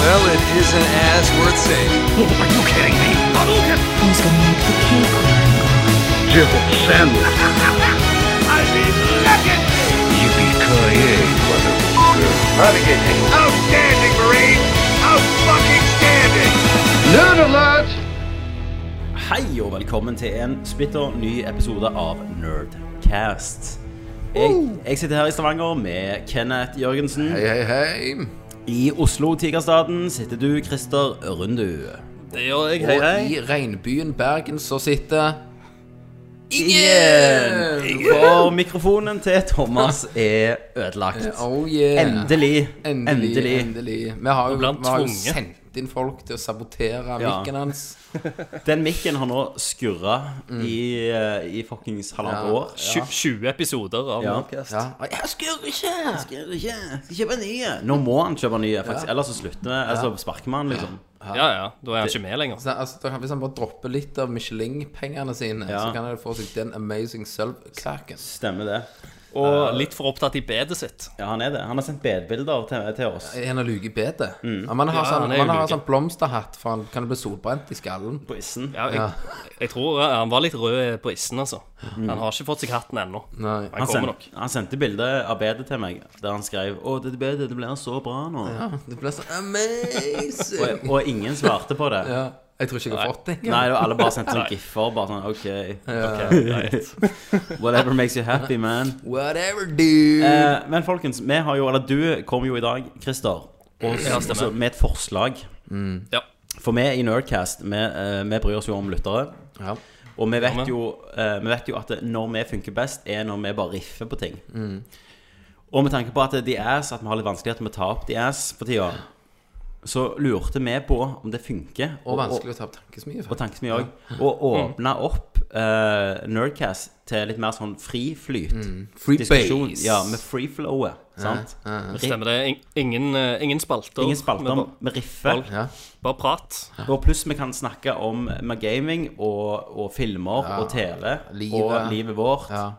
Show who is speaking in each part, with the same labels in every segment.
Speaker 1: Well, it isn't as worth saying.
Speaker 2: Are you kidding me? Hadouken!
Speaker 3: Who's gonna make the cake run?
Speaker 2: Jibble sandwich. I mean, legend! Yippee-ki-yay, motherfucker. Renegade. Outstanding, Marine! Out-fucking standing! Nerd alert!
Speaker 4: Hei og velkommen til en splitter ny episode av Nerdcast. Jeg, jeg sitter her i Stavanger med Kenneth Jørgensen.
Speaker 5: Hei, hei, hei.
Speaker 4: I Oslo, Tigerstaden, sitter du, Christer Rundu.
Speaker 1: Det gjør jeg,
Speaker 5: Og i regnbyen Bergen så sitter
Speaker 4: Igjen! For mikrofonen til Thomas er ødelagt.
Speaker 5: Oh yeah.
Speaker 4: Endelig.
Speaker 5: Endelig.
Speaker 4: Endelig.
Speaker 5: endelig. Vi har jo,
Speaker 1: ble han
Speaker 5: vi har jo
Speaker 1: tvunget.
Speaker 5: sendt inn folk til å sabotere
Speaker 4: Ja.
Speaker 5: mikken hans.
Speaker 4: Den mikken har nå skurra i, eh, i fuckings halvannet
Speaker 5: Mm. Ja.
Speaker 4: år.
Speaker 1: Tju- 20 episoder av
Speaker 4: Ja.
Speaker 1: Nordcast.
Speaker 5: Ja. Jeg skrur ikke!
Speaker 4: Skal ikke, skal kjøpe nye. Nå må han kjøpe nye, faktisk. Ellers så slutter vi. Ellers så sparker vi han, liksom.
Speaker 1: Ja, ja. Da er han ikke med lenger.
Speaker 5: Så, altså, da kan- hvis han bare dropper litt av Michelin-pengene sine,
Speaker 4: Ja.
Speaker 5: så kan han få seg den amazing sølvkaken.
Speaker 4: Stemmer det.
Speaker 1: Og litt for opptatt i bedet sitt.
Speaker 4: Ja, han er det. Han har sendt bedbilder til, til oss.
Speaker 5: En av lugebedet.
Speaker 4: Mm.
Speaker 5: Ja, man har
Speaker 1: Ja,
Speaker 5: sånn,
Speaker 1: han er jo
Speaker 5: man har
Speaker 1: luge.
Speaker 5: sånn blomsterhatt, for han kan bli solbrent i skallen.
Speaker 4: På issen.
Speaker 1: Ja, jeg, jeg tror eh, han var litt rød på issen, altså. Han har ikke fått seg hatten ennå.
Speaker 5: Nei.
Speaker 1: Han
Speaker 4: Han,
Speaker 1: kommer
Speaker 4: send,
Speaker 1: nok.
Speaker 4: han sendte bilde av bedet til meg, der han skrev 'Å, dette bedet det blir så bra nå'.
Speaker 5: Ja, det blir så amazing!
Speaker 4: Og, og ingen svarte på det.
Speaker 5: Ja, jeg tror ikke jeg har fått det.
Speaker 4: Nei, det var alle bare sendte sånne giffer. Bare sånn OK,
Speaker 1: Ok, greit.
Speaker 4: whatever makes you happy, man.
Speaker 5: Whatever, dude!
Speaker 4: Eh, men folkens, vi har jo Eller du kom jo i dag, Christer, og,
Speaker 1: Ja, stemmer.
Speaker 4: så- med et forslag.
Speaker 1: Ja.
Speaker 4: For vi i Nerdcast, vi, eh, vi bryr oss jo om lyttere.
Speaker 5: ja.
Speaker 4: Og vi
Speaker 1: Ja,
Speaker 4: vet,
Speaker 1: men-
Speaker 4: jo, eh, vi vet jo at det- når vi funker best, er når vi bare riffer på ting.
Speaker 5: Mm.
Speaker 4: Og med tanke på at The Ass, at vi har litt vanskeligheter med å ta opp The Ass for tida, så lurte vi på om det funker.
Speaker 5: Og vanskelig å Mm. ta opp tankesmye.
Speaker 4: Og tanken min også, Å åpne opp eh, Nerdcast til litt mer sånn fri flyt.
Speaker 5: Mm. Free
Speaker 4: Diskusjon.
Speaker 5: base.
Speaker 4: Ja, med free flowet. Sant?
Speaker 1: Stemmer det. In- Ingen, eh, ingen spalter.
Speaker 4: Ingen spalter
Speaker 1: men
Speaker 4: med riffe.
Speaker 1: Bare,
Speaker 5: Ja.
Speaker 1: bare prat.
Speaker 4: Og pluss vi kan snakke om med gaming og, og filmer og TV
Speaker 5: Livet.
Speaker 4: og livet vårt.
Speaker 5: ja.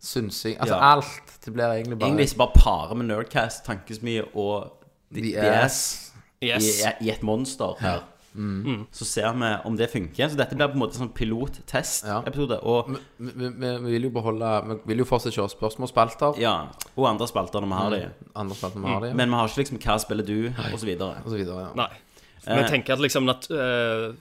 Speaker 5: Synsing. Altså
Speaker 4: Ja.
Speaker 5: alt. Det blir egentlig bare
Speaker 4: Egentlig så bare parer med Nerdcast, tankesmie og The,
Speaker 5: The
Speaker 4: the
Speaker 5: ass.
Speaker 4: ass
Speaker 1: Yes.
Speaker 4: i, i et monster her.
Speaker 5: Mm.
Speaker 4: Mm. Så ser vi om det funker. Så dette blir på en måte sånn pilottest-episode. Og,
Speaker 5: Vi, vi, vi vil jo beholde Vi vil jo fortsatt kjøre spørsmålsspalter.
Speaker 4: ja, og andre spalter når vi har de.
Speaker 5: Andre spalter vi har det,
Speaker 4: Men vi har ikke liksom hva spiller du, og så videre.
Speaker 5: og så videre. Ja.
Speaker 1: Mm, Nei.
Speaker 4: Eh.
Speaker 1: Vi tenker at liksom nat eh,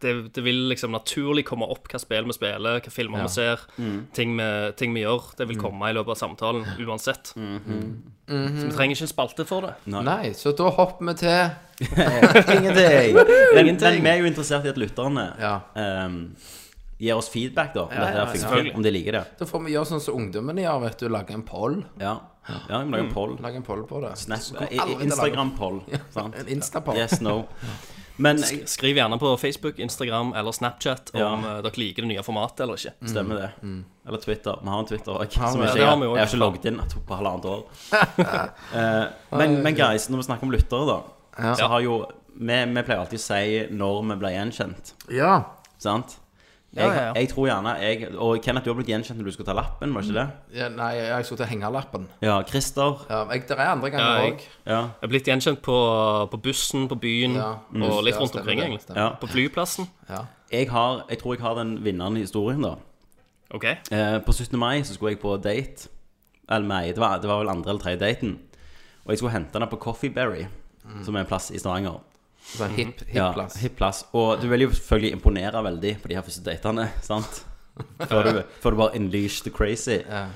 Speaker 1: det, det vil liksom naturlig komme opp hva spill vi spiller, hva filmer vi ser,
Speaker 4: Mm.
Speaker 1: ting, vi, ting vi gjør. Det vil komme i løpet av samtalen uansett.
Speaker 4: Mm-hmm.
Speaker 5: Mm-hmm.
Speaker 1: Så vi trenger ikke en spalte for det.
Speaker 5: Nei, så da hopper vi til
Speaker 4: Ingenting. Men, men vi er jo interessert i at lytterne
Speaker 5: Ja.
Speaker 4: ehm, gir oss feedback, da. Om, dette her funker,
Speaker 1: selvfølgelig.
Speaker 4: om de liker det.
Speaker 5: Da får vi gjøre sånn som ungdommene gjør, vet du. Lage en poll.
Speaker 4: Ja, ja vi må
Speaker 5: Mm.
Speaker 4: lage en poll.
Speaker 5: Lage en poll på det. Så
Speaker 4: Snap,
Speaker 5: kommer alle til å
Speaker 4: Instagram-poll. sant?
Speaker 5: lage En Insta-poll.
Speaker 4: Yes, no. Men
Speaker 1: Sk- Skriv gjerne på Facebook, Instagram eller Snapchat om
Speaker 4: Ja.
Speaker 1: eh, dere liker det nye formatet eller ikke.
Speaker 4: stemmer det. Eller Twitter. Vi har en Twitter
Speaker 5: Har
Speaker 4: òg.
Speaker 5: vi
Speaker 4: Som
Speaker 5: det?
Speaker 4: ikke
Speaker 1: Mm. Det
Speaker 4: jeg,
Speaker 1: har vi jo
Speaker 4: jeg har ikke logget inn på halvannet år. Eh, men, men guys, når vi snakker om lyttere, da,
Speaker 5: Ja.
Speaker 4: så har jo vi, vi pleier alltid å si når vi ble gjenkjent.
Speaker 5: Ja.
Speaker 4: Sant? Jeg,
Speaker 1: Ja, ja, ja.
Speaker 4: jeg tror gjerne jeg, Og Kenneth, du har blitt gjenkjent når du skulle ta lappen, var det ikke
Speaker 1: Mm.
Speaker 4: det?
Speaker 5: ja. Nei, jeg skulle til hengerlappen.
Speaker 4: Ja, Christer.
Speaker 5: Ja, jeg, der er andre
Speaker 1: Ja,
Speaker 5: ganger
Speaker 1: jeg-
Speaker 5: òg.
Speaker 4: Ja.
Speaker 1: Jeg er blitt gjenkjent på, på bussen, på byen
Speaker 5: Ja.
Speaker 4: Mm.
Speaker 1: og litt
Speaker 5: Ja,
Speaker 1: rundt
Speaker 5: stemmer
Speaker 1: omkring,
Speaker 5: det,
Speaker 1: egentlig.
Speaker 5: stemmer.
Speaker 4: ja.
Speaker 1: På flyplassen.
Speaker 5: Ja.
Speaker 4: Jeg, har, jeg tror jeg har den vinnende historien, da.
Speaker 1: OK.
Speaker 4: Eh, på 17. mai så skulle jeg på date. Eller nei, det var, det var vel andre eller tredje daten. Og jeg skulle hente henne på Coffee Berry, som er en plass i Stavanger.
Speaker 5: Så
Speaker 1: Mhm.
Speaker 5: en Mm. Sånn hip, hip
Speaker 4: Ja,
Speaker 5: plass.
Speaker 4: hipp plass. Og du vil jo selvfølgelig imponere veldig på de her første datene, sant? Før du, før du bare unleash the crazy.
Speaker 5: Ja.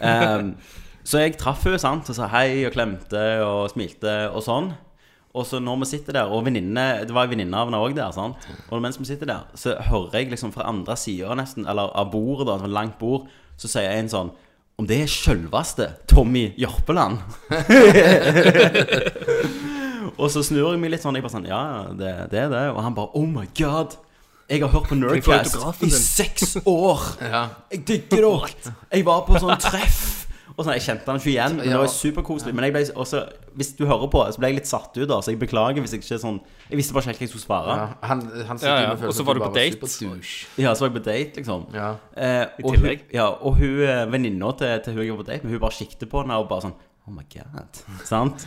Speaker 4: Ehm, så jeg traff henne, sant, og sa hei og klemte og smilte og sånn. Og så når vi sitter der, og venninne, det var en venninne av henne òg der, sant. Og mens vi sitter der, så hører jeg liksom fra andre sida nesten, eller av bordet, da, et langt bord, så sier en sånn Om det er sjølveste Tommy Jørpeland? og så snur jeg meg litt sånn, jeg bare sånn Ja, det, det er det. Og han bare Oh my God. Jeg har hørt på Nerdcast
Speaker 1: autografen
Speaker 4: i
Speaker 1: din?
Speaker 4: seks år.
Speaker 5: Ja.
Speaker 4: Jeg digger det. Jeg var på sånn treff. Og sånn, Jeg kjente han ikke igjen, men det var superkoselig. Men jeg ble også, hvis du hører på, så ble jeg litt satt ut, da. Så jeg beklager hvis jeg ikke sånn Jeg visste bare ikke helt hva jeg skulle svare.
Speaker 5: Ja, han, han sitter
Speaker 1: Ja, ja.
Speaker 5: med følelsen
Speaker 1: Og så
Speaker 5: at
Speaker 1: var du på
Speaker 5: bare
Speaker 1: date.
Speaker 5: superdouche.
Speaker 4: Ja, så var jeg på date, liksom.
Speaker 5: Ja.
Speaker 4: Eh, og
Speaker 1: tillegg.
Speaker 4: Hun, ja, og hun eh, venninna til, til hun jeg var på date med, hun bare siktet på henne og bare sånn Oh my god. Sant?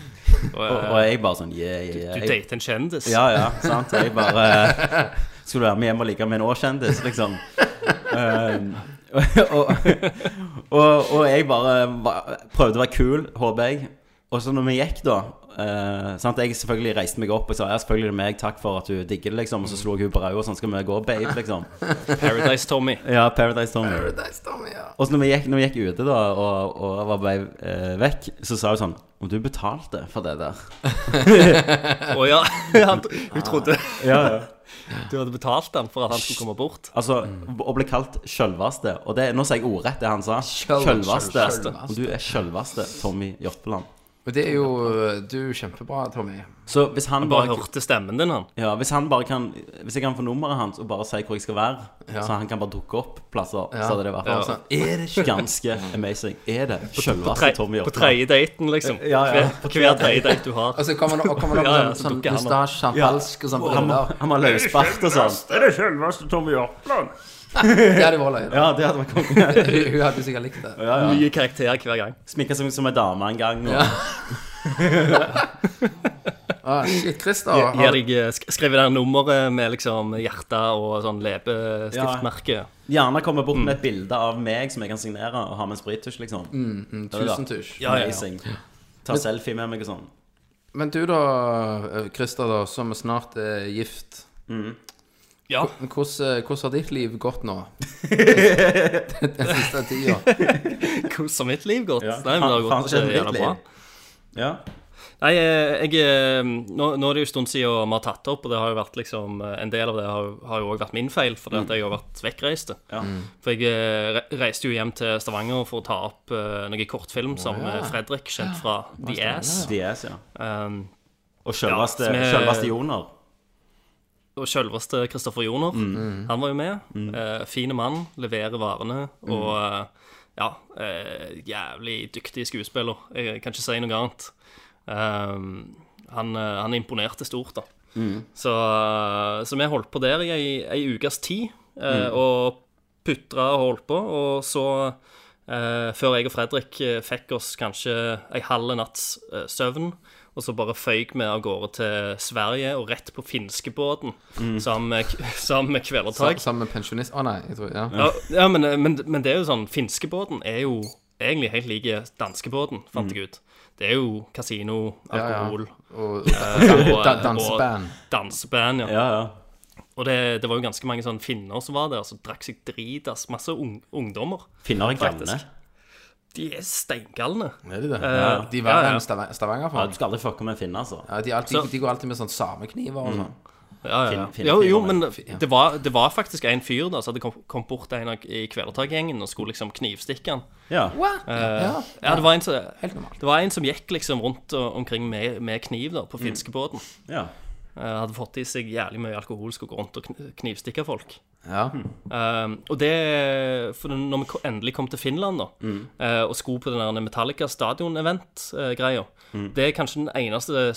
Speaker 1: Og,
Speaker 4: Og,
Speaker 1: eh,
Speaker 4: og jeg bare sånn yeah, yeah, yeah.
Speaker 1: du
Speaker 4: Jeg-
Speaker 1: dater en kjendis.
Speaker 4: Ja, ja, sant. Jeg bare Skulle være med hjem og ligge med en årskjendis, liksom. Um, og, og, og jeg bare var- prøvde å være kul, håper jeg. Og så når vi gikk, da eh, sant? Jeg selvfølgelig reiste meg opp og sa ja, selvfølgelig er det meg, takk for at du digger det, liksom. Og så slo jeg henne på ræva og sånn, skal vi gå, babe, liksom.
Speaker 1: Paradise-Tommy.
Speaker 4: Ja, Paradise Tommy.
Speaker 5: Paradise Tommy, ja.
Speaker 4: Og så når vi gikk, når vi gikk ute da og, og var på vei eh, vekk, så sa hun sånn Om du betalte for det der?
Speaker 1: Å ja. Han, hun trodde
Speaker 4: Ja, ja.
Speaker 1: du hadde betalt han for at han skulle komme bort.
Speaker 4: Altså, og ble kalt sjølvaste. Og det, nå sier jeg ordrett det han sa.
Speaker 5: Sjøl-
Speaker 4: Sjølvaste.
Speaker 5: sjølvaste.
Speaker 4: Om du er sjølvaste Tommy Jørpeland.
Speaker 5: Og det er jo eh, Du er jo kjempebra, Tommy.
Speaker 4: Så hvis han
Speaker 1: Bare
Speaker 4: bare,
Speaker 1: hørte stemmen din, han.
Speaker 4: ja, hvis han bare kan Hvis jeg kan få nummeret hans og bare si hvor jeg skal være,
Speaker 5: Ja.
Speaker 4: så han kan bare dukke opp plasser,
Speaker 5: Ja.
Speaker 4: så hadde det vært
Speaker 1: Ja.
Speaker 4: altså, Er det ikke ganske amazing? Er det
Speaker 1: Tre,
Speaker 4: sjølvaste Tommy
Speaker 1: på
Speaker 4: Jørpeland?
Speaker 1: tredje daten, liksom.
Speaker 4: Ja, ja.
Speaker 1: Hver- På hver tredje date du har.
Speaker 5: Og så Altså, kommer han kommer han
Speaker 1: Ja, ja,
Speaker 5: med
Speaker 1: så
Speaker 5: sånn,
Speaker 1: dukker
Speaker 5: sånn
Speaker 1: han opp.
Speaker 5: mustasje, sånn
Speaker 4: Ja.
Speaker 5: falsk og sånn
Speaker 4: Han
Speaker 5: briller.
Speaker 4: han har løsbart og sånn.
Speaker 2: Er det selveste Tommy Jørpeland?
Speaker 5: Det hadde vært løye.
Speaker 4: Ja, det hadde vært konge.
Speaker 5: Hun hun hadde sikkert likt det.
Speaker 4: Ja, ja.
Speaker 1: Nye karakterer hver gang.
Speaker 4: Sminka seg som ei dame en gang. Og,
Speaker 5: Ja. Ah, shit, Christer,
Speaker 1: Gir
Speaker 5: har du
Speaker 1: deg, eh, sk- skriver der nummeret med liksom hjerte og sånn leppestiftmerke.
Speaker 4: Gjerne komme bort med et bilde av meg som jeg kan signere og ha med en sprittusj, liksom. Det er det.
Speaker 5: tusen tusj.
Speaker 1: Ja, ja, ja.
Speaker 4: Amazing. Ta selfie med meg og sånn.
Speaker 5: Men du da, eh, Christer, da, som snart er gift.
Speaker 1: Ja.
Speaker 5: Men Hvordan, eh, hvordan har ditt liv gått nå? Den siste tida.
Speaker 1: Hvordan har mitt liv gått?
Speaker 4: Ja.
Speaker 1: Nei, men det har
Speaker 4: Faen, faen,
Speaker 1: gått
Speaker 4: så
Speaker 1: eh,
Speaker 4: skjedde
Speaker 1: jævla
Speaker 4: mitt
Speaker 1: bra.
Speaker 4: liv. Ja.
Speaker 1: Nei, eh, jeg, eh, nå, nå er det jo en stund siden vi har tatt det opp, og det har jo vært liksom, eh, en del av det har, har jo også vært min feil, fordi at jeg har vært vekkreist.
Speaker 4: Ja.
Speaker 1: For jeg eh, re- reiste jo hjem til Stavanger for å ta opp eh, noen kortfilm som eh, Fredrik, kjent fra The Ass.
Speaker 4: DS, ja.
Speaker 1: Um,
Speaker 4: Og sjølveste
Speaker 1: Ja, som er-
Speaker 4: sjølveste Joner.
Speaker 1: og selveste Kristoffer Joner. Han var jo med. Eh, fine mann, leverer varene. Og eh, ja, eh, jævlig dyktig skuespiller. Jeg kan ikke si noe annet. Ehm, han, eh, han imponerte stort, da.
Speaker 5: Mm.
Speaker 1: Så, eh, så vi holdt på der i ei, ei ukes tid, eh,
Speaker 5: Mm.
Speaker 1: og putra og holdt på. Og så, eh, før jeg og Fredrik eh, fikk oss kanskje ei halv natts eh, søvn, og så bare føyk vi av gårde til Sverige og rett på finskebåten sammen med, sammen med
Speaker 5: Mm. Sa-
Speaker 1: kvelertak.
Speaker 5: Sammen med pensjonist Å nei, jeg tror ja.
Speaker 1: Ja, ja men, men, men det er jo sånn Finskebåten er jo egentlig helt lik danskebåten, fant jeg ut. Det er jo kasino,
Speaker 5: Mm. ja, ja.
Speaker 1: alkohol
Speaker 5: Og
Speaker 1: eh, og-
Speaker 5: da, danseband.
Speaker 1: Og danseband, ja.
Speaker 4: Ja, ja.
Speaker 1: Og det, det var jo ganske mange sånne finner som var der, som drakk seg dritas. Masse ung, ungdommer.
Speaker 4: Finner er
Speaker 1: Faktisk.
Speaker 4: gamle.
Speaker 1: De er steingalne.
Speaker 5: Er de det?
Speaker 1: Ja.
Speaker 5: De var
Speaker 1: Eh, Ja, ja.
Speaker 5: en Stavanger, Stavanger
Speaker 4: Ja,
Speaker 5: for.
Speaker 4: du skal aldri fucke med en finne, altså.
Speaker 5: Ja, de, alltid, de går alltid med sånn samekniver og sånn.
Speaker 1: Ja, ja.
Speaker 4: Finn-
Speaker 1: Jo, jo,
Speaker 4: Finnene.
Speaker 1: men det var, det var faktisk en fyr da som hadde kom, kom bort til en av- i Kvelertak-gjengen og skulle liksom knivstikke han.
Speaker 4: Ja.
Speaker 1: Eh.
Speaker 5: Ja,
Speaker 1: Ja, det var en som
Speaker 5: helt normalt.
Speaker 1: Det var en som gikk liksom rundt og, omkring med, med kniv da, på finskebåten.
Speaker 4: ja.
Speaker 1: Eh, hadde fått i seg jævlig mye alkohol, skulle gå rundt og kn- knivstikke folk.
Speaker 5: Ja.
Speaker 1: Um, og det For når vi ko- endelig kom til Finland, da,
Speaker 5: Mm.
Speaker 1: eh, og skulle på den der Metallica stadion-event-greia
Speaker 5: Mm.
Speaker 1: Det er kanskje den eneste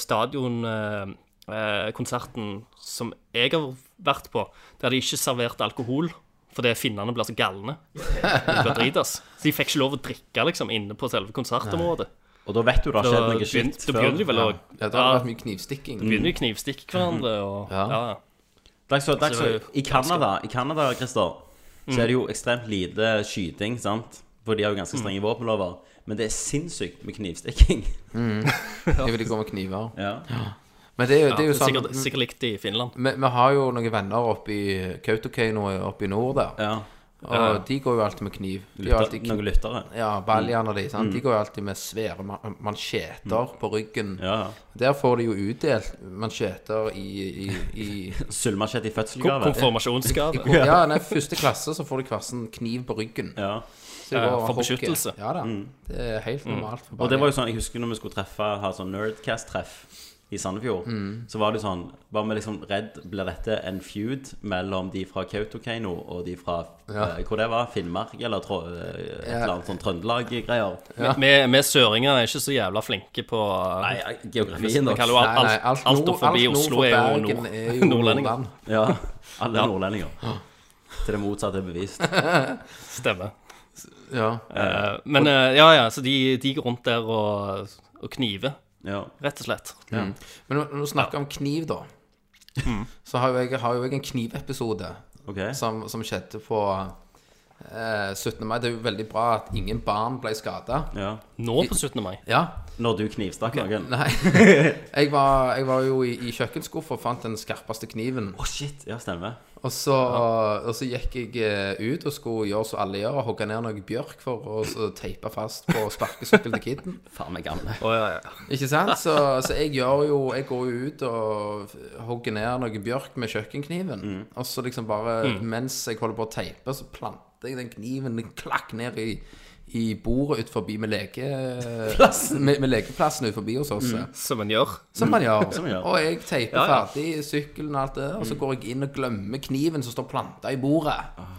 Speaker 1: stadionkonserten som jeg har vært på, der de ikke serverte alkohol. Fordi finnene blir så galne. De blir dritas. Så de fikk ikke lov å drikke liksom inne på selve konsertområdet.
Speaker 4: Og da vet du det har
Speaker 1: Da
Speaker 4: skjedd noe
Speaker 1: begyn-
Speaker 4: skitt
Speaker 1: da begynner de vel å
Speaker 5: Ja, det har
Speaker 1: ja,
Speaker 5: vært mye knivstikking.
Speaker 1: begynner de å knivstikke hverandre og
Speaker 5: Ja.
Speaker 1: ja. ja.
Speaker 4: Takk så, takk så.
Speaker 1: Altså,
Speaker 4: I Canada, i Canada, Christer, så er det jo ekstremt lite skyting, sant? For de har jo ganske strenge våpenlover. Men det er sinnssykt med knivstikking.
Speaker 5: Jeg vil ikke gå med kniver.
Speaker 4: Ja.
Speaker 5: Men det er, jo-
Speaker 1: ja
Speaker 5: det er jo sånn
Speaker 1: sikkert, sikkert likt i Finland.
Speaker 5: vi, vi har jo noen venner oppe i Kautokeino oppe i nord der.
Speaker 4: ja.
Speaker 5: Og de går jo alltid med kniv. De har alltid
Speaker 4: Lytter,
Speaker 5: kniv.
Speaker 4: noen lyttere.
Speaker 5: Ja, baljene de,
Speaker 1: Hmm.
Speaker 5: sant? De går jo alltid med svære ma- mansjeter på ryggen.
Speaker 4: Ja, ja.
Speaker 5: Der får de jo utdelt mansjeter i, i, i
Speaker 4: Sølvmachete i fødselsgave.
Speaker 1: Konfirmasjonsgave.
Speaker 5: Ja, nei, første klasse så får de hver sin kniv på ryggen.
Speaker 4: Ja.
Speaker 5: Så de går
Speaker 1: Ja,
Speaker 5: og
Speaker 1: for
Speaker 5: hogger.
Speaker 1: beskyttelse. Hmm.
Speaker 5: Ja da. Det er helt normalt. For
Speaker 4: Og det var jo sånn, jeg husker når vi skulle treffe Ha sånn Nerdcast-treff i Sandefjord
Speaker 5: Mm.
Speaker 4: Så var det jo sånn Var vi liksom redd Blir dette en feud Mellom de fra Kautokeino Og de fra
Speaker 5: Ja.
Speaker 4: eh, Hvor det var Finnmark Eller trå, eh, et eller annet sånn Trøndelag-greier
Speaker 1: Vi, vi søringer er ikke så jævla flinke på
Speaker 4: Nei,
Speaker 1: Vi-
Speaker 4: geografien
Speaker 1: Vi
Speaker 4: da
Speaker 1: kaller jo alt,
Speaker 5: Nei, nei,
Speaker 1: alt, alt,
Speaker 5: nord-
Speaker 1: forbi
Speaker 5: alt nord
Speaker 1: Oslo
Speaker 5: for
Speaker 1: er jo
Speaker 5: Bergen
Speaker 1: nord,
Speaker 5: er jo
Speaker 1: nordlendinger.
Speaker 5: nordland.
Speaker 4: Ja, alle nordlendinger Til det motsatte er bevist
Speaker 1: Stemmer.
Speaker 5: Ja.
Speaker 1: Eh, men eh, ja, ja, så de, de går rundt der og, og kniver,
Speaker 4: Ja.
Speaker 1: rett og slett.
Speaker 5: Men når- når du snakker om kniv, da, så har jo jeg, har jo jeg en knivepisode
Speaker 4: Ok.
Speaker 5: som, som skjedde på eh, 17. mai. Det er jo veldig bra at ingen barn ble skada.
Speaker 4: Ja.
Speaker 1: Nå på 17. mai.
Speaker 5: Ja.
Speaker 4: Når du knivstakk noen.
Speaker 5: Nei. Jeg var, jeg var jo i, i kjøkkenskuffa og fant den skarpeste kniven.
Speaker 4: Å, shit. Ja, stemmer.
Speaker 5: Og så, og så gikk jeg eh, ut og skulle gjøre som alle gjør, og hogge ned noe bjørk for å så teipe fast på sparkesykkel til kiden.
Speaker 4: Faen meg gamle.
Speaker 1: Å, ja, ja.
Speaker 5: Ikke sant? Så, så jeg gjør jo Jeg går jo ut og hogger ned noe bjørk med kjøkkenkniven.
Speaker 4: Mm.
Speaker 5: Og så liksom bare
Speaker 1: Mm.
Speaker 5: mens jeg holder på å teipe, så planter jeg den kniven den klakk ned i, i bordet ut forbi med, leke, med, med lekeplassen ut forbi hos oss.
Speaker 1: Som en gjør.
Speaker 5: Som man gjør.
Speaker 4: Mm. Som man gjør. Mm.
Speaker 5: Og jeg teiper
Speaker 1: Ja, ja.
Speaker 5: ferdig sykkelen og alt det der, og så går jeg inn og glemmer kniven som står planta i bordet.
Speaker 4: Ah.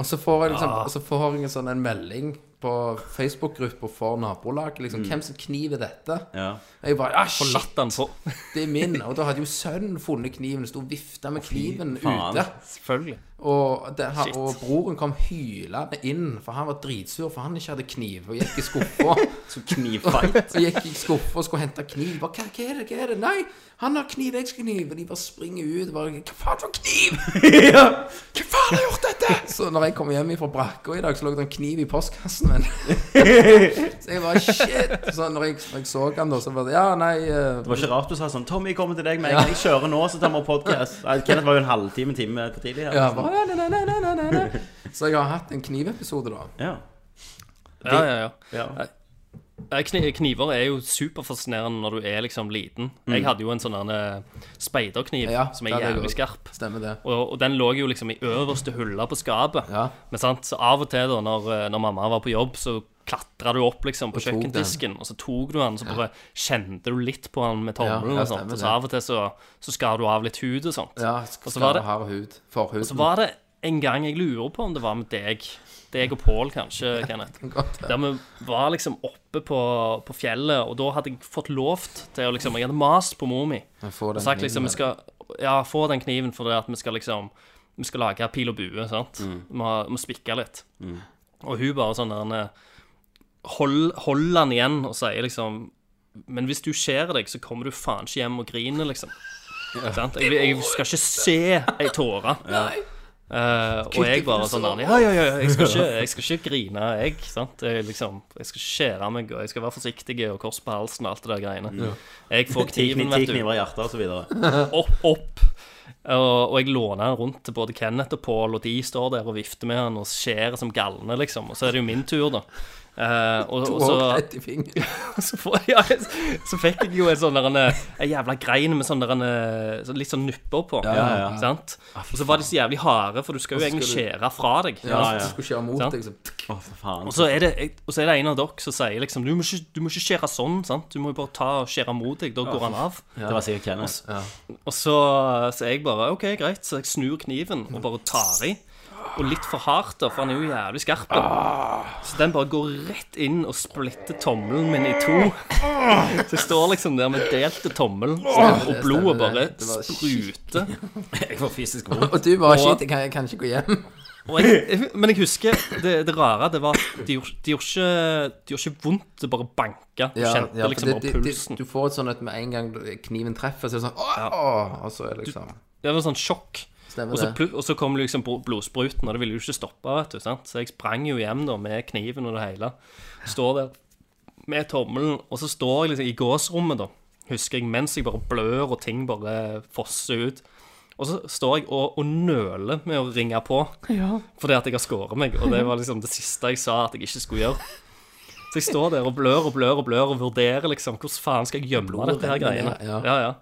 Speaker 5: Og så får jeg
Speaker 1: Ah.
Speaker 5: liksom Så får jeg en sånn en melding på Facebook-gruppa for nabolaget. Liksom, Hvem sin kniv er dette?
Speaker 4: Mm. Ja.
Speaker 5: Og jeg bare ah, shit,
Speaker 1: Latt han på.
Speaker 5: det er min. Og da hadde jo sønnen funnet kniven, sto og vifta med kniven
Speaker 4: faen.
Speaker 5: ute.
Speaker 1: Selvfølgelig.
Speaker 5: Og, det, her, og broren kom hylende inn, for han var dritsur, for han ikke hadde kniv, og gikk i skuffa.
Speaker 4: Så knivfight.
Speaker 5: Så gikk jeg i skuffa og skulle hente kniv. Bare, hva, hva er det? hva er det? Nei, han har kniv, jeg skal ha kniv. Og de bare springer ut. Bare, hva faen for kniv? Hva faen har gjort dette? Så når jeg kom hjem fra brakka i dag, så lå det en kniv i postkassen min. så jeg bare shit. Så når jeg, når jeg så han da, så bare Ja, nei eh,
Speaker 4: Det var ikke rart du sa sånn Tommy, kommer til deg med en gang. Jeg kjører nå, så tar vi podkast. Kenneth var jo en halvtime, en time for tidlig.
Speaker 5: ja,
Speaker 4: Her.
Speaker 5: bare, «Ja, nei, nei, nei, nei, nei, nei. Så jeg har hatt en knivepisode, da.
Speaker 4: Ja.
Speaker 1: Ja, ja, ja.
Speaker 4: ja.
Speaker 1: Nei, kni- Kniver er jo superfascinerende når du er liksom liten. Jeg hadde jo en sånn der, eh, speiderkniv
Speaker 5: Ja,
Speaker 1: som
Speaker 5: det
Speaker 1: er
Speaker 5: hadde jeg
Speaker 1: jævlig
Speaker 5: også.
Speaker 1: skarp.
Speaker 5: Stemmer det.
Speaker 1: Og, og den lå jo liksom i øverste hylla på skapet.
Speaker 5: Ja.
Speaker 1: Men sant, så av og til da, når, eh, når mamma var på jobb, så klatra du opp liksom på
Speaker 5: Og tok den.
Speaker 1: kjøkkendisken, og så tok du den, så bare kjente du litt på den med tommelen.
Speaker 5: Ja, ja,
Speaker 1: og
Speaker 5: stemmer
Speaker 1: sånt, og
Speaker 5: det.
Speaker 1: så av og til så, så skar du av litt hud og sånt.
Speaker 5: Ja,
Speaker 1: Og så var
Speaker 5: skal
Speaker 1: det-
Speaker 5: ha hud. Forhud.
Speaker 1: Så var det en gang jeg lurer på om det var med deg, deg og Pål kanskje, Kenneth.
Speaker 5: Godt, ja.
Speaker 1: Der vi var liksom oppe på, på fjellet, og da hadde jeg fått lovt til å liksom Jeg hadde mast på mor mi.
Speaker 5: Jeg får den
Speaker 1: Og sagt liksom
Speaker 5: kniven.
Speaker 1: vi skal, Ja, få den kniven fordi at vi skal liksom Vi skal lage pil og bue, sant?
Speaker 5: Mm.
Speaker 1: Vi må, må spikke litt. Og hun bare sånn der hold, hold den igjen og sier liksom Men hvis du skjærer deg, så kommer du faen ikke hjem og griner, liksom. Sant? Jeg, jeg skal ikke se ei tåre. Eh, og jeg bare sånn der, Ja, ja, ja, jeg skal ikke, jeg skal ikke grine, jeg. Sant? Jeg, liksom, jeg skal ikke skjære meg, og jeg skal være forsiktig og kors på halsen og alt det der greiene.
Speaker 5: Mm.
Speaker 1: Jeg får
Speaker 4: Ti
Speaker 1: kniven,
Speaker 4: ti
Speaker 1: vet du
Speaker 4: kniver i hjertet, og så videre.
Speaker 1: opp, opp. Og, og jeg låner den rundt til både Kenneth og Paul, og de står der og vifter med han og skjærer som galne, liksom. Og så er det jo min tur, da. Eh, og, og
Speaker 5: Og
Speaker 1: så,
Speaker 5: rett i fingeren.
Speaker 1: så, får, ja, så fikk jeg jo en sånn der en, en jævla grein med sånn der en, eh, sånn litt sånn nupper på.
Speaker 4: ja, Ah, ja.
Speaker 1: Sant? Og så var de så jævlig harde, for du skal jo egentlig skjære fra deg.
Speaker 5: Ja,
Speaker 4: ja.
Speaker 5: Skulle kjøre mot
Speaker 1: Sant?
Speaker 5: deg, så
Speaker 4: Å, for faen.
Speaker 1: Og så, er det, og så er det en av dere som sier liksom Du må ikke, du må ikke skjære sånn, sant? Du må jo bare ta og skjære mot deg. Da går han av.
Speaker 4: Det var sikkert Kenneth.
Speaker 1: Og så, så jeg bare OK, greit. Så jeg snur kniven og bare tar i. Og litt for hardt, da, for han er jo jævlig skarp. Så den bare går rett inn og splitter tommelen min i to. Så jeg står liksom der med delte tommel, så- og blodet bare
Speaker 5: Det var
Speaker 1: spruter.
Speaker 4: Jeg får fysisk vondt.
Speaker 5: Og du bare
Speaker 1: Og-
Speaker 5: shit, jeg kan, jeg kan ikke gå hjem.
Speaker 1: Og jeg, men jeg husker det, det rare det var at de gjorde, de, gjorde ikke, de gjorde ikke vondt, det bare banka. Du kjente
Speaker 5: for
Speaker 1: liksom
Speaker 5: det-
Speaker 1: bare
Speaker 5: det- det-
Speaker 1: pulsen.
Speaker 5: Du får et sånn at med en gang du- kniven treffer, så er det sånn åh, Og så er det liksom
Speaker 1: Det var sånn sjokk.
Speaker 5: Stemmer
Speaker 1: Og så,
Speaker 5: det.
Speaker 1: plu- og så kom liksom bl- blodspruten, og det ville jo ikke stoppe. vet du, sant? Så jeg sprang jo hjem da med kniven og det hele. Står der med tommelen, og så står jeg liksom i gåsrommet, da, husker jeg, mens jeg bare blør og ting bare fosser ut. Og så står jeg og, og nøler med å ringe på fordi at jeg har skåret meg. Og det var liksom det siste jeg sa at jeg ikke skulle gjøre. Så jeg står der og blør og blør og blør og vurderer liksom hvordan faen skal jeg gjemme
Speaker 5: Blodet
Speaker 1: dette her
Speaker 5: renner
Speaker 1: greiene.
Speaker 5: ned, ja.
Speaker 1: Ja, ja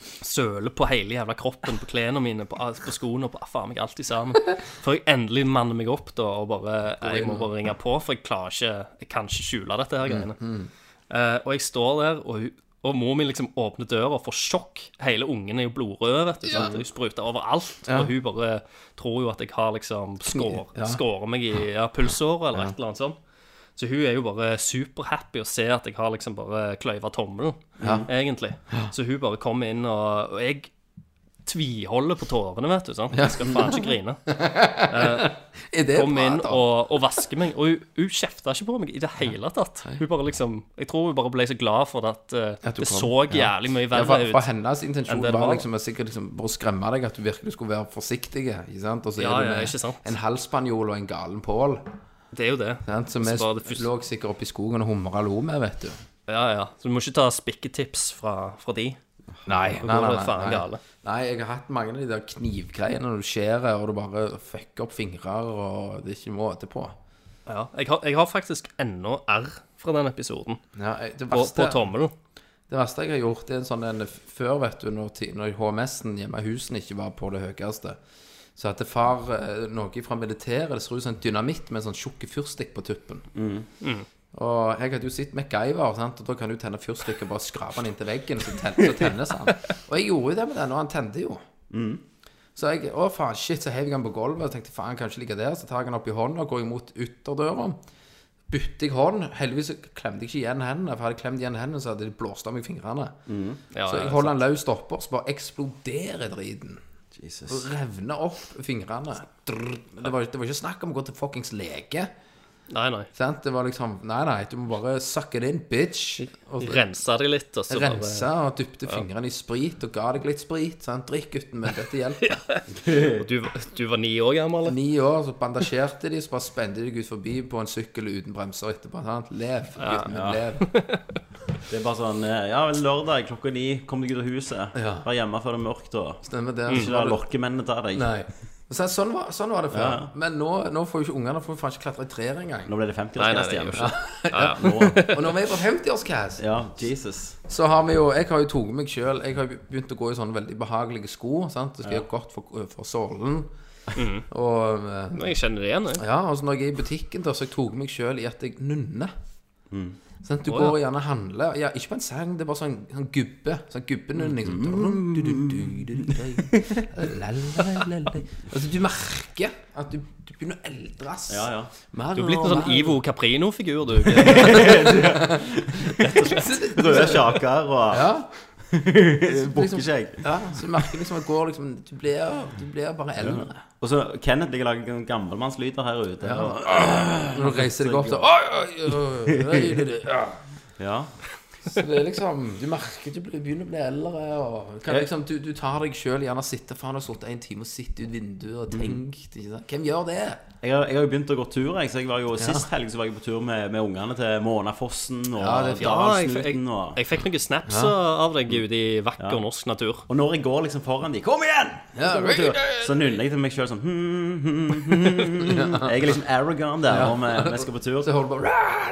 Speaker 1: søle på hele jævla kroppen, på klærne mine, på, på skoene og på faen meg alt i sammen. Før jeg endelig manner meg opp da, og bare Jeg må bare ringe på, for jeg klarer ikke Jeg kan ikke skjule dette her greiene. Eh, og jeg står der, og, hun- og mor mi liksom åpner døra og får sjokk. Hele ungen er jo blodrød, vet du. sant? Hun spruter overalt. Og hun bare tror jo at jeg har liksom skår,
Speaker 5: Ja.
Speaker 1: skåret meg i ja, pulsåret eller et eller annet sånt. Så hun er jo bare superhappy å se at jeg har liksom bare kløyva tommelen, egentlig. Så hun bare kommer inn, og, og jeg tviholder på tårene, vet du. sant? Jeg skal faen ikke grine.
Speaker 5: Er det
Speaker 1: Kom
Speaker 5: bra,
Speaker 1: inn
Speaker 5: da?
Speaker 1: og, og vaske meg. Og hun, hun kjefta ikke på meg i det hele tatt. Hun bare liksom Jeg tror hun bare ble så glad for at eh,
Speaker 5: At hun
Speaker 1: det
Speaker 5: kom.
Speaker 1: så jævlig mye
Speaker 5: Ja, for,
Speaker 1: verre
Speaker 5: for
Speaker 1: ut.
Speaker 5: hennes intensjon
Speaker 1: enn det
Speaker 5: var
Speaker 1: var.
Speaker 5: liksom, sikkert liksom bare å skremme deg at du virkelig skulle være forsiktig. Ikke sant? Og så
Speaker 1: Ja,
Speaker 5: er du
Speaker 1: ja,
Speaker 5: med
Speaker 1: ikke sant.
Speaker 5: en halvspanjol og en galen pål.
Speaker 1: Det er jo det.
Speaker 5: sant? Som
Speaker 1: Så
Speaker 5: vi
Speaker 1: bare det første-
Speaker 5: lå sikkert oppe i skogen og humra lo med, vet du.
Speaker 1: Ja, ja. Så du må ikke ta spikketips fra, fra de.
Speaker 5: Nei, nei,
Speaker 1: Da
Speaker 5: nei,
Speaker 1: går
Speaker 5: nei,
Speaker 1: det faen
Speaker 5: nei.
Speaker 1: gale.
Speaker 5: Nei, jeg har hatt mange av de der knivgreiene når du skjærer, og du bare fucker opp fingrer, og det er ikke måte på.
Speaker 1: Ja. Jeg, har, jeg har faktisk ennå R fra den episoden
Speaker 5: Ja, jeg- det,
Speaker 1: på, på
Speaker 5: verste,
Speaker 1: tommelen.
Speaker 5: det verste jeg har gjort, det er en sånn en Før, vet du, når, ti- når HMS-en hjemme i husene ikke var på det høyeste, så hadde far eh, noe fra militæret Det ser ut som en dynamitt med en sånn tjukk fyrstikk på tuppen. Og jeg hadde jo sett MacGyver, sant? og da kan du tenne fyrstikk og bare skrape den inntil veggen, så, ten, så tennes han. Og jeg gjorde jo det med den, og han tente jo. Så jeg, å faen, shit, så heiv jeg han på gulvet og tenkte faen, kanskje ligge der. Så tar jeg han opp i hånda og går imot ytterdøra. Bytter jeg hånd. Heldigvis så klemte jeg ikke igjen hendene, for hadde jeg klemt igjen hendene, så hadde de blåst av meg fingrene.
Speaker 1: Mm. Ja,
Speaker 5: så jeg
Speaker 1: ja,
Speaker 5: holder han løst oppå, så bare eksploderer driten.
Speaker 4: Jesus.
Speaker 5: Og revner opp fingrene. Drr. Det var, det var ikke snakk om å gå til fuckings lege.
Speaker 1: Nei, nei.
Speaker 5: Sant? Det var liksom Nei, nei, du må bare sucke det inn, bitch. Og
Speaker 1: Rensa de litt, og så
Speaker 5: rense og dypte fingrene i sprit og ga deg litt sprit. Sant? Drikk, gutten min, dette hjelper.
Speaker 1: bare du, du var ni år gammel, eller?
Speaker 5: Ni år, så bandasjerte de, så bare spente de deg ut forbi på en sykkel uten bremser etterpå. Sant? Lev, gutten min, lev.
Speaker 4: Det er bare sånn eh, Ja, vel, lørdag klokka ni, kom deg ut av huset.
Speaker 5: Ja.
Speaker 4: Vær hjemme før det er mørkt, og
Speaker 5: Stemmer det.
Speaker 4: ikke la lokkemennene ta deg.
Speaker 5: Nei. Så, sånn, var, sånn var det før.
Speaker 4: Ja.
Speaker 5: Men nå, nå får jo ikke ungene får jo faen ikke klatre i trær engang.
Speaker 4: Nå ble det
Speaker 1: Nei, nei,
Speaker 4: 50-årsfest
Speaker 1: det
Speaker 4: igjen.
Speaker 1: gjør ikke
Speaker 4: Nå.
Speaker 5: Og når vi er på 50-årscast,
Speaker 4: Ja, Jesus.
Speaker 5: så har vi jo Jeg har jo tatt meg sjøl Jeg har jo begynt å gå i sånne veldig behagelige sko. Sant? Det skal gjøre godt for, for sålen. Og eh,
Speaker 1: Men Jeg kjenner det igjen, jeg.
Speaker 5: Ja, altså når jeg er i butikken da, Så jeg tok meg selv i at jeg nunner Sånn, du
Speaker 1: Å,
Speaker 5: går gjerne og handler ja, Ikke på en sang, det er bare sånn, sånn gubbe Sånn gubbenunning sånn, du, du, du, du, du, la, la, la, la. Altså du merker At du, du begynner å eldres
Speaker 4: Ja, ja.
Speaker 5: Mer
Speaker 1: Du er blitt en
Speaker 5: og
Speaker 1: sånn
Speaker 5: mer.
Speaker 1: Ivo Caprino-figur, du.
Speaker 4: Røde kjaker og
Speaker 5: Ja,
Speaker 4: bukkeskjegg.
Speaker 5: sånn- ja, så du merker liksom at går liksom Du blir, du blir bare eldre
Speaker 4: Og så Kenneth ligger og lager sånn gammelmannslyder her ute. Og,
Speaker 5: Når du reiser deg opp så Oi, oi, oi, oi, oi, oi, oi.
Speaker 4: ja.
Speaker 5: Så det er liksom Du merker du blir- begynner å bli eldre. Og kan
Speaker 4: Jeg-
Speaker 5: liksom, du, du tar deg sjøl gjerne sitte Faen, jeg har sittet en time og sittet ut vinduet
Speaker 1: Mm.
Speaker 5: og tenkt. Ikke sant? Hvem gjør det?
Speaker 4: Jeg har, jeg har jo begynt å gå tur. Jeg, så jeg var jo, Sist helg så var jeg på tur med, med ungene til Månafossen og
Speaker 5: Ja, det er fint.
Speaker 1: Ja, jeg, jeg,
Speaker 4: Dalsnuten. Og,
Speaker 1: jeg fikk noen snaps av deg ute i vakker norsk natur.
Speaker 4: og når jeg går liksom foran de Kom igjen!
Speaker 5: Ja,
Speaker 4: Så går jeg på tur, Så nynner jeg til meg sjøl sånn hmm, hmm, hmm. Jeg er liksom Aragon der om eh, vi skal på tur.
Speaker 5: Så holder du bare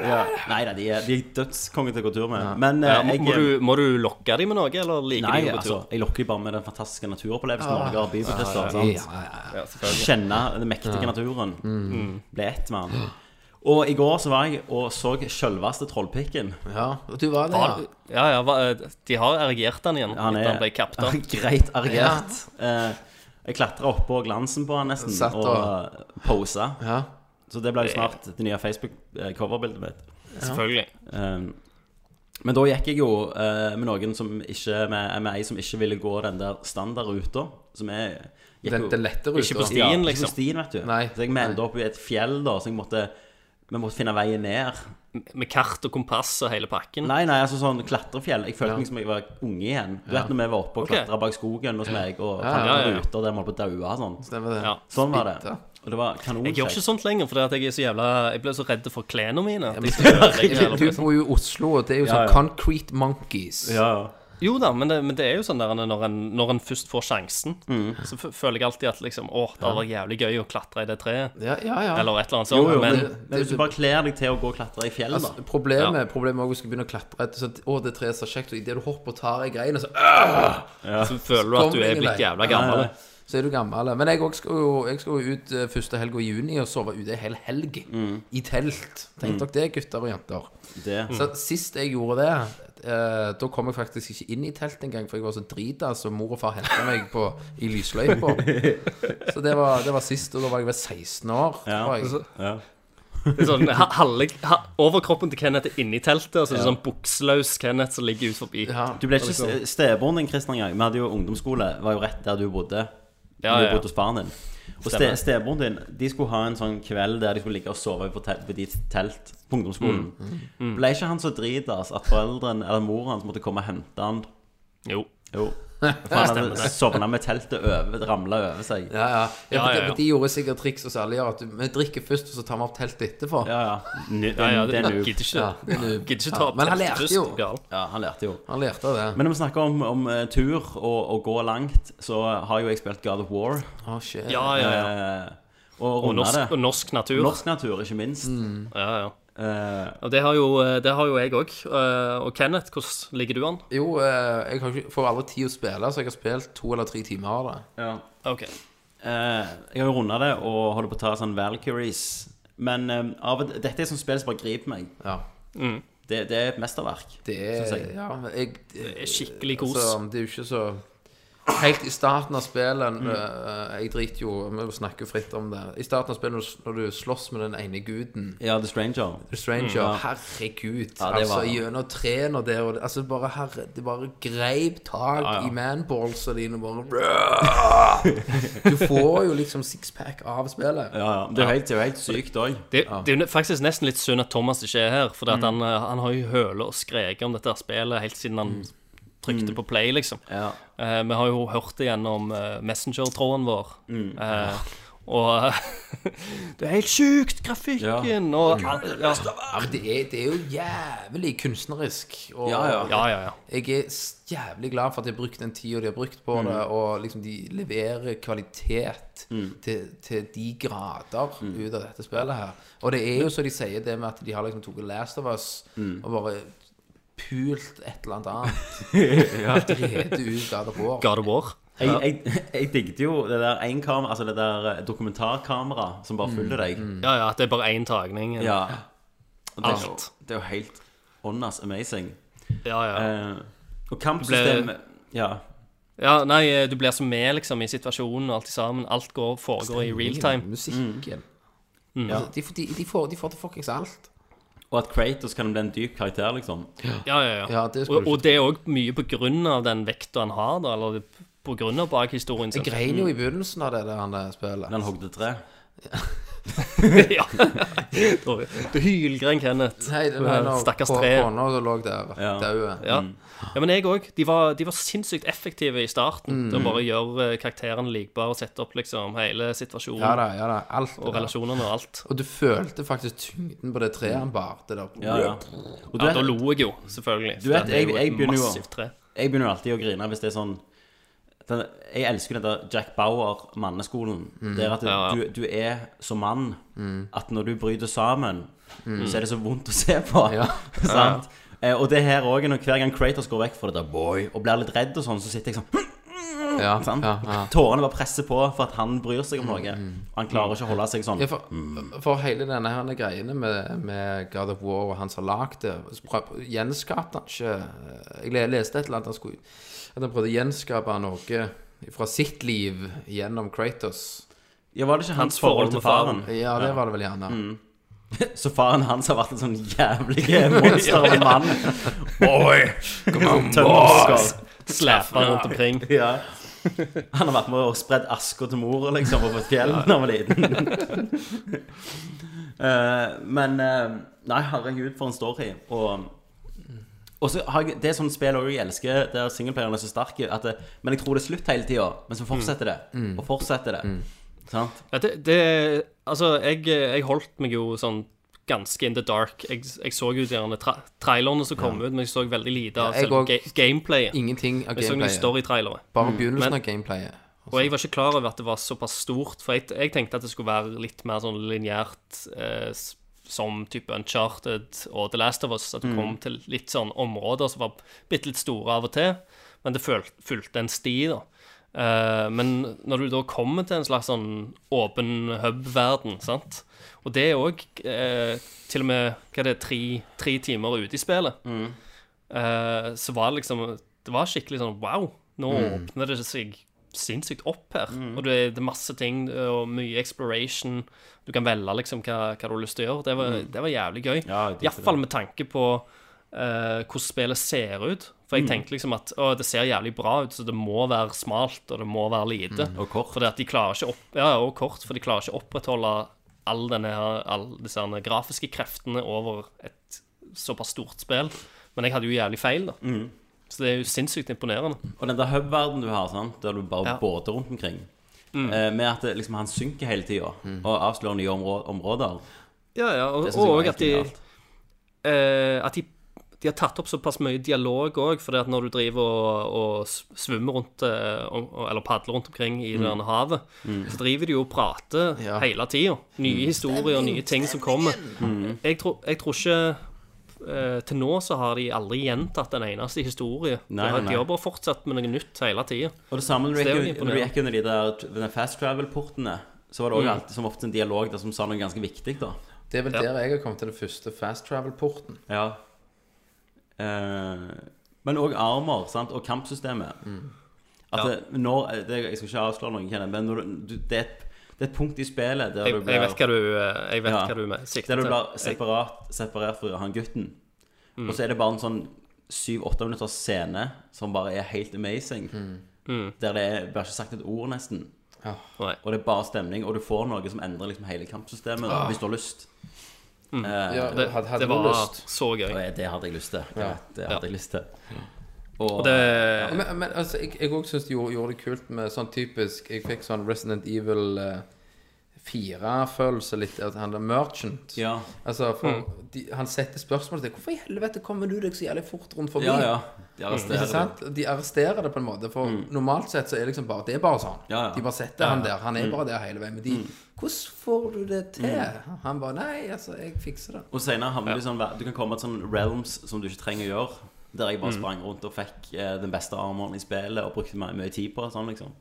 Speaker 4: Ja. Nei da, de er, de er dødskonge til å gå tur med. Men eh,
Speaker 1: Ja, må,
Speaker 4: jeg
Speaker 1: må, du, må du lokke dem med noe, eller liker
Speaker 4: Nei,
Speaker 1: de å gå
Speaker 4: altså,
Speaker 1: tur?
Speaker 4: jeg lokker de bare med den fantastiske naturopplevelsen Norge har å by på. Christer, sant?
Speaker 5: ja, ja, ja.
Speaker 1: Ja, selvfølgelig.
Speaker 4: Kjenne den mektige naturen.
Speaker 5: Mm.
Speaker 4: Bli ett med den. Og i går så var jeg og så sjølveste Trollpikken.
Speaker 5: ja. Og du var det,
Speaker 1: Har-
Speaker 5: ja.
Speaker 1: Ja, ja, hva- eh, de har erigert han igjen.
Speaker 4: Han
Speaker 1: etter
Speaker 4: er
Speaker 1: han ble kapta.
Speaker 4: greit erigert. Eh, jeg klatra oppå glansen på han nesten
Speaker 5: Satt
Speaker 4: og,
Speaker 5: og-
Speaker 4: og posa.
Speaker 5: ja.
Speaker 4: Så det ble
Speaker 1: Eh.
Speaker 4: jo snart det nye Facebook-coverbildet mitt.
Speaker 1: Selvfølgelig.
Speaker 4: Eh, men da gikk jeg jo eh, med noen som ikke Med, med ei som ikke ville gå den der standardruta. Som er gikk
Speaker 5: Den,
Speaker 4: jo-
Speaker 5: den lette ruta.
Speaker 1: Ikke på sti.
Speaker 4: Ja,
Speaker 1: Stien,
Speaker 4: ikke
Speaker 1: liksom.
Speaker 4: på Stien, vet du.
Speaker 5: Nei.
Speaker 4: Så jeg menda opp i et fjell, da, så jeg måtte vi måtte finne veien ned.
Speaker 1: Med kart og kompass og hele pakken.
Speaker 4: Nei, nei, altså sånn klatrefjell. Jeg følte meg som jeg var unge igjen. Du vet når vi var oppe og
Speaker 1: Ok.
Speaker 4: klatra bak skogen hos meg og
Speaker 5: Ja,
Speaker 4: fant
Speaker 1: ja, ja.
Speaker 4: ruter der vi holdt på å daue og sånn.
Speaker 5: Stemmer det.
Speaker 1: Ja.
Speaker 4: Sånn var det.
Speaker 5: Spytte.
Speaker 4: Og det var
Speaker 1: Jeg gjør ikke
Speaker 4: kanonkjekt.
Speaker 1: sånt lenger, for jeg er så jævla Jeg ble så redd for klærne mine. at de skal ødelegge hele
Speaker 5: Du
Speaker 1: plassen.
Speaker 5: bor jo i Oslo, og det er jo sånn
Speaker 4: ja.
Speaker 5: Concrete Monkeys.
Speaker 4: Ja, ja.
Speaker 1: Jo da, men det, men det er jo sånn der når en, når en først får sjansen,
Speaker 4: Mm.
Speaker 1: så f- føler jeg alltid at liksom Å, det hadde vært jævlig gøy å klatre i det treet.
Speaker 5: Ja, ja, ja.
Speaker 1: Eller et eller annet
Speaker 4: Jo,
Speaker 1: sånt.
Speaker 4: jo, men,
Speaker 1: men
Speaker 4: men hvis du bare kler deg til å gå og klatre i fjellet,
Speaker 5: Altså,
Speaker 4: da.
Speaker 5: problemet, problemet er også hvis du skal begynne å klatre etter sånn at, Å, det treet er så kjekt, og idet du hopper og tar i greina, så øh!
Speaker 1: så føler du at du
Speaker 5: Kom
Speaker 1: er
Speaker 5: ingen
Speaker 1: blitt
Speaker 5: vei.
Speaker 1: jævla gammel.
Speaker 5: Så er du gammel. Men jeg også skal jo, jeg skal jo ut eh, første helg i juni og sove ute en hel helg. I telt. Tenk dere det, gutter og jenter.
Speaker 4: Det.
Speaker 5: Så sist jeg gjorde det, eh, da kom jeg faktisk ikke inn i teltet engang, for jeg var så drita, så mor og far henta meg på, i lysløypa. Så det var, det var sist, og da var jeg vel 16 år.
Speaker 4: Ja.
Speaker 5: tror jeg.
Speaker 4: Ja.
Speaker 1: Det er sånn, ha- halve, ha, overkroppen til Kenneth er inni teltet, og så er det sånn bukseløs Kenneth som ligger ut forbi.
Speaker 5: Ja.
Speaker 4: Du ble ikke ste- stebroren din, Kristian, engang. Vi hadde jo ungdomsskole. Var jo rett der du bodde.
Speaker 1: Ja,
Speaker 4: du
Speaker 1: ja.
Speaker 4: bodde hos faren din. Og ste,
Speaker 1: Stemmer.
Speaker 4: stebroren din De skulle ha en sånn kveld der de skulle ligge og sove på, tel, på ditt telt på ungdomsskolen.
Speaker 1: Mm.
Speaker 5: Mm.
Speaker 4: Ble ikke han så dritas at foreldrene eller moren hans måtte komme og hente han?
Speaker 1: Jo.
Speaker 4: Jo. For han hadde sovna med teltet over, ramla over seg.
Speaker 5: Ja, ja. ja,
Speaker 1: Ja, ja, ja.
Speaker 5: for De gjorde sikkert triks hos alle gjør at du- vi drikker først, og så tar vi opp teltet etterpå.
Speaker 4: Ja, ja. Nu,
Speaker 1: Ja, ja,
Speaker 4: det
Speaker 1: det
Speaker 4: er noob.
Speaker 1: gidder ikke,
Speaker 5: Ja, det er noob.
Speaker 1: gidder ikke
Speaker 5: Ja,
Speaker 1: ta opp
Speaker 5: men han
Speaker 1: teltet
Speaker 5: lærte
Speaker 1: først,
Speaker 5: jo.
Speaker 1: gal.
Speaker 4: Ja, han lærte jo.
Speaker 5: Han lærte av det.
Speaker 4: Men når vi snakker om, om eh, tur og å gå langt, så har jo jeg spilt God of War.
Speaker 5: Å, shit.
Speaker 1: Ja, ja, ja.
Speaker 4: eh, Og
Speaker 1: Og
Speaker 4: runda det.
Speaker 1: norsk, og norsk natur.
Speaker 4: Norsk natur, ikke minst.
Speaker 1: Ja, ja.
Speaker 4: Eh,
Speaker 1: Og det har jo, det har jo jeg òg. Og Kenneth, hvordan ligger du an?
Speaker 5: Jo, eh, jeg har ikke, får aldri tid å spille, så jeg har spilt to eller tre timer av det.
Speaker 4: ja.
Speaker 1: Ok.
Speaker 4: Eh, jeg har jo runda det og holder på å ta sånn Valkyries. Men eh, av, og- dette er sånn spill som bare griper meg.
Speaker 5: Ja.
Speaker 4: Det, det er et mesterverk.
Speaker 5: Det er,
Speaker 4: Synes jeg.
Speaker 5: ja, men jeg, det
Speaker 1: er skikkelig kos.
Speaker 5: Altså, det er jo ikke så Helt i starten av spillet eh, Jeg driter jo Vi snakker jo fritt om det. I starten av spillet, når du- når du slåss med den ene guden
Speaker 4: Ja, The Stranger.
Speaker 5: The Stranger, herregud.
Speaker 4: var-
Speaker 5: altså, gjennom trærne der og det- Altså, bare herre Det bare greip tak
Speaker 4: Ja, ja.
Speaker 5: i manballsa dine og bare Du får jo liksom sixpack av spillet.
Speaker 4: Ja, ja. Det er jo helt, det er jo helt sykt òg.
Speaker 1: Det, det er jo faktisk nesten litt synd at Thomas ikke er her, for
Speaker 5: Mm.
Speaker 1: han, eh, han har jo hølet og skreket om dette her spillet helt siden han
Speaker 5: Mm.
Speaker 1: trykte på play, liksom.
Speaker 4: Ja.
Speaker 1: Eh, vi har jo hørt det gjennom eh, Messenger-tråden vår. Eh, og Det er helt sjukt, grafikken og ja.
Speaker 5: Ja, men det, er, det er jo jævlig kunstnerisk. Og
Speaker 4: Ja, ja.
Speaker 1: ja, ja, ja.
Speaker 5: jeg er s- jævlig glad for at de har brukt den tida de har brukt på
Speaker 4: Mm.
Speaker 5: det, og liksom de leverer kvalitet
Speaker 4: Mm.
Speaker 5: til, til de grader ut av dette spillet her. Og det er jo så de sier det med at de har liksom tatt Last of Us
Speaker 4: Mm.
Speaker 5: og bare pult et eller annet annet. Drete ut God of War.
Speaker 1: God of War.
Speaker 4: Jeg, jeg, jeg digget jo det der en kam- altså det der dokumentarkamera som bare følger deg.
Speaker 1: Ja, ja, det er bare én tagning.
Speaker 4: Ja. Og det, er jo,
Speaker 1: Alt.
Speaker 4: det er jo helt åndas amazing.
Speaker 1: ja, ja.
Speaker 4: Eh, og kampsystemet Ja.
Speaker 1: Ja, nei, du blir så med liksom i situasjonen og alt sammen. Alt går, foregår i real time.
Speaker 5: Musikken.
Speaker 4: Mm.
Speaker 5: Altså, de, får- de, de, får, de får til fuckings alt.
Speaker 4: Og at Kratos kan bli en dyp karakter, liksom.
Speaker 1: Ja, ja, ja.
Speaker 5: Ja, det skulle
Speaker 1: og,
Speaker 5: du
Speaker 1: og det er òg mye på grunn av den vekta han har, da. Eller på grunn av bakhistorien sin.
Speaker 5: Jeg grein jo
Speaker 4: Mm.
Speaker 5: i begynnelsen av det der han eh, spillet.
Speaker 4: Når han hogde tre.
Speaker 1: ja. Du hylgrein Kenneth.
Speaker 5: Nei, det var når
Speaker 1: Stakkars
Speaker 5: på
Speaker 1: tre.
Speaker 5: hånda som lå der,
Speaker 4: Ja.
Speaker 5: daue.
Speaker 1: Ja.
Speaker 4: Mm.
Speaker 1: ja, men jeg òg. De, var- de var sinnssykt effektive i starten.
Speaker 4: Mm.
Speaker 1: Til å bare gjøre eh, karakterene likbare og sette opp liksom hele situasjonen
Speaker 5: Ja da, ja da. Alt. det
Speaker 1: og
Speaker 5: der.
Speaker 1: relasjonene og alt.
Speaker 5: Og du følte faktisk tyngden på det treet han barte der.
Speaker 4: Ja, ja. Og du
Speaker 1: Ja,
Speaker 4: vet-
Speaker 1: da lo jeg jo, selvfølgelig.
Speaker 4: Du vet,
Speaker 1: det er jo
Speaker 4: jeg-
Speaker 1: et
Speaker 4: jeg begynner jo-
Speaker 1: massivt tre.
Speaker 4: Jeg begynner alltid å grine hvis det er sånn den, Jeg elsker den der Jack Bauer-manneskolen.
Speaker 5: Mm.
Speaker 4: Det er at du,
Speaker 1: Ja, ja.
Speaker 4: Du, er som mann at når du bryter sammen, så er det så vondt å se på.
Speaker 5: Mm. Ja.
Speaker 4: Sant? Eh, og det her òg, hver gang Kratos går vekk fra det der boy og blir litt redd og sånn, så sitter jeg sånn
Speaker 5: Ja,
Speaker 4: sant?
Speaker 5: ja, ja. Mm,
Speaker 4: Tårene bare presser på for at han bryr seg om noe. Og han klarer ikke å holde seg sånn.
Speaker 5: Ja, for,
Speaker 1: Mm.
Speaker 5: for hele denne her greiene med, med God of War og han som har lagd det, så prøv- gjenskapte han ikke eh, Jeg le- leste et eller annet han skulle At han prøvde å gjenskape noe fra sitt liv gjennom Kratos.
Speaker 4: Ja, var det ikke hans,
Speaker 1: Hans
Speaker 4: forhold til faren?
Speaker 5: Ja, det var det vel gjerne.
Speaker 1: Mm.
Speaker 4: Så faren hans har vært en sånn jævlig monster av en mann? Sånn Boy! Come on, boy!
Speaker 1: Slæpa rundt omkring.
Speaker 4: Ja. Han har vært med og spredd aska til mora, liksom, over et fjell da han var liten. Eh, men eh, Nei, herregud, for en story. Og og så har jeg, Det er sånn spill også jeg elsker, der singleplayeren er så sterk at det, Men jeg tror det er slutt hele tida. Men så fortsetter det. Og fortsetter det. Sant?
Speaker 1: Ja, det, det Altså, jeg, jeg holdt meg jo sånn ganske in the dark. Jeg, jeg så jo de derne tra trailerne som kom ut, men jeg så veldig lite av
Speaker 5: Ja, jeg
Speaker 1: selve
Speaker 5: og-
Speaker 1: ga gameplayet.
Speaker 5: Ingenting av
Speaker 1: Jeg så noen
Speaker 5: gameplayet.
Speaker 1: storytrailere.
Speaker 5: Bare begynnelsen
Speaker 1: Men-
Speaker 5: av gameplayet.
Speaker 1: Og jeg var ikke klar over at det var såpass stort, for jeg, jeg tenkte at det skulle være litt mer sånn lineært eh, s- som type Uncharted og The Last of Us, at du kom til litt sånn områder som var bitte litt store av og til, men det føl- fulgte en sti, da. Eh, men når du da kommer til en slags sånn åpen hub-verden, sant, og det er òg eh, til og med hva det er, tre, tre timer ute i spillet,
Speaker 4: Mm. Mm.
Speaker 1: eh, så var det liksom Det var skikkelig sånn wow, nå åpner det seg sinnssykt opp her. Og det, det er masse ting og mye exploration. Du kan velge liksom hva, hva du har lyst til å gjøre. Det var, det var jævlig gøy.
Speaker 4: Mm. Ja, jeg digger
Speaker 1: Iallfall med tanke på eh, hvordan spillet ser ut. For jeg
Speaker 4: Mm.
Speaker 1: tenkte liksom at å, det ser jævlig bra ut, så det må være smalt, og det må være lite.
Speaker 4: Og kort.
Speaker 1: Fordi at de klarer ikke opp, ja, og kort, for de klarer ikke opprettholde all denne her, all disse her grafiske kreftene over et såpass stort spill. Men jeg hadde jo jævlig feil, da. Så det er jo sinnssykt imponerende.
Speaker 4: Og den der hub-verdenen du har, sant? der du bare
Speaker 1: Ja.
Speaker 4: båter rundt omkring eh, Med at det, liksom, han synker hele tida og avslører nye områ områder.
Speaker 1: Ja, ja, og,
Speaker 4: Det synes jeg var
Speaker 1: og
Speaker 4: helt
Speaker 1: at de
Speaker 4: genialt.
Speaker 1: eh, At de, de har tatt opp såpass mye dialog òg, fordi at når du driver og, og s- svømmer rundt eh, om, eller padler rundt omkring i
Speaker 4: Mm.
Speaker 1: det der havet, så driver de jo og prater
Speaker 5: Ja.
Speaker 1: hele tida.
Speaker 4: Mm.
Speaker 1: Nye historier og nye ting som kommer. Jeg, tror, jeg tror ikke eh, til nå så har de aldri gjentatt en eneste historie.
Speaker 4: Nei,
Speaker 1: de, har,
Speaker 4: nei, nei.
Speaker 1: de har bare fortsatt med noe nytt hele tida.
Speaker 4: Og det samme når
Speaker 1: Så
Speaker 4: du
Speaker 1: det er jo
Speaker 4: gikk, når du
Speaker 1: imponerende.
Speaker 4: gikk under de der ved den fast travel-portene, så var det
Speaker 1: Mm.
Speaker 4: også alltid som ofte en dialog der som sa noe ganske viktig, da.
Speaker 5: Det er vel der jeg har kommet til den første fast travel-porten.
Speaker 4: Ja. Eh, men òg armer sant? og kampsystemet. At
Speaker 1: Mm. Ja.
Speaker 4: det, når, det, jeg skal ikke avsløre noe, Kenneth, men når du, du, det, er et, det er et punkt i spillet der
Speaker 1: Jeg,
Speaker 4: du
Speaker 1: jeg
Speaker 4: blir
Speaker 1: vet hva du, eh, jeg vet
Speaker 4: Ja.
Speaker 1: hva du med-
Speaker 4: Der
Speaker 1: sikter
Speaker 4: du
Speaker 1: til.
Speaker 4: blir
Speaker 1: Jeg-
Speaker 4: separat, separert fra han gutten. Og så er det bare en sånn syv-åtte minutters scene som bare er helt amazing.
Speaker 1: Mm.
Speaker 4: Der det er, blir ikke sagt et ord, nesten.
Speaker 1: Nei.
Speaker 4: Og det er bare stemning, og du får noe som endrer liksom hele kampsystemet, da, hvis du har lyst. Eh,
Speaker 5: Ah. Ja,
Speaker 1: Det,
Speaker 5: hadde, hadde
Speaker 1: det
Speaker 5: du
Speaker 1: var
Speaker 5: lyst?
Speaker 1: så gøy.
Speaker 4: og jeg- det hadde jeg lyst til.
Speaker 5: Ja.
Speaker 4: Det hadde jeg lyst til. Og,
Speaker 1: Og det,
Speaker 5: Men, men altså, jeg, jeg også synes det gjorde, gjorde det kult med sånn typisk Jeg fikk sånn Resident Evil 4-følelse litt. At han er merchant.
Speaker 4: ja, Mm.
Speaker 5: Altså, for, de, han setter spørsmål til Hvorfor i helvete kommer du deg så jævlig fort rundt forbi?
Speaker 4: ja, ja. De
Speaker 5: Ikke
Speaker 4: arresterer deg.
Speaker 5: sant? De arresterer det på en måte, for normalt sett så er det liksom bare, det er bare sånn.
Speaker 4: Mm. Ja, Mm. ja.
Speaker 5: De bare setter han der. Han er bare der hele veien. Men de Hvordan får du det til?
Speaker 4: Mm.
Speaker 5: Han bare Nei, altså, jeg fikser det.
Speaker 4: Og senere havner du i sånn Du kan komme til sånne realms som du ikke trenger å gjøre. Der jeg bare sprang rundt og fikk eh, den beste armoren i spillet og brukte mye, mye tid på. og Sånn, liksom.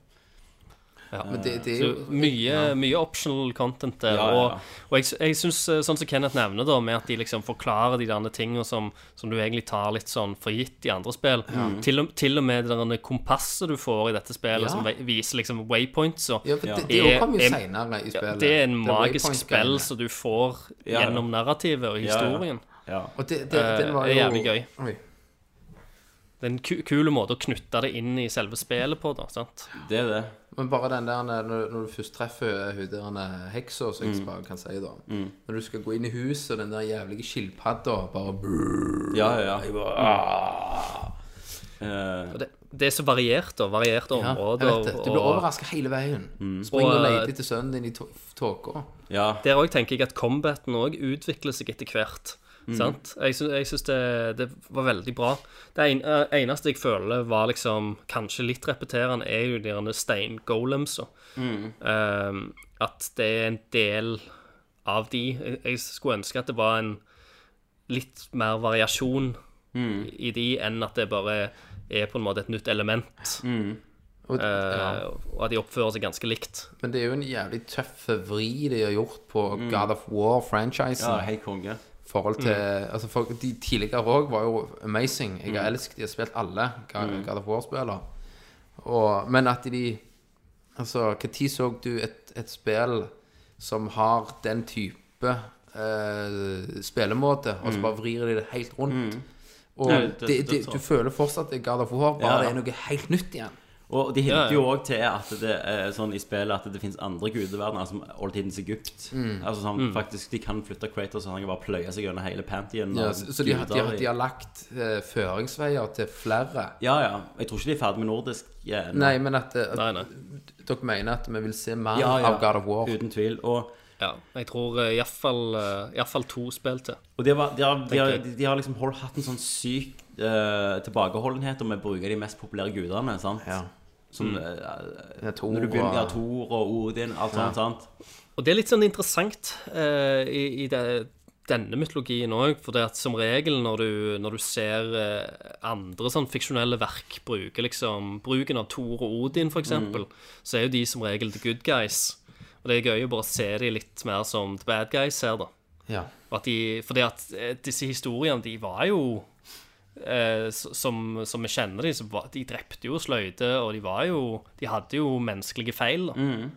Speaker 5: Men det, det er
Speaker 1: Så
Speaker 5: jo
Speaker 1: mye, mye optional content der.
Speaker 4: Ja, ja, ja.
Speaker 1: Og, og jeg, jeg syns, eh, sånn som Kenneth nevner, da, med at de liksom forklarer de derne tingene som, som du egentlig tar litt sånn for gitt i andre spill. Til, og, til og med det derne kompasset du får i dette spillet,
Speaker 5: Mm. Ja.
Speaker 1: som vei- viser liksom waypoints og
Speaker 5: Ja, for det, det
Speaker 1: Ja.
Speaker 5: kom jo
Speaker 1: Er-
Speaker 5: senere i spillet.
Speaker 1: Det er en
Speaker 5: The
Speaker 1: magisk spill
Speaker 5: waypoint-greiene.
Speaker 1: som du får
Speaker 4: Ja, ja.
Speaker 1: gjennom narrativet og
Speaker 4: Ja, ja.
Speaker 1: historien.
Speaker 4: Ja.
Speaker 5: Og det, det, den var
Speaker 1: Eh,
Speaker 5: jo
Speaker 1: det er jævlig gøy.
Speaker 5: Oi.
Speaker 1: Det er en ku- kul måte å knytte det inn i selve spillet på, da. sant?
Speaker 4: Det er det.
Speaker 5: Men bare den der når, når du først treffer hun der denne heksa, som
Speaker 1: Mm.
Speaker 5: jeg bare kan si, da. Når du skal gå inn i huset, og den der jævlige skilpadda bare brrr,
Speaker 4: Ja, ja, ja. Eh,
Speaker 1: Og Det, det er så variert, da. Varierte
Speaker 5: ja, jeg
Speaker 1: områder.
Speaker 5: vet det. Du blir
Speaker 1: og-
Speaker 5: overraska hele veien. Spring og
Speaker 1: Mm. Og, eh,
Speaker 5: leter etter sønnen din i tå- tåka.
Speaker 4: ja.
Speaker 1: Der òg tenker jeg at combaten òg utvikler seg etter hvert. Sant? Jeg, sy jeg syns det, det var veldig bra. Det en, eh, eneste jeg føler var liksom kanskje litt repeterende, er jo de derne steingolemsa. Ehm, at det er en del av de. Jeg, jeg skulle ønske at det var en litt mer variasjon i de, enn at det bare er på en måte et nytt element.
Speaker 5: Og,
Speaker 1: Eh,
Speaker 5: ja.
Speaker 1: Og at de oppfører seg ganske likt.
Speaker 5: Men det er jo en jævlig tøff vri de har gjort på
Speaker 1: Mm.
Speaker 5: God of War-franchisen.
Speaker 4: ja Helt konge.
Speaker 5: forhold til
Speaker 4: Mm.
Speaker 5: altså for, De tidligere òg var jo amazing. Jeg har elsket de har spilt alle God
Speaker 4: Mm.
Speaker 5: God of War-spiller. Og- Men at de Altså, når så du et, et spill som har den type eh, spillemåte, og så bare vrir de det helt rundt? Og
Speaker 4: Mm. Ja, det-
Speaker 5: det,
Speaker 4: det
Speaker 5: det,
Speaker 4: tror
Speaker 5: du
Speaker 4: jeg.
Speaker 5: føler fortsatt at God of War bare
Speaker 4: Ja.
Speaker 5: det er noe helt nytt igjen.
Speaker 4: Og de hinter
Speaker 1: Ja, ja.
Speaker 4: jo òg til at det er sånn i spillet at det finnes andre gudeverdener, som oldtidens Egypt.
Speaker 5: Mm.
Speaker 4: Altså sånn,
Speaker 1: Mm.
Speaker 4: faktisk, De kan flytte Kratos, og han kan bare pløye seg gjennom hele Pantheon.
Speaker 5: Ja,
Speaker 4: av
Speaker 5: så så de, har- de, har-
Speaker 4: guder i-
Speaker 5: de har lagt eh, føringsveier til flere.
Speaker 4: Ja, ja. Jeg tror ikke de er ferdig med nordisk. Ja, nå.
Speaker 5: Nei, men at, eh, at
Speaker 1: Nei, nei.
Speaker 5: dere mener at vi vil se mer
Speaker 4: Ja, ja.
Speaker 5: av God of War.
Speaker 4: Uten tvil. Og,
Speaker 1: Ja, jeg tror eh, i hvert fall, eh, i hvert fall to spill til.
Speaker 4: og de, var, de, har, de, har,
Speaker 1: Tenker
Speaker 4: de, har liksom hold, hatt en sånn syk eh, tilbakeholdenhet om å bruke de mest populære gudene. sant?
Speaker 5: Ja.
Speaker 4: Som
Speaker 1: Mm.
Speaker 4: eh,
Speaker 5: Ja, Thor
Speaker 4: Når du begynner
Speaker 5: og-
Speaker 4: ja, Thor og Odin, alt sånt. sant?
Speaker 1: Og det er litt sånn interessant eh, i, i det, denne mytologien òg, for det at som regel når du, når du ser eh, andre sånn fiksjonelle verk bruke liksom bruken av Thor og Odin, for eksempel, så er jo de som regel the good guys. Og det er gøy å bare se de litt mer som the bad guys her, da.
Speaker 5: Ja.
Speaker 1: Og at de, for det at eh, disse historiene, de var jo eh, s- som, som vi kjenner de, så var, de drepte jo sløyde, og de var jo De hadde jo menneskelige feil. Da.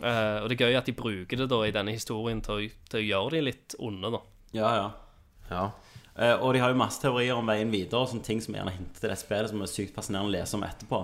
Speaker 1: Eh, og det er gøy at de bruker det da i denne historien til å, til å gjøre de litt onde, da.
Speaker 4: Ja, ja.
Speaker 5: Ja.
Speaker 4: Eh, og de har jo masse teorier om veien videre og sånne ting som gjerne hinter til det spillet, som er sykt fascinerende å lese om etterpå.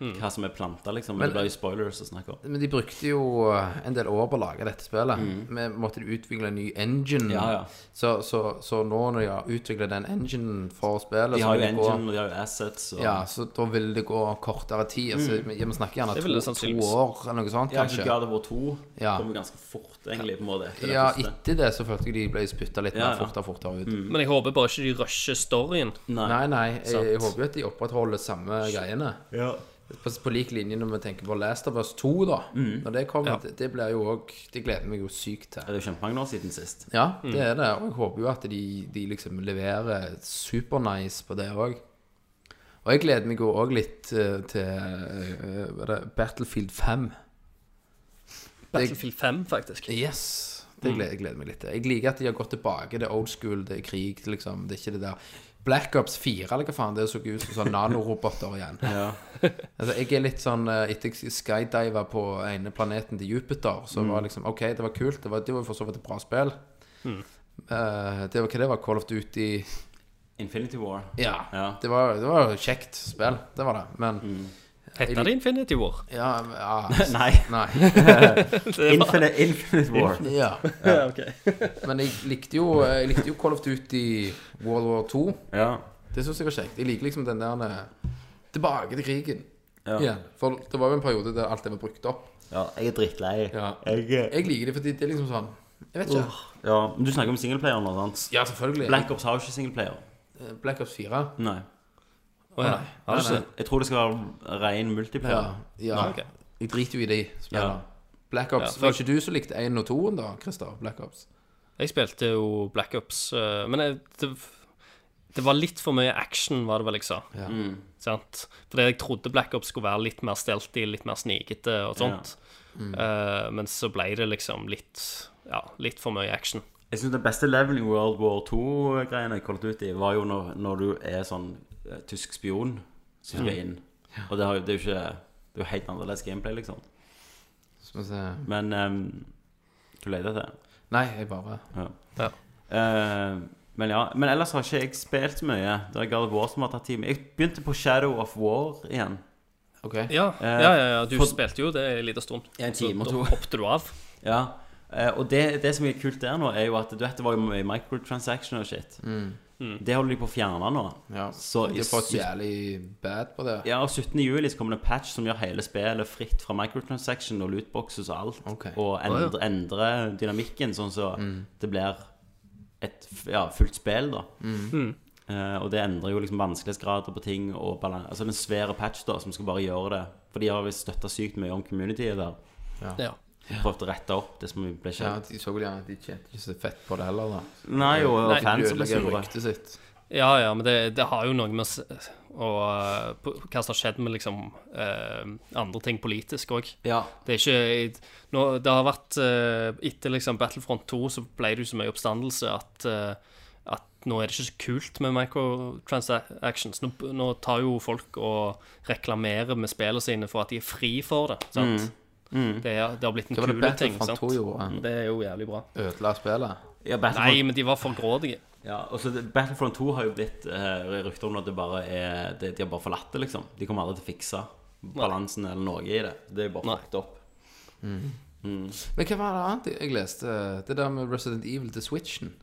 Speaker 1: Mm.
Speaker 4: Hva som er planta, liksom. Men det blir jo spoilers å snakke om.
Speaker 5: Men de brukte jo eh, en del år på å lage dette spillet. Vi måtte utvikle en ny engine.
Speaker 4: Mm. Ja, ja.
Speaker 5: Så, så, så nå når de har utviklet den enginen for spillet
Speaker 4: De
Speaker 5: så
Speaker 4: har
Speaker 5: vil
Speaker 4: jo
Speaker 5: det gå-
Speaker 4: engine, og de har jo assets, og
Speaker 5: Ja, så da vil det gå kortere tid. Altså, vi- Vi snakker gjerne
Speaker 1: Det vil det
Speaker 5: to,
Speaker 1: sannsynligvis.
Speaker 5: to år eller noe sånt,
Speaker 4: Mm. Ja, kanskje
Speaker 5: kanskje.
Speaker 4: God of War 2
Speaker 5: Ja.
Speaker 4: kom jo ganske fort, egentlig, på en måte. Etter
Speaker 5: Ja,
Speaker 4: det første.
Speaker 5: etter det så følte jeg de ble spytta litt mer
Speaker 4: Ja, ja. Mm,
Speaker 5: fortere og fortere ut.
Speaker 1: Men jeg håper bare ikke de rusher storyen.
Speaker 4: Nei.
Speaker 5: Nei, nei, jeg,
Speaker 1: Sant.
Speaker 5: jeg håper jo at de opprettholder samme greiene.
Speaker 4: Ja.
Speaker 5: På, på lik linje når vi tenker på Last of Us 2, da.
Speaker 4: Mm.
Speaker 5: Når det kommer, det, det blir jo òg Det gleder jeg meg jo sykt
Speaker 4: Det
Speaker 5: til.
Speaker 4: er jo kjempemange år siden sist.
Speaker 5: Ja, det er det. Og jeg håper jo at de, de liksom leverer supernice på det òg. Og jeg gleder meg jo òg litt eh, til eh, hva er det, Battlefield 5.
Speaker 1: Battlefield 5, faktisk.
Speaker 5: Yes. Det gleder jeg gleder meg litt til. Jeg liker at de har gått tilbake. Det er old school, det er krig, det er liksom. Det er ikke det der Black Ops 4, eller hva faen. Det så ut som sånn nanoroboter igjen. altså, jeg er litt sånn eh, Etter jeg skydiva på ene planeten til Jupiter, så var liksom OK, det var kult. Det var, det var for så vidt et bra spill. Eh, det var hva det var? Call of Duty
Speaker 4: Infinity War.
Speaker 5: Ja.
Speaker 4: Ja.
Speaker 5: Det, var, det var kjekt spill. Det var det. Men
Speaker 1: Heter det Infinity War?
Speaker 5: ja, ja
Speaker 4: Nei.
Speaker 5: Nei.
Speaker 4: Infinite, Infinite War.
Speaker 5: Ja.
Speaker 1: Ja, ok.
Speaker 5: Men jeg likte jo, eh, jeg likte jo Call of Duty World War 2.
Speaker 4: Ja.
Speaker 5: Det syns jeg var kjekt. Jeg liker liksom den der eh, Tilbake til krigen.
Speaker 4: Ja.
Speaker 5: Igjen. For det var jo en periode der alt det var brukt opp.
Speaker 4: ja. Jeg er drittlei.
Speaker 5: Ja.
Speaker 4: Jeg,
Speaker 5: Jeg liker det fordi det er liksom sånn Jeg vet ikke.
Speaker 4: ja. Men du snakker om singleplayer nå, sant?
Speaker 5: Ja, selvfølgelig.
Speaker 4: Black Ops har jo ikke singleplayer.
Speaker 5: Eh, Black Ops 4.
Speaker 4: Nei.
Speaker 1: Å, ja. Har du
Speaker 5: Nei,
Speaker 1: ikke
Speaker 5: nei.
Speaker 1: det?
Speaker 4: Jeg tror det skal være ren
Speaker 5: Ja.
Speaker 4: multiplayer.
Speaker 5: ja.
Speaker 1: Nei, ok.
Speaker 5: Jeg driter jo i de
Speaker 4: Ja.
Speaker 5: spillene. Black Ops.
Speaker 1: Ja, for-
Speaker 5: Var ikke du som likte 1 og 2-en, da, Christer? Black Ops.
Speaker 1: Jeg spilte jo Black Ops, eh, men jeg, det, det var litt for mye action, var det vel jeg sa.
Speaker 5: Ja.
Speaker 4: Mm.
Speaker 1: Sant? Fordi jeg trodde Black Ops skulle være litt mer stealthy, litt mer snikete og sånt. Eh, men så ble det liksom litt Ja, litt for mye action.
Speaker 4: Jeg syns den beste levelen i World War 2-greiene jeg holdt ut i, var jo når, når du er sånn eh, tysk spion som skal inn. Og det, har, jo- det er jo ikke Det er jo helt annerledes gameplay, liksom.
Speaker 5: Skal vi se
Speaker 4: Men ehm, du leter etter det.
Speaker 5: Nei, jeg bare
Speaker 4: Ja.
Speaker 1: Ja.
Speaker 4: Eh, men ja, men ellers har ikke jeg spilt så mye. Det er God of War som har tatt tid. Jeg begynte på Shadow of War igjen.
Speaker 5: OK.
Speaker 1: Ja, ja, ja, ja du spilte jo det en liten stund.
Speaker 4: En
Speaker 1: Så
Speaker 4: time og
Speaker 1: da
Speaker 4: to.
Speaker 1: hoppet du av.
Speaker 4: Ja, eh, og det, det som er kult der nå, er jo at du vet, det var jo mye microtransaction og shit. Det holder de på å fjerne nå.
Speaker 5: Mm, Ja.
Speaker 4: Så
Speaker 5: De
Speaker 4: i
Speaker 5: har fått
Speaker 4: sytt-
Speaker 5: jævlig bad på det.
Speaker 4: ja, og 17. juli så kommer det en patch som gjør hele spillet fritt fra microtransaction og lootboxes og alt.
Speaker 5: Ok.
Speaker 4: Og
Speaker 1: ja.
Speaker 4: endrer endre dynamikken sånn så det blir et f- ja, fullt spill, da.
Speaker 1: Mm.
Speaker 4: Eh, og det endrer jo liksom vanskelighetsgrader på ting og balan- Altså det er en svær patch da som skal bare gjøre det. For de har visst støtta sykt mye om communityet der.
Speaker 1: Ja.
Speaker 4: Prøvd å rette opp det som ble
Speaker 5: Ja,
Speaker 4: skjedd.
Speaker 5: de så vel gjerne at de tjente ikke så fett på det heller, da.
Speaker 4: Nei, og, og
Speaker 1: Nei,
Speaker 4: fans ble
Speaker 5: Ødelegger
Speaker 4: sure.
Speaker 5: ryktet sitt.
Speaker 1: ja, ja, men det, det har jo noe med s- og, eh, på- hva som har skjedd med liksom eh, andre ting politisk òg.
Speaker 4: Ja.
Speaker 1: Det er ikke nå, Det har vært eh, Etter liksom Battlefront 2 så ble det jo så mye oppstandelse at, eh, at nå er det ikke så kult med microtransactions. Nå, nå tar jo folk og reklamerer med spillene sine for at de er fri for det. Sant? Det, er, det har blitt en
Speaker 5: Hva var det
Speaker 1: kul ting.
Speaker 5: Battlefront
Speaker 1: Sant?
Speaker 5: 2 gjorde?
Speaker 4: Mm.
Speaker 1: Det er jo jævlig bra.
Speaker 5: Ødela spillet?
Speaker 4: Ja, Battlefront,
Speaker 1: Nei, men de var for grådige.
Speaker 4: ja, og så det- Battlefront 2 har jo blitt uh, rykter om at det bare er det, De har bare forlatt det, liksom. De kommer aldri til å fikse balansen eller noe i det. Det er jo bare
Speaker 1: Nei.
Speaker 4: fucked opp.
Speaker 5: Men hva var det annet jeg leste? Det der med Resident Evil til Switchen.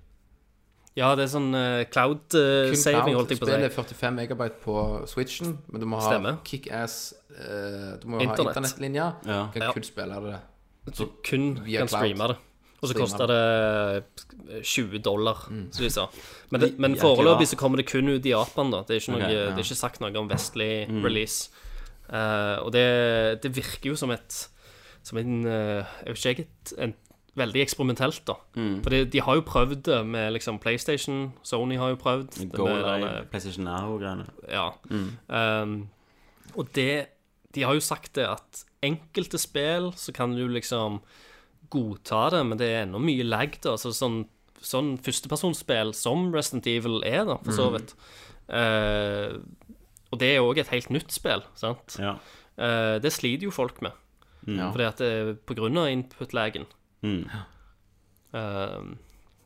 Speaker 1: Ja, det er sånn eh, cloud eh,
Speaker 5: Kun
Speaker 1: saving,
Speaker 5: cloud.
Speaker 1: holdt jeg på å
Speaker 5: Spillet er
Speaker 1: si.
Speaker 5: 45 megabyte på Switchen, men du må ha
Speaker 1: Stemmer.
Speaker 5: kickass eh, Du må ha
Speaker 1: Internett.
Speaker 5: internettlinje.
Speaker 4: Ja.
Speaker 5: Kan
Speaker 1: Ja.
Speaker 5: kun spille det.
Speaker 1: Så kun
Speaker 5: via
Speaker 1: kan
Speaker 5: cloud.
Speaker 1: streame det. Og så
Speaker 5: Streame
Speaker 1: koster det 20 dollar, som de sa. Men, det, men
Speaker 4: Jæklig bra.
Speaker 1: foreløpig så kommer det kun ut i Japan, da. Det er ikke, noe,
Speaker 4: Ok, ja.
Speaker 1: det er ikke sagt noe om vestlig release. Eh, og det, det virker jo som et Som en eh, Jeg vet ikke, et, en, veldig eksperimentelt, da. For det, de har jo prøvd det med liksom PlayStation. Sony har jo prøvd. det
Speaker 4: Go
Speaker 1: med
Speaker 4: eller
Speaker 1: denne-
Speaker 4: PlayStation Now og greiene.
Speaker 1: ja.
Speaker 4: Mm.
Speaker 1: Ehm, og det De har jo sagt det at enkelte spill så kan du liksom godta det, men det er ennå mye lag, da. Så sånn sånn førstepersonsspill som Resident Evil er, da, for
Speaker 4: Mm.
Speaker 1: så vidt. Eh, og det er òg et helt nytt spill, sant.
Speaker 4: Ja.
Speaker 1: Eh, det sliter jo folk med,
Speaker 4: Ja.
Speaker 1: fordi at det er på grunn av input-lagen.
Speaker 4: Mm.
Speaker 1: Eh,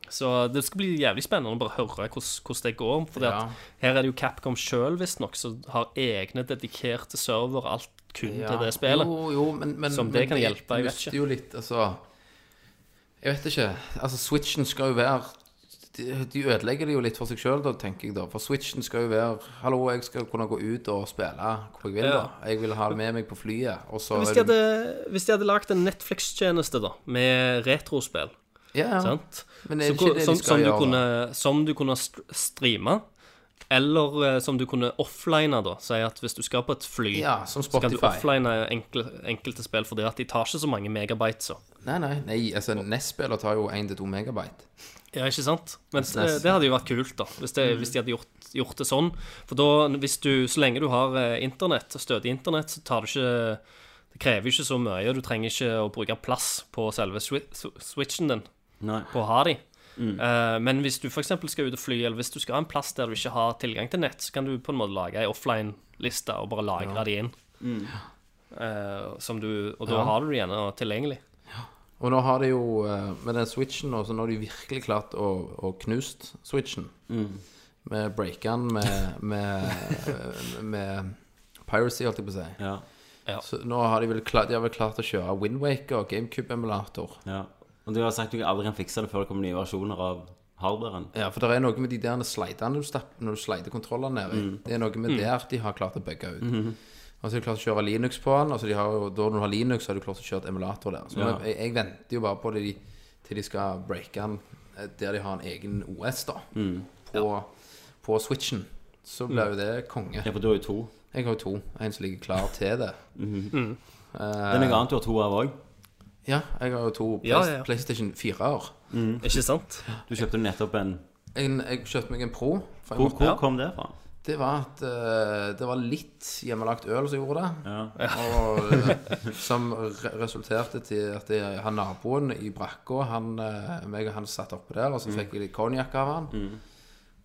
Speaker 1: så det skal bli jævlig spennende å bare høre hvordan, hvordan det går. Fordi
Speaker 5: Ja.
Speaker 1: at her er det jo Capcom sjøl, visstnok, som har egne dedikerte server, alt kun til det spillet.
Speaker 5: Jo, jo, men, men,
Speaker 1: Som
Speaker 5: men
Speaker 1: det kan hjelpe, jeg vet
Speaker 5: mister
Speaker 1: ikke.
Speaker 5: Jo litt, altså, jeg vet ikke. Altså, Switchen skal jo være De, de ødelegger det jo litt for seg sjøl, tenker jeg da. For Switchen skal jo være Hallo, jeg skal kunne gå ut og spille hvor jeg vil,
Speaker 1: Ja.
Speaker 5: da. Jeg vil ha det med meg på flyet, og så
Speaker 1: Hvis
Speaker 5: er
Speaker 1: de
Speaker 5: du-
Speaker 1: hadde, hvis de hadde lagd en Netflix-tjeneste da med retrospill,
Speaker 5: ja, ja.
Speaker 1: sant?
Speaker 5: Men er det
Speaker 1: Så
Speaker 5: ikke
Speaker 1: hvor-
Speaker 5: det
Speaker 1: som,
Speaker 5: de skal
Speaker 1: som du
Speaker 5: gjøre?
Speaker 1: kunne, som du kunne str- streame, eller eh, som du kunne offline, da. Si at hvis du skal på et fly,
Speaker 5: Ja, som
Speaker 1: så kan du
Speaker 5: Spotify.
Speaker 1: offline enkle, enkelte spill fordi at de tar ikke så mange megabytes. Så.
Speaker 5: Nei, nei, nei, altså NES-spiller tar jo 1-2 megabyte.
Speaker 1: Ja, ikke sant? Men
Speaker 5: Hvis det
Speaker 1: det,
Speaker 5: er
Speaker 1: det hadde jo vært kult, da, hvis, det, hvis de hadde gjort, gjort det sånn. For da, hvis du, så lenge du har eh, internett, stødig internett, så tar det ikke Det krever ikke så mye, og du trenger ikke å bruke plass på selve swi- sw- switchen din
Speaker 4: Nei.
Speaker 1: på å ha de.
Speaker 5: Mm.
Speaker 1: Eh, men hvis du f.eks. skal ut og fly, eller hvis du skal ha en plass der du ikke har tilgang til nett, så kan du på en måte lage ei offline-liste og bare lagre de inn. Eh, som du, og da
Speaker 5: Mm. Ja.
Speaker 1: har du det gjerne tilgjengelig.
Speaker 5: Og nå har de jo eh, Med den switchen nå, så nå har de virkelig klart å, å knust switchen.
Speaker 1: Mm.
Speaker 5: Med breakeren, med, med, eh, med piracy, holdt jeg på å si.
Speaker 4: Ja.
Speaker 5: Så nå har de vel klart, de har vel klart å kjøre Windwaker, GameCube-emulator.
Speaker 4: ja. Og du har sagt du aldri kan fikse det før det kommer nye versjoner av hardwaren.
Speaker 5: Ja, for det er noe med de der slidene du stapper når du slider kontrollene ned i. Det er
Speaker 1: Mm.
Speaker 5: noe med der de har klart å bygge ut. Og så har de klart å kjøre Linux på den. Og så de har, jo- da når du har Linux, så har du klart å kjøre et emulator der. Så
Speaker 4: Ja.
Speaker 5: jeg, jeg venter jo bare på det de, til de skal breake den eh, der de har en egen OS, da. På, på switchen. Så blir jo det konge.
Speaker 4: Ja, for du har jo to.
Speaker 5: Jeg har jo to. En som ligger klar til det.
Speaker 4: Det er noe annet du har to av òg.
Speaker 5: Ja, jeg har jo to Play
Speaker 1: Ja, ja, ja.
Speaker 5: PlayStation 4-er.
Speaker 1: Ikke sant?
Speaker 4: Du kjøpte jo nettopp en
Speaker 5: Jeg kjøpte meg en Pro. for jeg
Speaker 4: Hvor,
Speaker 5: måtte-
Speaker 4: hvor kom det fra?
Speaker 5: Det var at eh, det var litt hjemmelagt øl som gjorde det. Og, eh, som re resulterte til at det, han naboen i brakka han, eh, Meg og han satt oppe der, og så fikk jeg litt konjakk av han.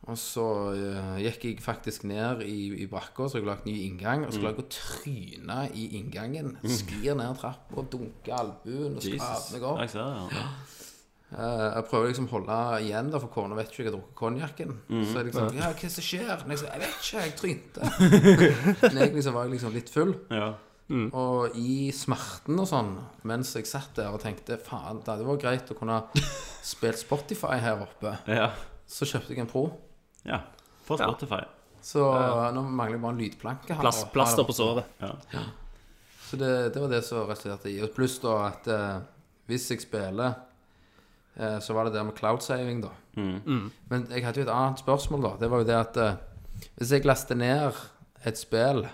Speaker 5: Og så eh, gikk jeg faktisk ned i, i brakka, så jeg lagde ny inngang. Og så klarte jeg å tryne i inngangen. Sklir ned trappa, dunke albuen og skrape meg opp.
Speaker 4: Jeg ser det, ja.
Speaker 5: Eh, Jeg prøver liksom å holde igjen, da, for kona vet ikke jeg har drukket konjakken. Så jeg liksom Ja, hva er det som skjer? Men jeg sa, jeg vet ikke, jeg trynte. Men jeg liksom var jeg liksom litt full.
Speaker 4: ja.
Speaker 5: Og i smerten og sånn, mens jeg satt der og tenkte faen, det hadde vært greit å kunne spille Spotify her oppe,
Speaker 4: Ja.
Speaker 5: så kjøpte jeg en Pro.
Speaker 4: ja. For Spotify.
Speaker 5: Så nå mangler jeg bare en lydplanke. her
Speaker 1: Plass,
Speaker 5: og-
Speaker 1: plaster
Speaker 5: her
Speaker 1: på
Speaker 5: oppe.
Speaker 1: såret.
Speaker 5: Så det, det var det som resulterte i. Og pluss da at eh, hvis jeg spiller, eh, så var det det med cloud saving, da. Men jeg hadde jo et annet spørsmål, da. Det var jo det at eh, hvis jeg laster ned et spill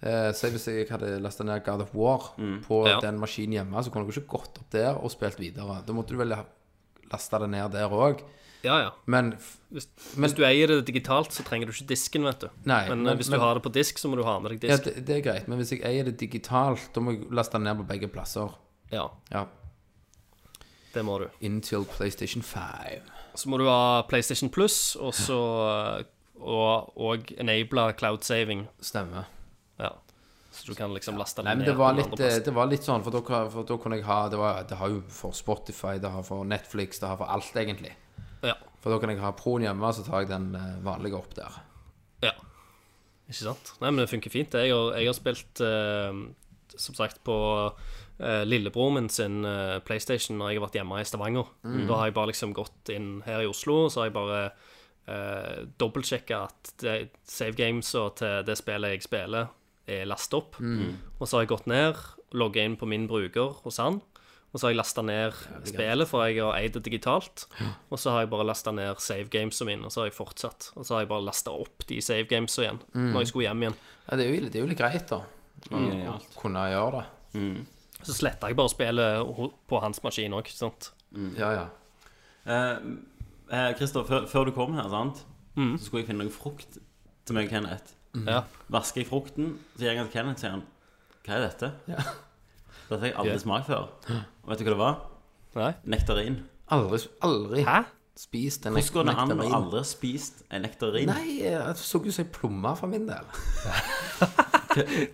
Speaker 5: eh, Si hvis jeg hadde lasta ned God of War på
Speaker 1: Ja.
Speaker 5: den maskinen hjemme, så kunne du ikke gått opp der og spilt videre. Da måtte du vel laste det ned der òg.
Speaker 1: Ja, ja.
Speaker 5: Men f-
Speaker 1: Hvis,
Speaker 5: Men-
Speaker 1: hvis du eier det digitalt, så trenger du ikke disken, vet du.
Speaker 5: Nei,
Speaker 1: men, eh,
Speaker 5: men-
Speaker 1: hvis
Speaker 5: men-
Speaker 1: du har det på disk, så må du ha med deg
Speaker 5: ja,
Speaker 1: disk.
Speaker 5: det, det er greit. Men hvis jeg eier det digitalt, da må jeg laste det ned på begge plasser.
Speaker 1: Ja,
Speaker 5: Ja.
Speaker 1: det må du.
Speaker 5: Inntil PlayStation 5.
Speaker 1: Så må du ha PlayStation Plus, og så eh, og, og enable cloud saving.
Speaker 5: Stemmer.
Speaker 1: Ja. Så du kan liksom laste
Speaker 5: Nei, men
Speaker 1: det ned.
Speaker 5: det var
Speaker 1: på den
Speaker 5: litt,
Speaker 1: andre plassen.
Speaker 5: det var litt sånn, for da, kan- for da kunne jeg ha det, var, det har jo for Spotify, det har for Netflix, det har for alt, egentlig.
Speaker 1: Ja.
Speaker 5: For da kan jeg ha proen hjemme, så tar jeg den eh, vanlige opp der.
Speaker 1: ja. Ikke sant? Nei, men det funker fint. Jeg har, jeg har spilt, eh, som sagt, på eh, lillebror min sin eh, PlayStation når jeg har vært hjemme i Stavanger. Da har jeg bare liksom gått inn her i Oslo, og så har jeg bare eh, dobbeltsjekka at det- save games og til det spillet jeg spiller, er lastet opp. Og så har jeg gått ned, logga inn på min bruker hos han. Og så har jeg lasta ned spillet, for jeg har eid det digitalt. Og så har jeg bare lasta ned save gamesa mine, og så har jeg fortsatt. Og så har jeg bare lasta opp de save gamesa igjen, når jeg skulle hjem igjen.
Speaker 5: Ja, det er jo, det er jo litt greit, da. Å å kunne gjøre det.
Speaker 1: Så sletta jeg bare spillet ho- på hans maskin òg, ikke sant.
Speaker 5: Ja, ja.
Speaker 4: Eh, eh, Christer, før, før du kom her, sant? så skulle jeg finne noe frukt til meg og Kenneth.
Speaker 1: Mm. Ja.
Speaker 4: Vasker jeg frukten, så gir jeg den til Kenneth, sier han Hva er dette? Dette har jeg aldri
Speaker 1: Ja.
Speaker 4: smakt før. Og vet du hva det var?
Speaker 1: Nei?
Speaker 4: Nektarin.
Speaker 5: Aldri, aldri
Speaker 1: Hæ?
Speaker 5: spist en
Speaker 4: Hvordan går det an å
Speaker 5: nektarin.
Speaker 4: aldri ha spist en nektarin?
Speaker 5: Nei, eh, jeg så ut som ei plomme for min del.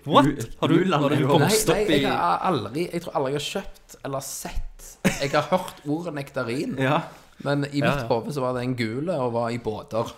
Speaker 1: What? Har du,
Speaker 4: Ulan
Speaker 1: har
Speaker 4: er
Speaker 1: du
Speaker 4: jo-
Speaker 5: Nei,
Speaker 1: vokst
Speaker 5: nei
Speaker 1: opp i
Speaker 5: jeg, har aldri, jeg tror aldri jeg har kjøpt eller sett Jeg har hørt ordet nektarin,
Speaker 4: Ja,
Speaker 5: men i
Speaker 1: Ja, ja.
Speaker 5: mitt hode så var det en gule og var i båter.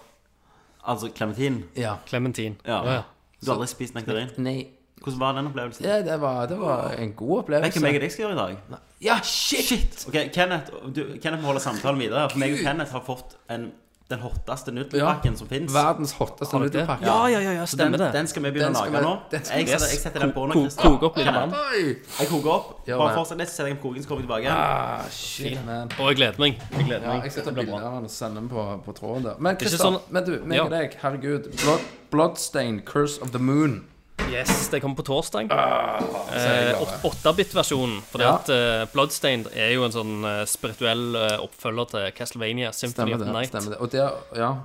Speaker 4: altså klementin.
Speaker 5: Ja.
Speaker 1: Clementine.
Speaker 4: Ja.
Speaker 1: Å, ja.
Speaker 4: Du har aldri spist nektarin?
Speaker 5: Nei,
Speaker 4: Hvordan var den opplevelsen?
Speaker 5: ja, det, var, det var en god
Speaker 4: Vet du hva meg
Speaker 5: opplevelse.
Speaker 4: og deg skal gjøre i dag?
Speaker 5: Ja, shit!
Speaker 4: Ok, Kenneth, du, Kenneth må holde samtalen videre. For meg og Kenneth har fått en, den hotteste nudelpakken som fins.
Speaker 5: Verdens hotteste
Speaker 1: Har du det?
Speaker 5: nudelpakke.
Speaker 1: Ja, ja, ja, ja,
Speaker 4: Den,
Speaker 1: stemmer det.
Speaker 4: den skal vi begynne
Speaker 5: Den
Speaker 4: å
Speaker 5: skal
Speaker 4: lage
Speaker 5: vi-
Speaker 4: nå.
Speaker 5: den skal
Speaker 4: Jeg
Speaker 5: vi-
Speaker 4: setter, jeg setter den på nå.
Speaker 1: Ko-
Speaker 4: Christian.
Speaker 1: Koke opp litt vann.
Speaker 5: Oi!
Speaker 4: Jeg koker opp.
Speaker 5: Ja,
Speaker 4: Bare
Speaker 5: men-
Speaker 4: fortsett, jeg setter den på koken, så kommer vi tilbake.
Speaker 5: Ah, shit, man.
Speaker 1: Og jeg gleder meg. Jeg gleder
Speaker 5: Ja,
Speaker 1: meg.
Speaker 5: jeg setter
Speaker 1: Det blir
Speaker 5: bilder
Speaker 1: bra.
Speaker 5: av han og sender dem på, på tråden der. Men
Speaker 1: er ikke
Speaker 5: Christer,
Speaker 1: sånn-
Speaker 5: men du, meg
Speaker 1: Ja.
Speaker 5: og deg, herregud. Blood, Bloodstain, Curse of the Moon.
Speaker 1: Yes, det kommer på torsdag.
Speaker 5: jeg
Speaker 1: Eh, åt- 8-bit-versjonen. For
Speaker 5: Ja.
Speaker 1: at eh, Bloodstained er jo en sånn eh, spirituell eh, oppfølger til Castlevania Symphony
Speaker 5: Stemmer
Speaker 1: of the
Speaker 5: det.
Speaker 1: Night.
Speaker 5: stemmer Det Og det, ja.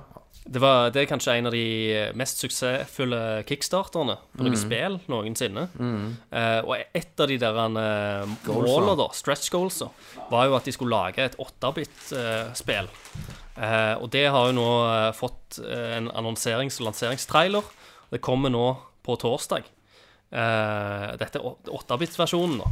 Speaker 1: Det, var, det er kanskje en av de mest suksessfulle kickstarterne på noe spill noensinne. Eh, og et av de der eh, målene, da, stretch goals, var jo at de skulle lage et 8-bit-spill. og det har jo nå eh, fått eh, en annonserings- og lanseringstrailer. Det kommer nå på torsdag. Eh, dette er 8-bit-versjonen, da.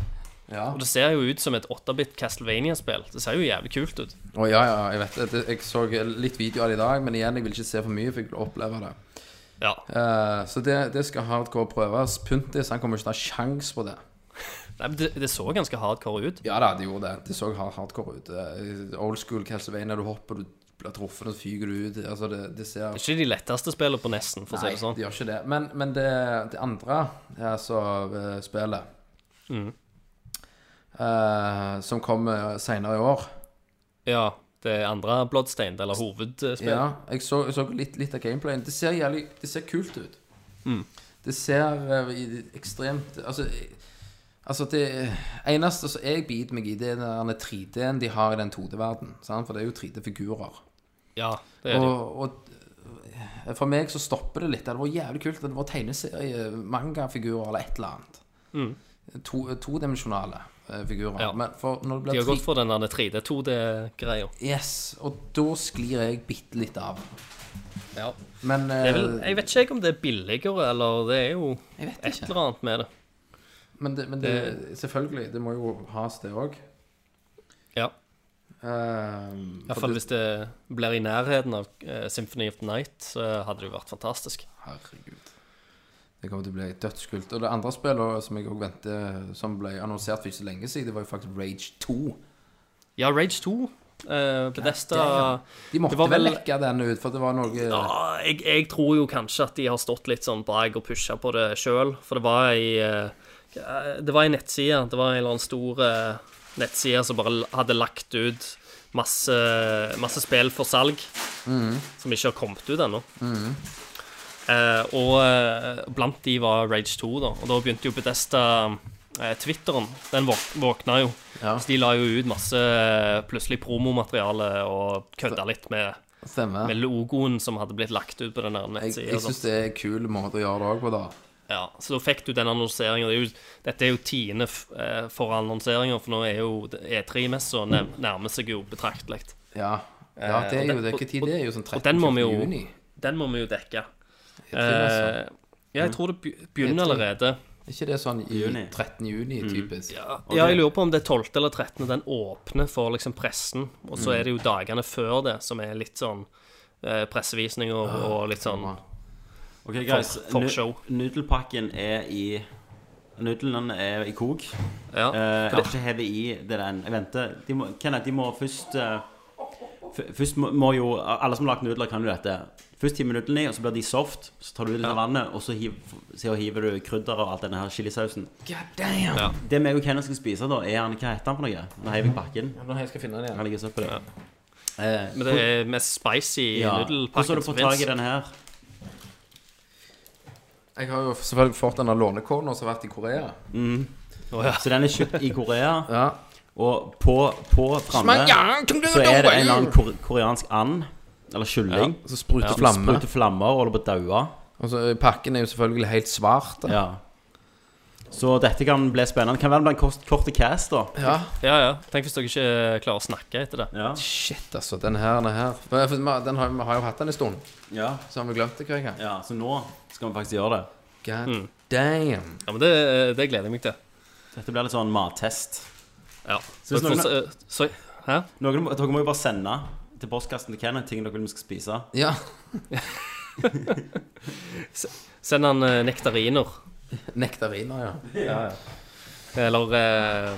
Speaker 5: Ja.
Speaker 1: Og det ser jo ut som et 8-bit Castlevania-spill. Det ser jo jævlig kult ut.
Speaker 5: Å, ja, ja, jeg vet det. det. Jeg så litt video av det i dag, men igjen, jeg vil ikke se for mye, for jeg vil oppleve det.
Speaker 1: Ja.
Speaker 5: Eh, så det, det skal hardcore prøves. Puntis han kommer ikke til å ha sjans på det.
Speaker 1: Nei, men det, det så ganske hardcore ut.
Speaker 5: Ja da, det gjorde det. Det så hard- hardcore ut. Eh, Old school Castlevania, du hopper, du blir truffet, og så fyker du ut. Altså, det, det ser
Speaker 1: Det er ikke de letteste spillene på nesten, for å si
Speaker 5: Nei,
Speaker 1: det sånn.
Speaker 5: det gjør ikke det. Men, men det, det andre, altså eh, spillet,
Speaker 1: Mm.
Speaker 5: eh, som kommer senere i år
Speaker 1: Ja, det andre Bloodstained, eller hovedspill.
Speaker 5: Ja, jeg så, jeg så litt, litt av gameplayen. Det ser jævlig Det ser kult ut.
Speaker 1: Mm.
Speaker 5: Det ser eh, i- ekstremt Altså, eh, altså det eneste som jeg biter meg i, det er den 3D-en de har i den 2D-verdenen. For det er jo 3D-figurer.
Speaker 1: Ja, det er det.
Speaker 5: Og, og eh, for meg så stopper det litt. Det hadde vært jævlig kult at det var tegneserie, mangafigurer eller et eller annet. To, todimensjonale eh, figurer.
Speaker 1: Mm. Ja.
Speaker 5: Men for når det
Speaker 1: De har
Speaker 5: blir
Speaker 1: gått
Speaker 5: tre...
Speaker 1: for den der 3D-2D-greia.
Speaker 5: Yes, og da sklir jeg bitte litt av.
Speaker 1: Ja.
Speaker 5: Men eh,
Speaker 1: Jeg, jeg vet ikke jeg om det er billigere, eller det er jo
Speaker 5: jeg vet
Speaker 1: et
Speaker 5: ikke.
Speaker 1: eller annet med det.
Speaker 5: Men, det, men det, selvfølgelig, det må jo has, det òg.
Speaker 1: Ja,
Speaker 5: Um,
Speaker 1: i hvert fall hvis det blir i nærheten av eh, Symphony of the Night, så hadde det jo vært fantastisk.
Speaker 5: Herregud. Det kommer til å bli dødskult. Og det andre spillet som jeg også venter, som ble annonsert for ikke så lenge siden, det var jo faktisk Rage 2.
Speaker 1: Ja, Rage 2. eh, Bethesda
Speaker 5: damn. De måtte
Speaker 1: Det var
Speaker 5: vel
Speaker 1: vel-
Speaker 5: lekke den ut, for det var noe
Speaker 1: Ja, jeg, jeg tror jo kanskje at de har stått litt sånn brag og pusha på det sjøl. For det var ei eh, Det var ei nettside. Det var en eller annen stor eh, nettside som bare l- hadde lagt ut masse, masse spill for salg som ikke har kommet ut ennå. Eh, og eh, blant de var Rage 2, da. Og da begynte jo Bedesta eh, Twitteren, den våk våkna jo.
Speaker 5: Ja.
Speaker 1: Så de la jo ut masse eh, plutselig promomateriale og kødda litt med
Speaker 5: Stemmer.
Speaker 1: med logoen som hadde blitt lagt ut på den der
Speaker 5: Jeg, jeg
Speaker 1: nettsida.
Speaker 5: syns det er en kul måte å gjøre det òg på, da.
Speaker 1: Ja, så da fikk du den annonseringen Det er jo- Dette er jo tiende f- eh, for annonseringer, for nå er jo E3-messa nev- nærmer seg jo betraktelig.
Speaker 5: Ja, ja det er
Speaker 1: Eh,
Speaker 5: jo det.
Speaker 1: og den-
Speaker 5: Hva tid det er? jo sånn
Speaker 1: og den må
Speaker 5: 13.
Speaker 1: vi jo-
Speaker 5: juni.
Speaker 1: Den må vi jo dekke.
Speaker 5: Jeg tror altså.
Speaker 1: Eh, ja, jeg tror det be-
Speaker 5: E3.
Speaker 1: begynner allerede.
Speaker 5: Er ikke det sånn i
Speaker 4: Juni.
Speaker 5: 13. juni, typisk?
Speaker 1: Mm. Ja, ja, jeg lurer på om det er 12. eller 13. den åpner for liksom pressen, og så
Speaker 5: Mm.
Speaker 1: er det jo dagene før det som er litt sånn eh, pressevisninger
Speaker 5: Ah,
Speaker 1: og litt sånn
Speaker 4: Ok, guys.
Speaker 1: for
Speaker 4: nu-
Speaker 1: show.
Speaker 4: Nudelpakken er i Nudlene er i kok.
Speaker 1: Ja.
Speaker 4: Eh, jeg vet ikke hevet i det den Jeg venter. eh, De må, Kenneth, de må først eh, f- Først må, må jo Alle som har lagd nudler, kan jo dette. Først hiver nudlene i, og så blir de soft. Så tar du ut litt av vannet, og så, hiv, så hiver du krydder og all denne her chilisausen.
Speaker 5: God damn!
Speaker 1: Ja.
Speaker 4: Det vi og Kenneth skal spise, da, er han Hva heter han for noe? Nå heiver jeg pakken.
Speaker 5: Nå skal jeg skal finne den
Speaker 4: Han
Speaker 5: igjen.
Speaker 4: ligger i søppelet. Eh,
Speaker 1: Men det er mest spicy
Speaker 4: ja. Hvordan har
Speaker 1: nudelpakken
Speaker 4: du
Speaker 1: som
Speaker 4: fått tak
Speaker 1: fins.
Speaker 4: i den her?
Speaker 5: Jeg har jo selvfølgelig fått denne lånekona som har vært i Korea.
Speaker 4: Så den er kjøpt i Korea,
Speaker 5: Ja.
Speaker 4: og på, på framme så er det en eller annen kor koreansk and, eller kylling,
Speaker 5: Så spruter
Speaker 4: som
Speaker 5: flamme.
Speaker 4: spruter flammer og holder på å daue.
Speaker 5: Og så Pakken er jo selvfølgelig helt svart. da.
Speaker 4: Ja. Så dette kan bli spennende. Kan være blant kort, korte cast, da.
Speaker 5: Ja.
Speaker 1: Ja, ja. Tenk hvis dere ikke eh, klarer å snakke etter det.
Speaker 4: Ja.
Speaker 5: Shit, altså. Den her, den her. Men, for, vi- den har, vi har jo hatt den en stund,
Speaker 4: Ja.
Speaker 5: så har vi glemt det, Krekar.
Speaker 4: ja, så nå skal vi faktisk gjøre det.
Speaker 5: God
Speaker 1: Mm.
Speaker 5: damn.
Speaker 1: Ja, men det, eh, det gleder jeg meg til.
Speaker 4: Dette blir litt sånn mattest.
Speaker 1: Ja.
Speaker 4: hvis
Speaker 1: Dere får
Speaker 4: noen-
Speaker 1: se- eh, så, hæ?
Speaker 4: Noen, må- dere må jo bare sende til postkassen til Kenneth ting dere vil vi skal spise.
Speaker 5: Ja.
Speaker 1: Send han eh, nektariner.
Speaker 5: Nektariner, ja.
Speaker 1: Eller eh,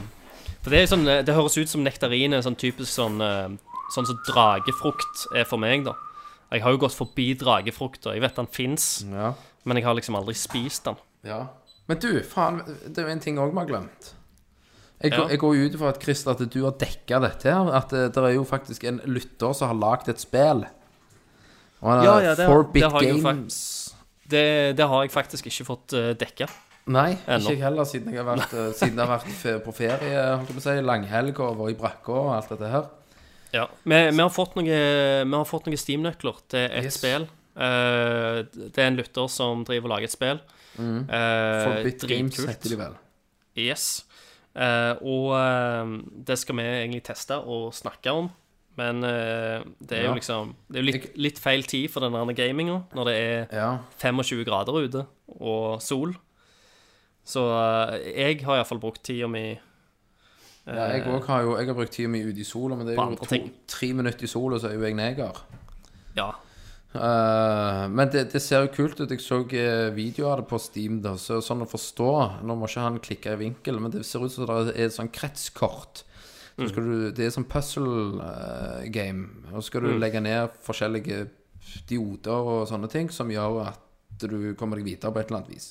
Speaker 1: For det er jo sånn eh, Det høres ut som nektarin er sånn typisk sånn eh, Sånn som dragefrukt er for meg, da. Jeg har jo gått forbi dragefrukt, og jeg vet den fins,
Speaker 5: Ja.
Speaker 1: men jeg har liksom aldri spist den.
Speaker 5: ja. Men du, faen, det er jo en ting òg vi har glemt. Jeg,
Speaker 1: Ja.
Speaker 5: jeg går jo ut ifra at Christer, at du har dekka dette her. At det, det er jo faktisk en lytter som har lagd et spill. Og han
Speaker 1: Ja,
Speaker 5: har
Speaker 1: ja, det har-
Speaker 5: Forbit
Speaker 1: det har jeg jo
Speaker 5: Games.
Speaker 1: Det, det har jeg faktisk ikke fått uh, dekka.
Speaker 5: Nei,
Speaker 1: Ennå.
Speaker 5: ikke jeg heller, siden jeg har vært, eh, siden jeg har vært fe- på ferie, holdt jeg på å si, langhelg og vært i brakka og alt dette her.
Speaker 1: Ja. Vi, vi har fått noen, noe noen Steam-nøkler til et
Speaker 5: Yes.
Speaker 1: spill. Eh, det er en lytter som driver og lager et spill. Mm.
Speaker 5: Forbit Games heter de vel.
Speaker 1: Yes. Eh, og eh, det skal vi egentlig teste og snakke om. Men eh, det er
Speaker 5: Ja.
Speaker 1: jo liksom Det er jo litt, litt feil tid for den der gaminga når det er
Speaker 5: Ja.
Speaker 1: 25 grader ute og sol. Så eh, jeg har iallfall brukt tida mi
Speaker 5: ja jeg òg har jo Jeg har brukt tida mi ute i sola, men det
Speaker 1: På
Speaker 5: er jo
Speaker 1: andre
Speaker 5: to,
Speaker 1: Eh. ting.
Speaker 5: tre minutter i sola, så er jo jeg neger.
Speaker 1: Ja.
Speaker 5: Eh, men det, det ser jo kult ut. Jeg så eh, videoer av det på Steam. Da, så sånn å forstå Nå må ikke han klikke i vinkel, men det ser ut som det er et sånn kretskort. Så skal du, det er sånn puzzle eh, game. Og så skal
Speaker 1: Mm.
Speaker 5: du legge ned forskjellige dioder og sånne ting som gjør at du kommer deg videre på et eller annet vis.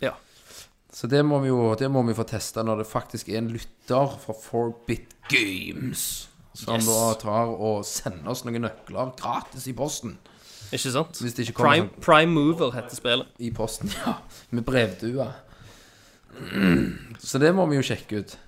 Speaker 1: Ja.
Speaker 5: Så det må vi jo det må vi få testa når det faktisk er en lytter fra 4-Bit Games som
Speaker 1: Yes.
Speaker 5: da tar og sender oss noen nøkler gratis i posten.
Speaker 1: Ikke sant?
Speaker 5: Hvis det ikke kommer sånn-
Speaker 1: Prime, Prime Mover heter spillet.
Speaker 5: i posten, ja. Med brevdua. Så det må vi jo sjekke ut.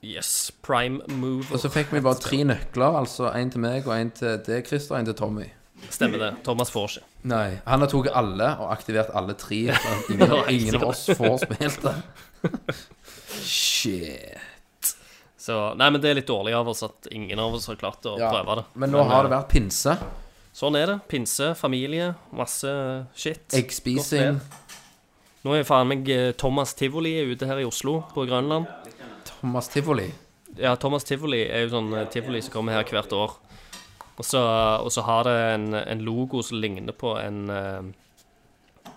Speaker 1: Yes. Prime
Speaker 5: Og
Speaker 1: Mover.
Speaker 5: så fikk vi bare tre nøkler, altså én til meg og én til deg, Christer, og én til Tommy.
Speaker 1: Stemmer det. Thomas får ikke.
Speaker 5: Nei. Han har tatt alle og aktivert alle tre. så Ingen,
Speaker 1: Ja, jeg
Speaker 5: ingen
Speaker 1: ser
Speaker 5: av oss får spilt det. Shit.
Speaker 1: Så Nei, men det er litt dårlig av oss at ingen av oss har klart å
Speaker 5: Ja,
Speaker 1: prøve det. eh,
Speaker 5: Men eh, nå har det vært pinse.
Speaker 1: Sånn er det. Pinse, familie, masse shit.
Speaker 5: Eggspising.
Speaker 1: Nå er faen meg eh, Thomas Tivoli er ute her i Oslo, på Grønland.
Speaker 5: Thomas Tivoli.
Speaker 1: Ja, Thomas Tivoli er jo sånn eh, tivoli som kommer her hvert år. Og så, og så har det en, en logo som ligner på en eh,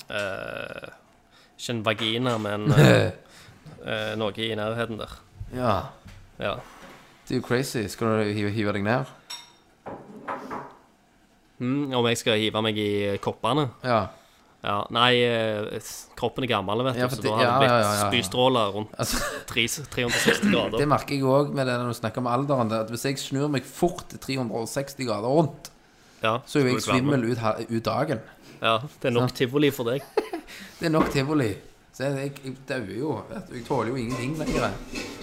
Speaker 1: eh, Ikke en vagina, men eh, eh, noe i nærheten der.
Speaker 5: Ja.
Speaker 1: Ja.
Speaker 5: Det er jo crazy. Skal du hive, hive deg ned?
Speaker 1: Mm, om jeg skal hive meg i koppene?
Speaker 5: Ja.
Speaker 1: Ja, nei, eh, s- kroppen er gammel, vet du,
Speaker 5: Ja, for
Speaker 1: så
Speaker 5: det-
Speaker 1: da har
Speaker 5: ja,
Speaker 1: det blitt
Speaker 5: ja, ja, ja, ja.
Speaker 1: spystråler rundt
Speaker 5: Altså,
Speaker 1: tre- 360 grader.
Speaker 5: Det merker jeg òg med det når du snakker om alderen. det At hvis jeg snur meg fort til 360 grader rundt,
Speaker 1: Ja,
Speaker 5: så er jo jeg
Speaker 1: skal du være med.
Speaker 5: svimmel ut, ha- ut dagen.
Speaker 1: Ja, det er nok tivoli for deg.
Speaker 5: Det er nok tivoli. Så jeg, jeg, jeg dauer jo. vet du. Jeg tåler jo ingenting lenger.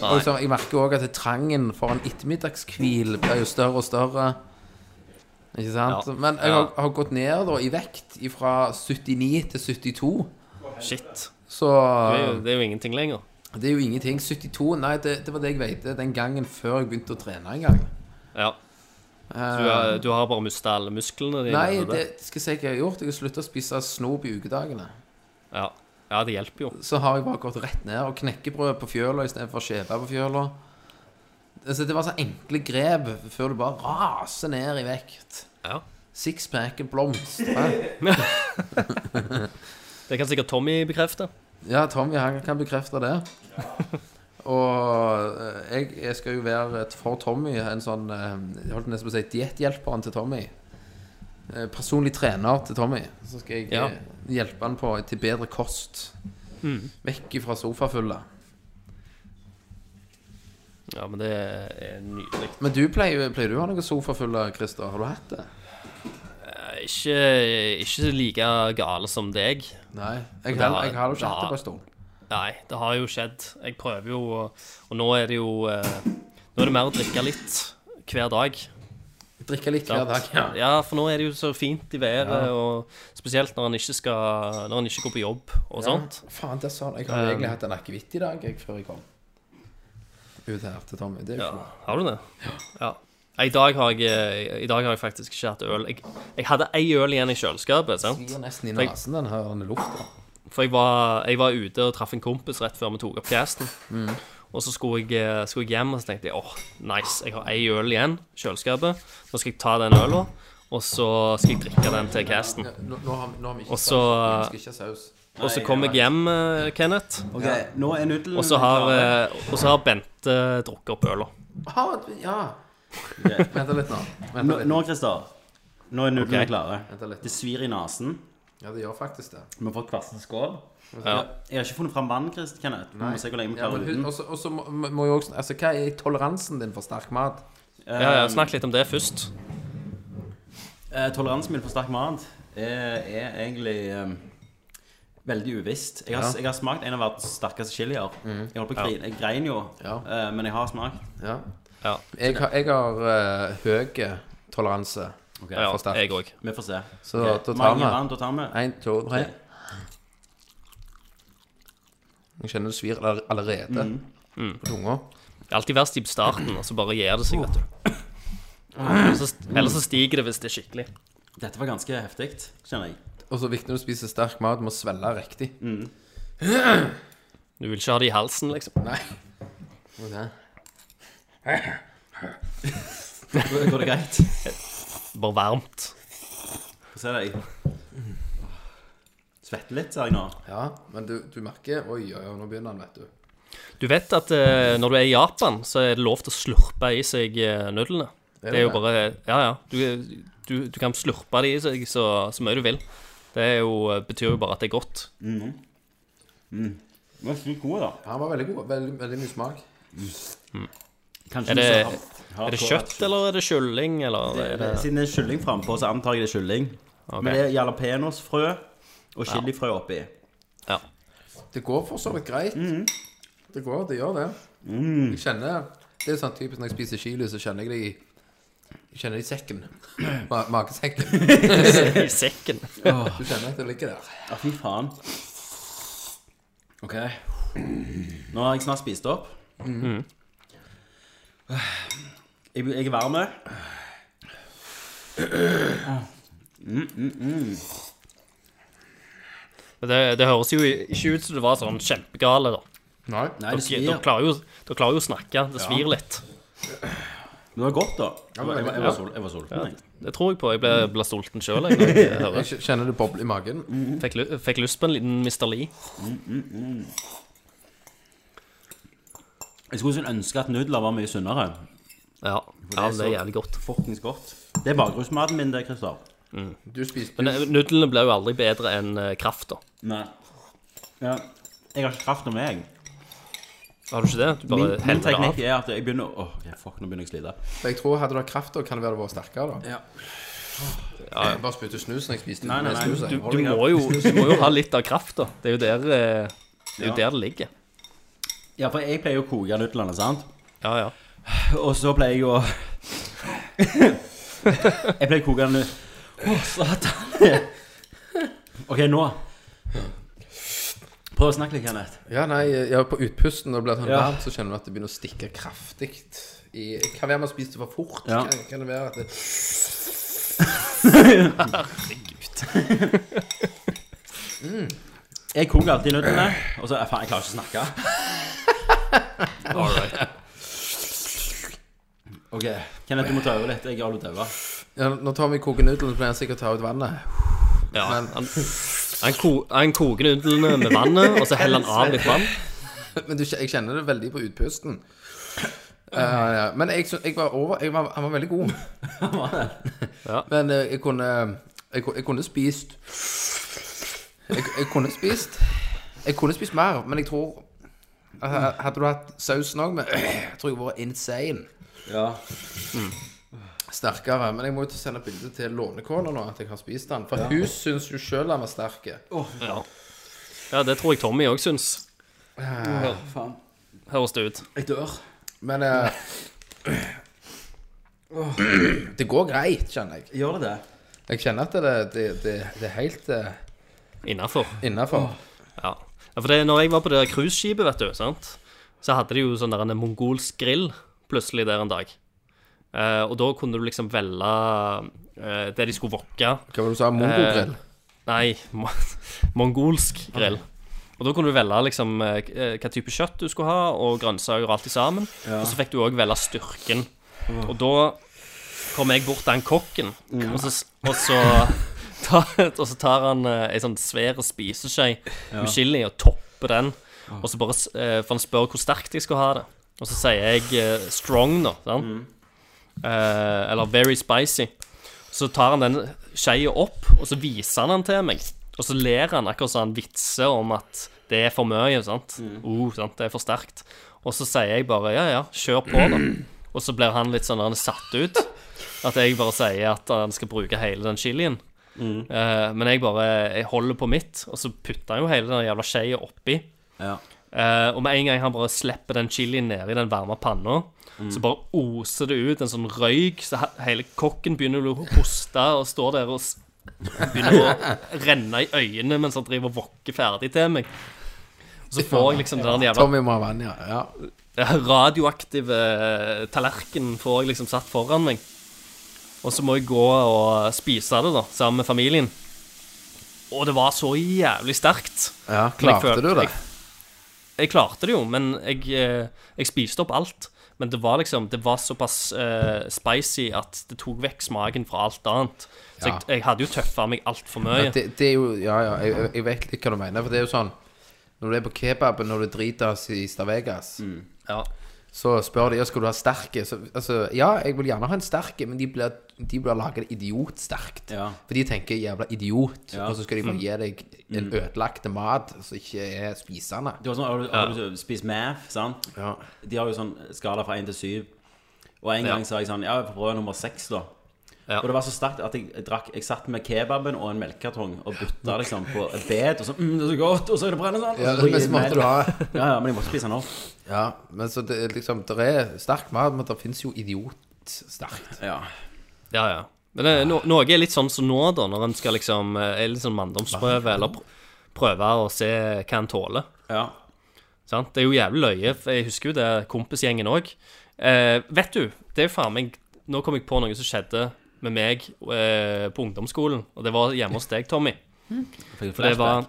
Speaker 1: Nei.
Speaker 5: Og så, jeg merker òg at det trangen for en ettermiddagshvil blir jo større og større. Ikke sant?
Speaker 1: Ja.
Speaker 5: Men jeg
Speaker 1: Ja.
Speaker 5: har, har gått ned da, i vekt fra 79 til 72.
Speaker 1: Shit.
Speaker 5: Så
Speaker 1: Det er, jo, det er jo ingenting lenger.
Speaker 5: det er jo ingenting. 72 Nei, det, det var det jeg veide den gangen før jeg begynte å trene en gang.
Speaker 1: Ja. Du, er, du har bare mista alle musklene dine?
Speaker 5: Nei,
Speaker 1: er
Speaker 5: det skal jeg si hva jeg har gjort. Jeg har sluttet å spise snop i ukedagene.
Speaker 1: Ja. ja, det hjelper jo.
Speaker 5: Så har jeg bare gått rett ned og knekkebrød på fjøla istedenfor skjeve på fjøla. Altså, det var så enkle grep før du bare raser ned i vekt.
Speaker 1: Ja.
Speaker 5: Sixpacken blomstrer.
Speaker 1: Det kan sikkert Tommy bekrefte.
Speaker 5: Ja, Tommy han kan bekrefte det. Og eh, jeg, jeg skal jo være et, for Tommy en sånn eh, Jeg holdt nesten på å si dietthjelperen til Tommy. Eh, Personlig trener til Tommy. Så skal jeg
Speaker 1: Ja.
Speaker 5: eh, hjelpe han på til bedre kost.
Speaker 1: Mm.
Speaker 5: Vekk ifra sofafullet.
Speaker 1: Ja, men det er nydelig.
Speaker 5: Men du pleier, pleier du å ha noe sofafulle, Christer? Har du hatt det?
Speaker 1: Eh, Ikke, ikke like gale som deg.
Speaker 5: Nei. Jeg,
Speaker 1: Det
Speaker 5: har-
Speaker 1: har-
Speaker 5: jeg har jo ikke hatt
Speaker 1: det
Speaker 5: det
Speaker 1: har-
Speaker 5: på en stund.
Speaker 1: Nei, det har jo skjedd. Jeg prøver jo, å- og nå er det jo eh, Nå er det mer å drikke litt hver dag.
Speaker 5: Drikke litt hver dag. Ja.
Speaker 1: Ja, for nå er det jo så fint i været, og spesielt når han ikke skal Når han ikke går på jobb og sånt.
Speaker 5: Faen, det er sånn. Jeg har
Speaker 1: Um.
Speaker 5: egentlig hatt en akevitt i dag, jeg, før jeg kom ut her til Tommy. Det er jo
Speaker 1: Ja, har du det? Ja. Nei, I dag har jeg, eh, i dag har jeg faktisk ikke hatt øl. Jeg, jeg hadde ei øl igjen i kjøleskapet, sant?
Speaker 5: Svir nesten i nesen, den her den lukta.
Speaker 1: For jeg var, jeg var ute og traff en kompis rett før vi tok opp casten. Og så skulle jeg, eh, skulle jeg hjem, og så tenkte jeg åh, nice, jeg har ei øl igjen i kjøleskapet. Nå skal jeg ta den øla, og så skal jeg drikke den til casten.
Speaker 5: Nå, nå har vi- nå har vi ikke
Speaker 1: Og
Speaker 5: saus.
Speaker 1: så-
Speaker 5: Vi skal ikke ha saus.
Speaker 1: Og så kom jeg hjem, eh, Kenneth,
Speaker 4: Ok, nå er nudelen
Speaker 1: og så har,
Speaker 4: Mm.
Speaker 1: eh, og så har Bente eh, drukket opp øla.
Speaker 5: Ha, ja. Vent litt nå. Vent
Speaker 4: Nå,
Speaker 5: litt.
Speaker 4: nå, Christer. Nå er nudlene
Speaker 1: Ok.
Speaker 4: klare.
Speaker 5: Vent litt.
Speaker 4: Det svir i nesen.
Speaker 5: Ja, det gjør faktisk det.
Speaker 4: Vi har fått hver sin skål.
Speaker 1: Ja.
Speaker 4: Jeg har ikke funnet fram vann, Christ, Kenneth. Vi må se hvor lenge vi
Speaker 5: Ja,
Speaker 4: klarer
Speaker 5: men hu-
Speaker 4: uten.
Speaker 5: også- også må- må må jo også Altså, hva er toleransen din for sterk mat?
Speaker 1: Ja, ja, Snakk litt om det først.
Speaker 4: Eh, Toleransen min for sterk mat er, er egentlig eh, veldig uvisst. Jeg har,
Speaker 5: Ja. Mhm.
Speaker 4: jeg har smakt en av verdens sterkeste chilier. Jeg holdt på å grine. Jeg grein jo,
Speaker 5: Ja.
Speaker 4: eh, men jeg har smakt.
Speaker 5: Ja.
Speaker 1: Ja,
Speaker 5: Jeg har, jeg har eh, høy toleranse.
Speaker 1: ja
Speaker 5: for sterkt.
Speaker 1: jeg òg.
Speaker 4: Vi får se.
Speaker 5: Så
Speaker 4: Ok,
Speaker 5: da tar
Speaker 4: Mange
Speaker 5: vi
Speaker 4: vann, da tar vi.
Speaker 5: én, to, tre. Jeg kjenner det svir aller- allerede
Speaker 1: Mm.
Speaker 5: på tunga.
Speaker 1: Det er alltid verst i starten, og så bare gir det seg, vet du. Ellers så, eller så stiger det hvis det er skikkelig.
Speaker 4: Dette var ganske heftig, kjenner jeg.
Speaker 5: Og så er det viktig når du spiser sterk mat, du må svelge riktig.
Speaker 1: Du vil ikke ha det i halsen, liksom.
Speaker 5: Nei. Og det-
Speaker 4: Går det greit?
Speaker 1: Bare varmt.
Speaker 4: Få se deg. Svetter litt, ser jeg nå.
Speaker 5: Ja, men du, du merker Oi, oi, oi, nå begynner han, vet du.
Speaker 1: Du vet at eh, når du er i Japan, så er det lov til å slurpe i seg eh, nudlene. Det er jo bare Ja, ja. Du, du, du kan slurpe de i seg så, så mye du vil. Det er jo, eh, betyr jo bare at det er godt.
Speaker 4: Den var sykt god, da.
Speaker 5: Ja, Han var veldig god. Veldig, veldig mye smak.
Speaker 4: Kanskje
Speaker 1: Er det,
Speaker 4: ikke så hard-
Speaker 1: er det
Speaker 4: hardcore.
Speaker 1: kjøtt, eller er det kylling, eller er det
Speaker 4: Siden det er kylling frampå, så antar jeg det er kylling. Men det er jalapeños-frø og chilifrø oppi.
Speaker 1: Ja.
Speaker 5: Det går for så vidt greit.
Speaker 4: Mhm.
Speaker 5: Det går, det gjør det. Jeg kjenner Det er sånn typisk når jeg spiser chili, så kjenner jeg det i jeg kjenner det i sekken. Ma magesekken.
Speaker 1: I sekken.
Speaker 5: Du kjenner at det ligger der.
Speaker 4: Ja, fy faen. OK. Nå har jeg snart spist opp. Jeg, jeg er varm. Mm, mm, mm.
Speaker 1: Men Det, det høres jo ikke ut som det var sånn kjempegale, da.
Speaker 5: Nei.
Speaker 4: Nei, det
Speaker 1: Dere, dere,
Speaker 4: svir.
Speaker 1: klarer jo, dere klarer jo å snakke. Det svir litt.
Speaker 4: Men det var godt, da. Jeg var, jeg var, jeg var,
Speaker 1: Ja.
Speaker 4: sol, jeg var sulten, jeg.
Speaker 1: Det tror jeg på. Jeg ble, ble sulten sjøl. Jeg, når jeg hører.
Speaker 5: Jeg kjenner det boble i magen.
Speaker 4: Mm.
Speaker 1: fikk, lu- fikk lyst på en liten Mr. Lee.
Speaker 4: Jeg skulle ønske at nudler var mye sunnere.
Speaker 1: Ja,
Speaker 4: er
Speaker 1: ja det er
Speaker 4: så-
Speaker 1: jævlig godt.
Speaker 4: Fuckings godt. Det er bakrusmaten min, det, Christer.
Speaker 5: Du spiste
Speaker 1: Men eh, nudlene blir jo aldri bedre enn eh, kraft, da.
Speaker 4: Nei. Ja, jeg har ikke kraft om meg.
Speaker 1: Har du ikke det?
Speaker 4: Min,
Speaker 1: Du bare
Speaker 4: min
Speaker 1: heller det
Speaker 4: teknikk
Speaker 1: av.
Speaker 4: er at jeg begynner Åh, ok, fuck, nå begynner jeg å slite.
Speaker 5: Jeg tror hadde du hatt krafta, kan det være det var sterkere, da.
Speaker 4: Ja.
Speaker 5: Jeg bare spytte snus når jeg spiste
Speaker 4: Nei, nei,
Speaker 5: mer
Speaker 4: nei.
Speaker 5: snus, jeg.
Speaker 1: Du,
Speaker 5: Hold
Speaker 1: du,
Speaker 5: deg her.
Speaker 1: må jo, du må jo ha litt av kraft, da. Det er jo der eh, det, er jo der det ligger.
Speaker 4: Ja, for jeg pleier å koke nudlene, sant?
Speaker 1: Ja, ja.
Speaker 4: Og så pleier jeg å Jeg pleier å koke den ut. Å, satan. OK, nå. Prøv å snakke litt, Kenneth.
Speaker 5: Ja, nei, ja, på utpusten når det blir sånn
Speaker 4: Ja.
Speaker 5: varmt, så kjenner du at det begynner å stikke kraftig i Kan være man spiste for fort.
Speaker 4: Ja.
Speaker 5: Kan, kan det være at det
Speaker 4: Jeg koker alltid nudlene, og så eh, Faen, jeg klarer ikke å snakke.
Speaker 1: All right.
Speaker 4: Ok, Kenneth, du må ta over litt. Jeg har lyst til å
Speaker 5: Ja, når Tommy koker nudlene, så pleier han sikkert å ta ut vannet.
Speaker 1: Ja,
Speaker 5: Men-
Speaker 1: han, han, ko, han koker nudlene med vannet, og så heller han av litt vann.
Speaker 5: Men du, kje- jeg kjenner det veldig på utpusten. Eh, ja. Men jeg, syns- jeg var over jeg var, Han var veldig god.
Speaker 1: Ja.
Speaker 5: Men eh, jeg kunne Jeg, ku- jeg kunne spist jeg, jeg kunne spist Jeg kunne spist mer, men jeg tror eh, Hadde du hatt sausen òg med Jeg tror jeg var insane.
Speaker 4: Ja.
Speaker 5: Sterkere. Men jeg må jo sende bilde til lånekona nå, at jeg har spist den. For hun syns jo sjøl han var sterk.
Speaker 1: Ja. ja, det tror jeg Tommy òg syns.
Speaker 4: Faen.
Speaker 1: Høres det ut.
Speaker 4: Jeg dør.
Speaker 5: Men eh, Det går greit, kjenner jeg.
Speaker 4: Gjør det det?
Speaker 5: Jeg kjenner at det, det, det, det er helt uh,
Speaker 1: innafor.
Speaker 5: innafor.
Speaker 1: Ja. ja, for det, når jeg var på det der cruiseskipet, vet du, sant? så hadde de jo sånn der en mongolsk grill plutselig der en dag. Eh, og da kunne du liksom velge eh, det de skulle wokke.
Speaker 5: Hva var det du sa? Mongogrill?
Speaker 1: Eh, Nei, mo mongolsk grill. Og da kunne du velge liksom eh, hva type kjøtt du skulle ha, og grønnsaker og alt i sammen. Og så fikk du òg velge styrken. Og da kom jeg bort til han kokken, og så, og så tar, og så tar han eh, ei sånn svær spiseskje med chili og topper den. Og så bare, s- eh, For han spør hvor sterkt jeg skal ha det. Og så sier jeg eh, strong, da. Sant? Eh, eller very spicy. Så tar han den skeia opp, og så viser han den til meg. Og så ler han akkurat som han vitser om at det er for mye. sant? Oh, sant? Det er for sterkt. Og så sier jeg bare ja, ja, kjør på, da. Og så blir han litt sånn han er satt ut. At jeg bare sier at han skal bruke hele den chilien. Eh, men jeg bare jeg holder på mitt, og så putter han jo hele den jævla skeia oppi.
Speaker 4: Ja.
Speaker 1: Eh, og med en gang han bare slipper den chilien ned i den varme panna,
Speaker 5: Mm.
Speaker 1: så bare oser det ut en sånn røyk, så he- hele kokken begynner å hoste og står der og s- begynner å renne i øynene mens han driver og vokker ferdig til meg. Og så får jeg liksom den jævla
Speaker 5: Tommy må ha vann, ja. ja.
Speaker 1: radioaktive eh, tallerkenen får jeg liksom satt foran meg. Og så må jeg gå og spise det, da, sammen med familien. Og det var så jævlig sterkt.
Speaker 5: ja. Klarte
Speaker 1: følte-
Speaker 5: du det?
Speaker 1: jeg- Jeg klarte det jo, men jeg, eh, jeg spiste opp alt. Men det var liksom, det var såpass eh, spicy at det tok vekk smaken fra alt annet. Så
Speaker 5: Ja.
Speaker 1: jeg, jeg hadde jo tøffa meg altfor mye.
Speaker 5: det, det er jo Ja, ja, jeg, jeg- jeg vet litt hva du mener. For det er jo sånn Når du er på kebaben når du driter oss i Stavegas,
Speaker 1: Ja.
Speaker 5: så spør de ja, skal du ha sterke. Så, altså, ja, jeg vil gjerne ha en sterke, men de blir, de blir laget idiotsterkt.
Speaker 4: Ja.
Speaker 5: For de tenker 'jævla idiot',
Speaker 4: Ja.
Speaker 5: og så skal de bare gi deg en ødelagt mat som ikke er spisende.
Speaker 4: Det var sånn, har du, har du spist math, sant?
Speaker 5: Ja.
Speaker 4: De har jo sånn skala fra 1 til 7. Og en
Speaker 1: Ja.
Speaker 4: gang sa jeg sånn, ja, jeg får prøve nummer 6 da.
Speaker 1: Ja.
Speaker 4: Og det var så sterkt at jeg, drakk, jeg satt med kebaben og en melkekartong og butta liksom på et bed, og så, mm, det er så godt, og så er det brennende sånn.
Speaker 5: Ja, men så måtte du ha
Speaker 4: Ja, ja, men jeg måtte spise den opp.
Speaker 5: Ja, men så det er liksom Det er sterk mat, men det finnes jo idiotsterkt.
Speaker 4: Ja.
Speaker 1: Ja, ja. Men det, no, noe er litt sånn som nå, da, når en skal liksom eh, Er litt sånn manndomsprøve, eller pr- prøve å se hva en tåler.
Speaker 4: Ja.
Speaker 1: Sant? Det er jo jævlig løye. for Jeg husker jo det kompisgjengen òg. Eh, vet du, det er jo faen meg Nå kom jeg på noe som skjedde med meg eh, på ungdomsskolen. Og det var hjemme hos deg, Tommy.
Speaker 4: Fikk
Speaker 1: For det var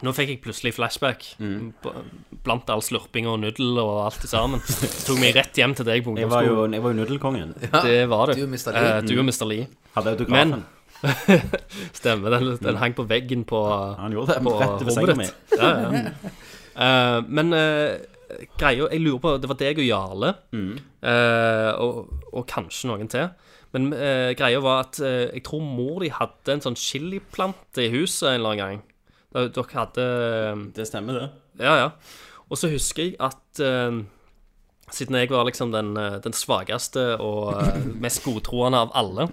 Speaker 1: Nå fikk jeg plutselig flashback.
Speaker 5: Mm.
Speaker 1: B- Blant all slurping og nudel og alt sammen. Tok meg rett hjem til deg på
Speaker 4: Jeg var jo,
Speaker 1: ungdomsskolen.
Speaker 4: jeg var jo nudelkongen.
Speaker 1: det var du.
Speaker 5: Du og Mr. Lee.
Speaker 1: Eh, du og Mr. Lee.
Speaker 4: Hadde autografen.
Speaker 1: Men Stemmer, den, den hang på veggen på
Speaker 4: Mm. Han gjorde det,
Speaker 1: på
Speaker 4: rett ved
Speaker 1: rommet
Speaker 4: sengen min.
Speaker 1: ditt. Ja, ja. Eh, men eh, greia Jeg lurer på Det var deg og Jarle,
Speaker 4: Mm.
Speaker 1: eh, og, og kanskje noen til. Men eh, greia var at eh, jeg tror mor di hadde en sånn chiliplante i huset en eller annen gang. Da Dere hadde eh,
Speaker 4: Det stemmer det.
Speaker 1: Ja, ja. Og så husker jeg at eh, siden jeg var liksom den, eh, den svakeste og eh, mest godtroende av alle,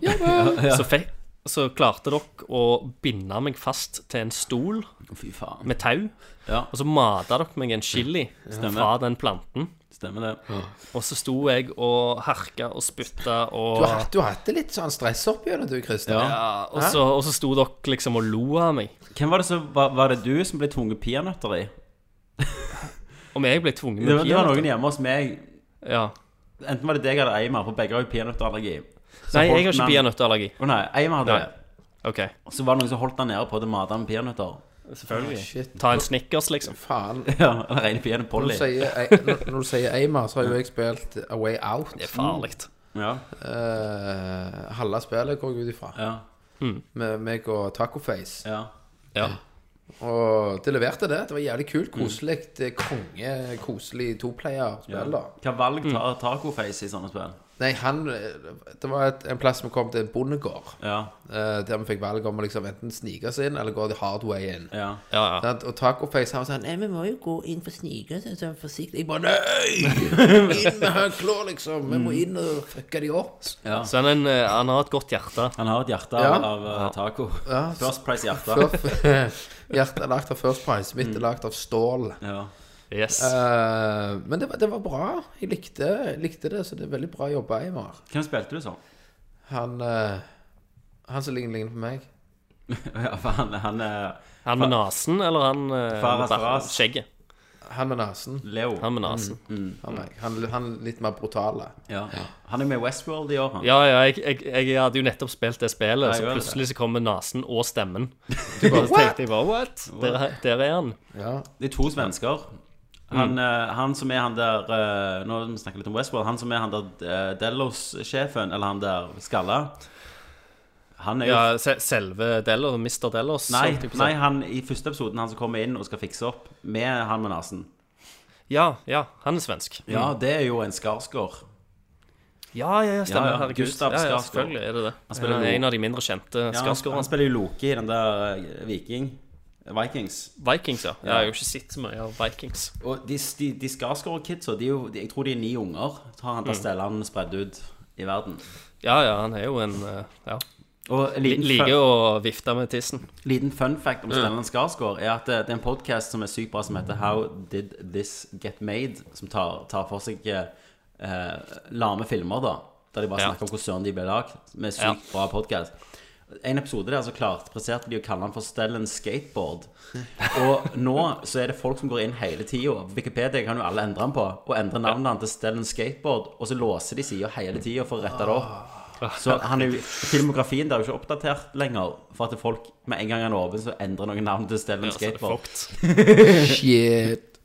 Speaker 1: Så, fikk, så klarte dere å binde meg fast til en stol
Speaker 4: Fy faen.
Speaker 1: med tau.
Speaker 4: Ja.
Speaker 1: Og så mata dere meg en chili fra den planten.
Speaker 4: Stemmer det.
Speaker 1: Og så sto jeg og harka og spytta
Speaker 5: Du
Speaker 1: og
Speaker 5: har hatt- du har hatt det litt sånn stress opp gjennom du, Christer.
Speaker 1: ja, og, så, og så sto dere liksom og lo av meg.
Speaker 4: Hvem var det som, var, var det du som ble tvunget peanøtter i?
Speaker 1: Om jeg ble tvunget
Speaker 4: Det
Speaker 1: med
Speaker 4: var, det var
Speaker 1: peanøtter.
Speaker 4: noen hjemme hos meg
Speaker 1: Ja.
Speaker 4: Enten var det deg eller Eimar, for begge har jo peanøttallergi. Så
Speaker 1: Nei, jeg
Speaker 4: holdt
Speaker 1: har ikke
Speaker 4: man-
Speaker 1: peanøttallergi.
Speaker 4: Å nei, Eimar hadde
Speaker 1: Nei.
Speaker 4: det.
Speaker 1: OK.
Speaker 4: Så var det noen som holdt han nede på det matet med peanøtter.
Speaker 1: Selvfølgelig.
Speaker 5: Shit,
Speaker 1: Ta en Snickers, liksom.
Speaker 5: faen.
Speaker 4: Ja, eller rene peanøtt
Speaker 5: Når du
Speaker 4: Polly.
Speaker 5: sier, ei- når- når du sier Eimar, så har jo jeg spilt A Way Out.
Speaker 4: Mm.
Speaker 1: Det er farlig.
Speaker 4: Ja,
Speaker 5: Eh, halve spillet går jeg ut ifra.
Speaker 4: ja,
Speaker 5: Med meg og Tacoface.
Speaker 4: ja.
Speaker 1: Ja.
Speaker 5: Og det leverte det. Det var jævlig kult. Koselig. Det er konge, koselig
Speaker 4: ja.
Speaker 5: toplayer-spill, da.
Speaker 4: Hva valg tar
Speaker 1: Mm.
Speaker 4: tacoface i sånne spill?
Speaker 5: Nei, han eh, Det var et, en plass vi kom til en bondegård.
Speaker 4: Ja,
Speaker 5: eh, der vi fikk valg om å liksom enten snike oss inn, eller gå the hard way inn.
Speaker 4: ja.
Speaker 1: Ja, ja.
Speaker 5: Sant? Og Tacoface han var sånn Nei, vi må jo gå inn for snike, så sånn forsiktig. Jeg bare Nei! Inn med høklår, liksom. Vi må inn og fucke de opp.
Speaker 4: Mm. ja.
Speaker 1: Så han, eh, han har et godt hjerte.
Speaker 4: Han har et hjerte
Speaker 5: Ja.
Speaker 4: av- av eh, taco.
Speaker 5: Ja.
Speaker 4: First Price-hjerte. Mm.
Speaker 5: Før- Hjertet er lagt av First Price, mitt er lagt av stål.
Speaker 4: Ja.
Speaker 1: Yes.
Speaker 5: Eh, men det var, det var bra. Jeg likte, likte det, så det er veldig bra jobba, Eimar.
Speaker 4: Hvem spilte du som?
Speaker 5: Han, eh, han som ligner, ligner på meg.
Speaker 4: Ja, for han, han eh, er
Speaker 1: Han med nesen, eller han eh,
Speaker 4: Faras,
Speaker 1: med
Speaker 4: Faras.
Speaker 1: skjegget?
Speaker 5: Han med nesen.
Speaker 4: Leo.
Speaker 1: Han med nesen.
Speaker 4: Mm,
Speaker 5: Han, er- han, han litt mer brutale.
Speaker 4: Ja. Han er med i Westworld i år, han.
Speaker 1: Ja, ja, jeg, jeg, jeg hadde jo nettopp spilt det spillet,
Speaker 4: Nei,
Speaker 1: så
Speaker 4: gjør det.
Speaker 1: plutselig så kommer nesen og stemmen. Så tenkte jeg bare what? Der, er- der er han.
Speaker 5: Ja.
Speaker 4: Det er to svensker. Han, eh, han som er han der eh, Nå snakker vi snakket litt om Westworld. Han som er han der eh, Delos-sjefen, eller han der skalla Han er jo
Speaker 1: Ja, se- selve Deller, Mr. Dellers.
Speaker 4: Nei,
Speaker 1: holdt jeg på å si.
Speaker 4: nei han, i første episoden, han som kommer inn og skal fikse opp med han med Mm. nesen.
Speaker 1: Ja, ja, han er svensk.
Speaker 4: Ja, det er jo en Skarsgård.
Speaker 1: Ja, ja, ja, stemmer.
Speaker 4: Ja, ja,
Speaker 1: Herregud.
Speaker 4: Gustav
Speaker 1: ja, ja,
Speaker 4: Skarsgård.
Speaker 1: selvfølgelig er det det. Han
Speaker 4: spiller
Speaker 1: spiller
Speaker 4: jo-
Speaker 1: en av de mindre kjente
Speaker 4: Ja, han, han
Speaker 1: Skarsgårdene.
Speaker 4: spiller jo Loke i den der eh, Viking Vikings.
Speaker 1: Vikings, ja. Jeg har jo ikke sett så mye av Vikings.
Speaker 4: Og de, de, de Skarsgård-kidsa, de er jo- de- jeg tror de er ni unger, har han der Stellan spredd ut i verden.
Speaker 1: Ja, ja, han er jo en eh, Ja.
Speaker 4: Og en liten,
Speaker 1: Liker
Speaker 4: fun,
Speaker 1: å vifte med tissen.
Speaker 4: liten fun fact om Stellan Skarsgård er at eh, det, det er en podkast som er sykt bra, som heter How Did This Get Made? Som tar, tar for seg eh, eh, lame filmer, da. Der de bare
Speaker 1: Ja.
Speaker 4: snakker om hvordan søren de ble lagd. Med sykt
Speaker 1: Ja.
Speaker 4: bra podkast. En episode der så klarte presterte de å kalle han for Stellan Skateboard. Og nå så er det folk som går inn hele tida. Wikipedia kan jo alle endre han på. Og endre navnet han til Stellan Skateboard, og så låser de sida hele tida for å rette det opp. Så han er jo, filmografien der er jo ikke oppdatert lenger. For at folk med en gang han er åpen, så endrer noen navn til Stellan
Speaker 1: Ja, så er det
Speaker 4: Skateboard.
Speaker 1: fucked.
Speaker 5: Shit.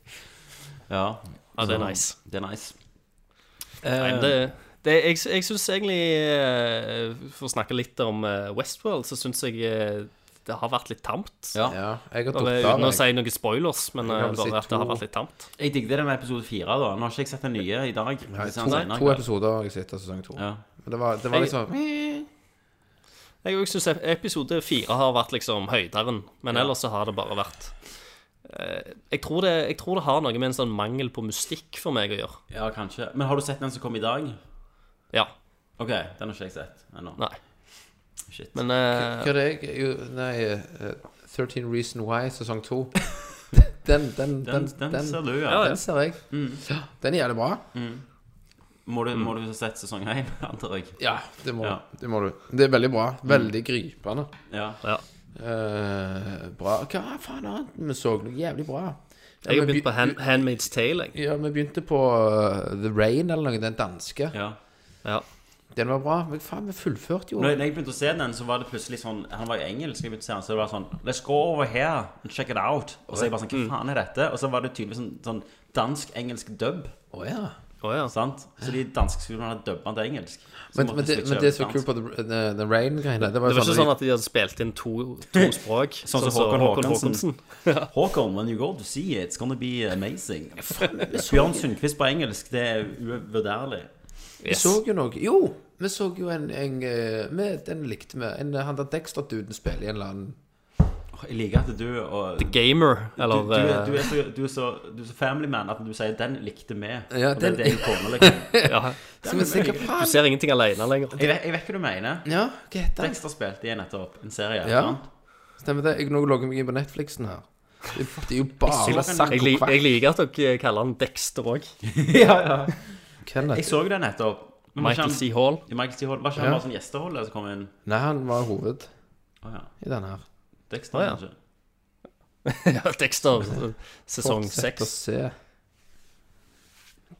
Speaker 4: Ja,
Speaker 1: Ja, det
Speaker 4: Så
Speaker 1: er nice.
Speaker 4: Det er nice.
Speaker 1: Nei, men det, Um, det, jeg jeg syns egentlig eh, For å snakke litt om eh, Westworld, så syns jeg eh, det har vært litt tamt.
Speaker 4: Ja.
Speaker 5: Ja, jeg har
Speaker 1: Eller,
Speaker 5: tatt av
Speaker 1: Uten å
Speaker 5: meg.
Speaker 1: si noen spoilers, men eh,
Speaker 5: Jeg kan vel si
Speaker 1: bare at det har
Speaker 5: to.
Speaker 1: vært litt tamt.
Speaker 4: Jeg digget det med episode fire, da. Nå har ikke jeg sett den nye i dag.
Speaker 5: Nei,
Speaker 4: Det ser
Speaker 5: to,
Speaker 4: han senere,
Speaker 5: to
Speaker 4: ja.
Speaker 5: episoder har jeg sett av sesong to.
Speaker 4: Ja.
Speaker 5: Men det var, det var
Speaker 1: Jeg-
Speaker 5: liksom
Speaker 1: Jeg òg syns episode fire har vært liksom høyderen, men ellers så har det bare vært eh, jeg tror, det, jeg tror det har noe med en sånn mangel på mystikk for meg å gjøre.
Speaker 4: ja, kanskje. Men har du sett den som kom i dag?
Speaker 1: Ja.
Speaker 4: Ok, den har ikke jeg sett ennå.
Speaker 1: Nei.
Speaker 4: Shit.
Speaker 1: Men eh,
Speaker 5: Hva er det jeg jo, Nei, eh, 13 Reason Why sesong 2. Den, den,
Speaker 4: den,
Speaker 5: den,
Speaker 4: den, ser du, ja.
Speaker 1: Ja, ja.
Speaker 5: den ser jeg. Ja, Den er jævlig bra.
Speaker 4: Må, du, må du
Speaker 1: Mm.
Speaker 4: ha sett sesong én, antar jeg.
Speaker 5: Ja, det må,
Speaker 4: Ja.
Speaker 5: det må du. Det er veldig bra. Veldig gripende.
Speaker 4: Ja.
Speaker 1: ja.
Speaker 5: Eh, bra. Hva faen annet? Vi så noe jævlig bra. Ja,
Speaker 1: Jeg har
Speaker 5: vi
Speaker 1: begynt på
Speaker 5: begy-
Speaker 1: Hand, Handmaid's Tale, jeg.
Speaker 5: Ja, vi begynte på eh, The Rain eller noe, den danske.
Speaker 4: ja.
Speaker 1: Ja.
Speaker 5: Den var bra. Men faen, vi fullførte jo.
Speaker 4: Når, når jeg begynte å se den, så var det plutselig sånn Han var jo engelsk, jeg begynte å se han, så det var sånn Let's go over here and check it out. Og så jeg bare sånn
Speaker 1: Mm.
Speaker 4: Hva faen er dette? Og så var det tydeligvis sånn, sånn dansk-engelsk dub.
Speaker 5: Å, ja.
Speaker 1: Å ja.
Speaker 4: Sant? Så de danske skolene hadde dubba den til engelsk. Så
Speaker 5: Men,
Speaker 4: måtte
Speaker 5: men, det,
Speaker 4: switche
Speaker 5: men det som
Speaker 4: over
Speaker 5: er
Speaker 4: til
Speaker 5: kult på The, the, øh, the Rain-greiene Det var,
Speaker 1: Det var ikke sånn at de hadde spilt inn to, to språk,
Speaker 4: som
Speaker 1: sånn som
Speaker 4: Håkon
Speaker 1: Håkon
Speaker 4: Håkonsen.
Speaker 1: Håkonsen.
Speaker 4: dansk. Håkon, when you go to see it, it's gonna be amazing. Bjørn Sundquist på engelsk, det er uvurderlig.
Speaker 5: Vi så jo noe Jo, vi så jo en, en, eh, vi, Den likte vi. En, eh, han der Dexter-duden spiller i en eller annen
Speaker 4: Jeg liker at du og
Speaker 1: Gamer, eller
Speaker 4: du, du, er- du,
Speaker 1: eh,
Speaker 4: er så, du, er så, du er så family man at du sier 'den likte vi'.
Speaker 5: Ja,
Speaker 4: og det
Speaker 5: den-
Speaker 4: er det jeg kommer, liksom.
Speaker 1: ja.
Speaker 5: Skal vi se hva
Speaker 1: Du
Speaker 5: faen
Speaker 1: ser ingenting alene lenger.
Speaker 4: Jeg vet, jeg vet hva du mener.
Speaker 5: Ja, hva heter han?
Speaker 4: Dexter spilte igjen nettopp en serie.
Speaker 5: Ja.
Speaker 4: sant?
Speaker 5: Stemmer det? Jeg nå logger jeg meg inn på Netflixen her. Det, det er jo bare
Speaker 4: så-
Speaker 5: sakk
Speaker 1: Jeg,
Speaker 5: og
Speaker 1: lik- jeg
Speaker 5: kvakk.
Speaker 1: liker at dere eh, kaller han Dexter òg.
Speaker 4: Jeg
Speaker 5: Kenneth.
Speaker 4: så jo det nettopp. Men var ikke
Speaker 1: Michael
Speaker 4: han-
Speaker 1: C. Hall.
Speaker 4: Michael C. Hall. Var ikke han
Speaker 5: Ja.
Speaker 4: bare sånn gjesteholder som kom inn?
Speaker 5: Nei, han var hoved
Speaker 4: Å ja.
Speaker 5: i den her.
Speaker 4: Dexter,
Speaker 1: Å ja.
Speaker 4: kanskje.
Speaker 1: Ja, Dexter eh, sesong
Speaker 5: Fortsett å
Speaker 1: seks.
Speaker 5: se.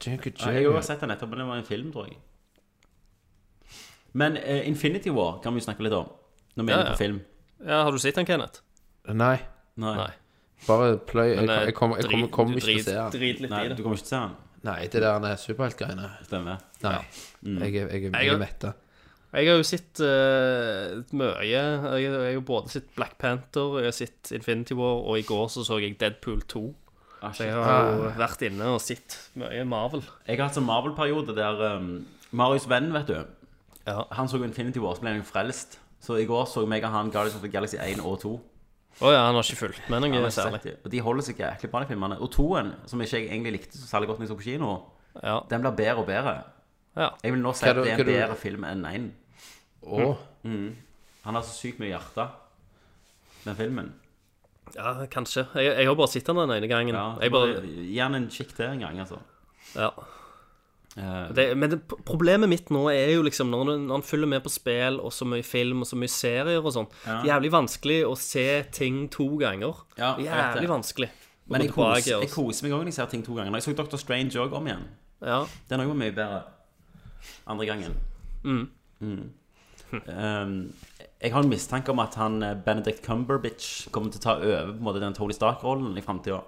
Speaker 5: Junker
Speaker 4: Ja, jeg har
Speaker 5: Jay.
Speaker 4: også sett den nettopp, men det var en film, tror jeg. Men eh, Infinity War kan vi jo snakke litt om. Når vi er
Speaker 1: Ja,
Speaker 4: inne
Speaker 1: ja.
Speaker 4: på film.
Speaker 1: Ja, har du sett han, Kenneth?
Speaker 5: Nei,
Speaker 4: Nei.
Speaker 1: Nei.
Speaker 5: bare pløy. Jeg,
Speaker 1: Men, eh,
Speaker 5: jeg kommer jeg kommer-
Speaker 1: drit-
Speaker 5: kommer
Speaker 1: du
Speaker 5: ikke til å
Speaker 1: drit-
Speaker 5: se den.
Speaker 1: Drit litt
Speaker 4: Nei,
Speaker 1: i
Speaker 4: du
Speaker 1: det.
Speaker 4: kommer ikke til å se den?
Speaker 5: Nei, det der er superheltgreiene.
Speaker 4: Stemmer.
Speaker 5: Nei. Jeg er, jeg er, jeg
Speaker 1: Mm. Jeg-
Speaker 5: er mette.
Speaker 1: Jeg har jo sett eh, mye. Jeg jeg har jo både sett Black Panther, jeg har sett Infinity War, og i går så så jeg Deadpool 2.
Speaker 4: Ah, shit.
Speaker 1: Så jeg har jo vært inne og sett mye Marvel.
Speaker 4: Jeg har hatt sånn Marvel-periode der um, Marius venn, vet du
Speaker 1: Ja.
Speaker 4: Han så jo Infinity War, så ble han jo frelst Så i går så meg og han Guardians of the Galaxy 1 og 2
Speaker 1: Å ja, han har ikke fulgt med
Speaker 4: Han
Speaker 1: noe
Speaker 4: har ikke
Speaker 1: særlig.
Speaker 4: sett det. Og de holder seg jæklig bra de filmene Og 2-en, som ikke jeg egentlig likte så særlig godt når jeg så på kino
Speaker 1: Ja.
Speaker 4: Den blir bedre og bedre
Speaker 1: Ja.
Speaker 4: Jeg vil nå si
Speaker 5: Hva
Speaker 4: at
Speaker 5: du-
Speaker 4: det er
Speaker 5: hva
Speaker 4: en
Speaker 5: du-
Speaker 4: bedre film enn 1
Speaker 5: Å,
Speaker 1: Mm.
Speaker 4: Han har så sykt mye hjerte Den filmen
Speaker 1: Ja, kanskje. Jeg, jeg har bare sett den den ene gangen.
Speaker 4: Ja,
Speaker 1: jeg bare,
Speaker 4: Gi han en kikk til en gang, altså.
Speaker 1: ja.
Speaker 4: Eh,
Speaker 1: det, men det, problemet mitt nå er jo liksom når, du- når en følger med på spill og så mye film og så mye serier og sånn
Speaker 4: Ja.
Speaker 1: Det er Jævlig vanskelig å se ting to ganger.
Speaker 4: Ja, jeg vet det.
Speaker 1: jævlig vanskelig. å
Speaker 4: men
Speaker 1: gå
Speaker 4: jeg
Speaker 1: tilbake altså.
Speaker 4: koser,
Speaker 1: og-
Speaker 4: jeg koser meg òg når jeg ser ting to ganger. Når Jeg så Dr. Strange òg om igjen.
Speaker 1: Ja.
Speaker 4: Den òg var mye bedre andre gangen. Mm. Um, jeg har en mistanke om at han eh, Benedict Cumberbitch kommer til å ta over på en måte den Tony Stark-rollen i framtida.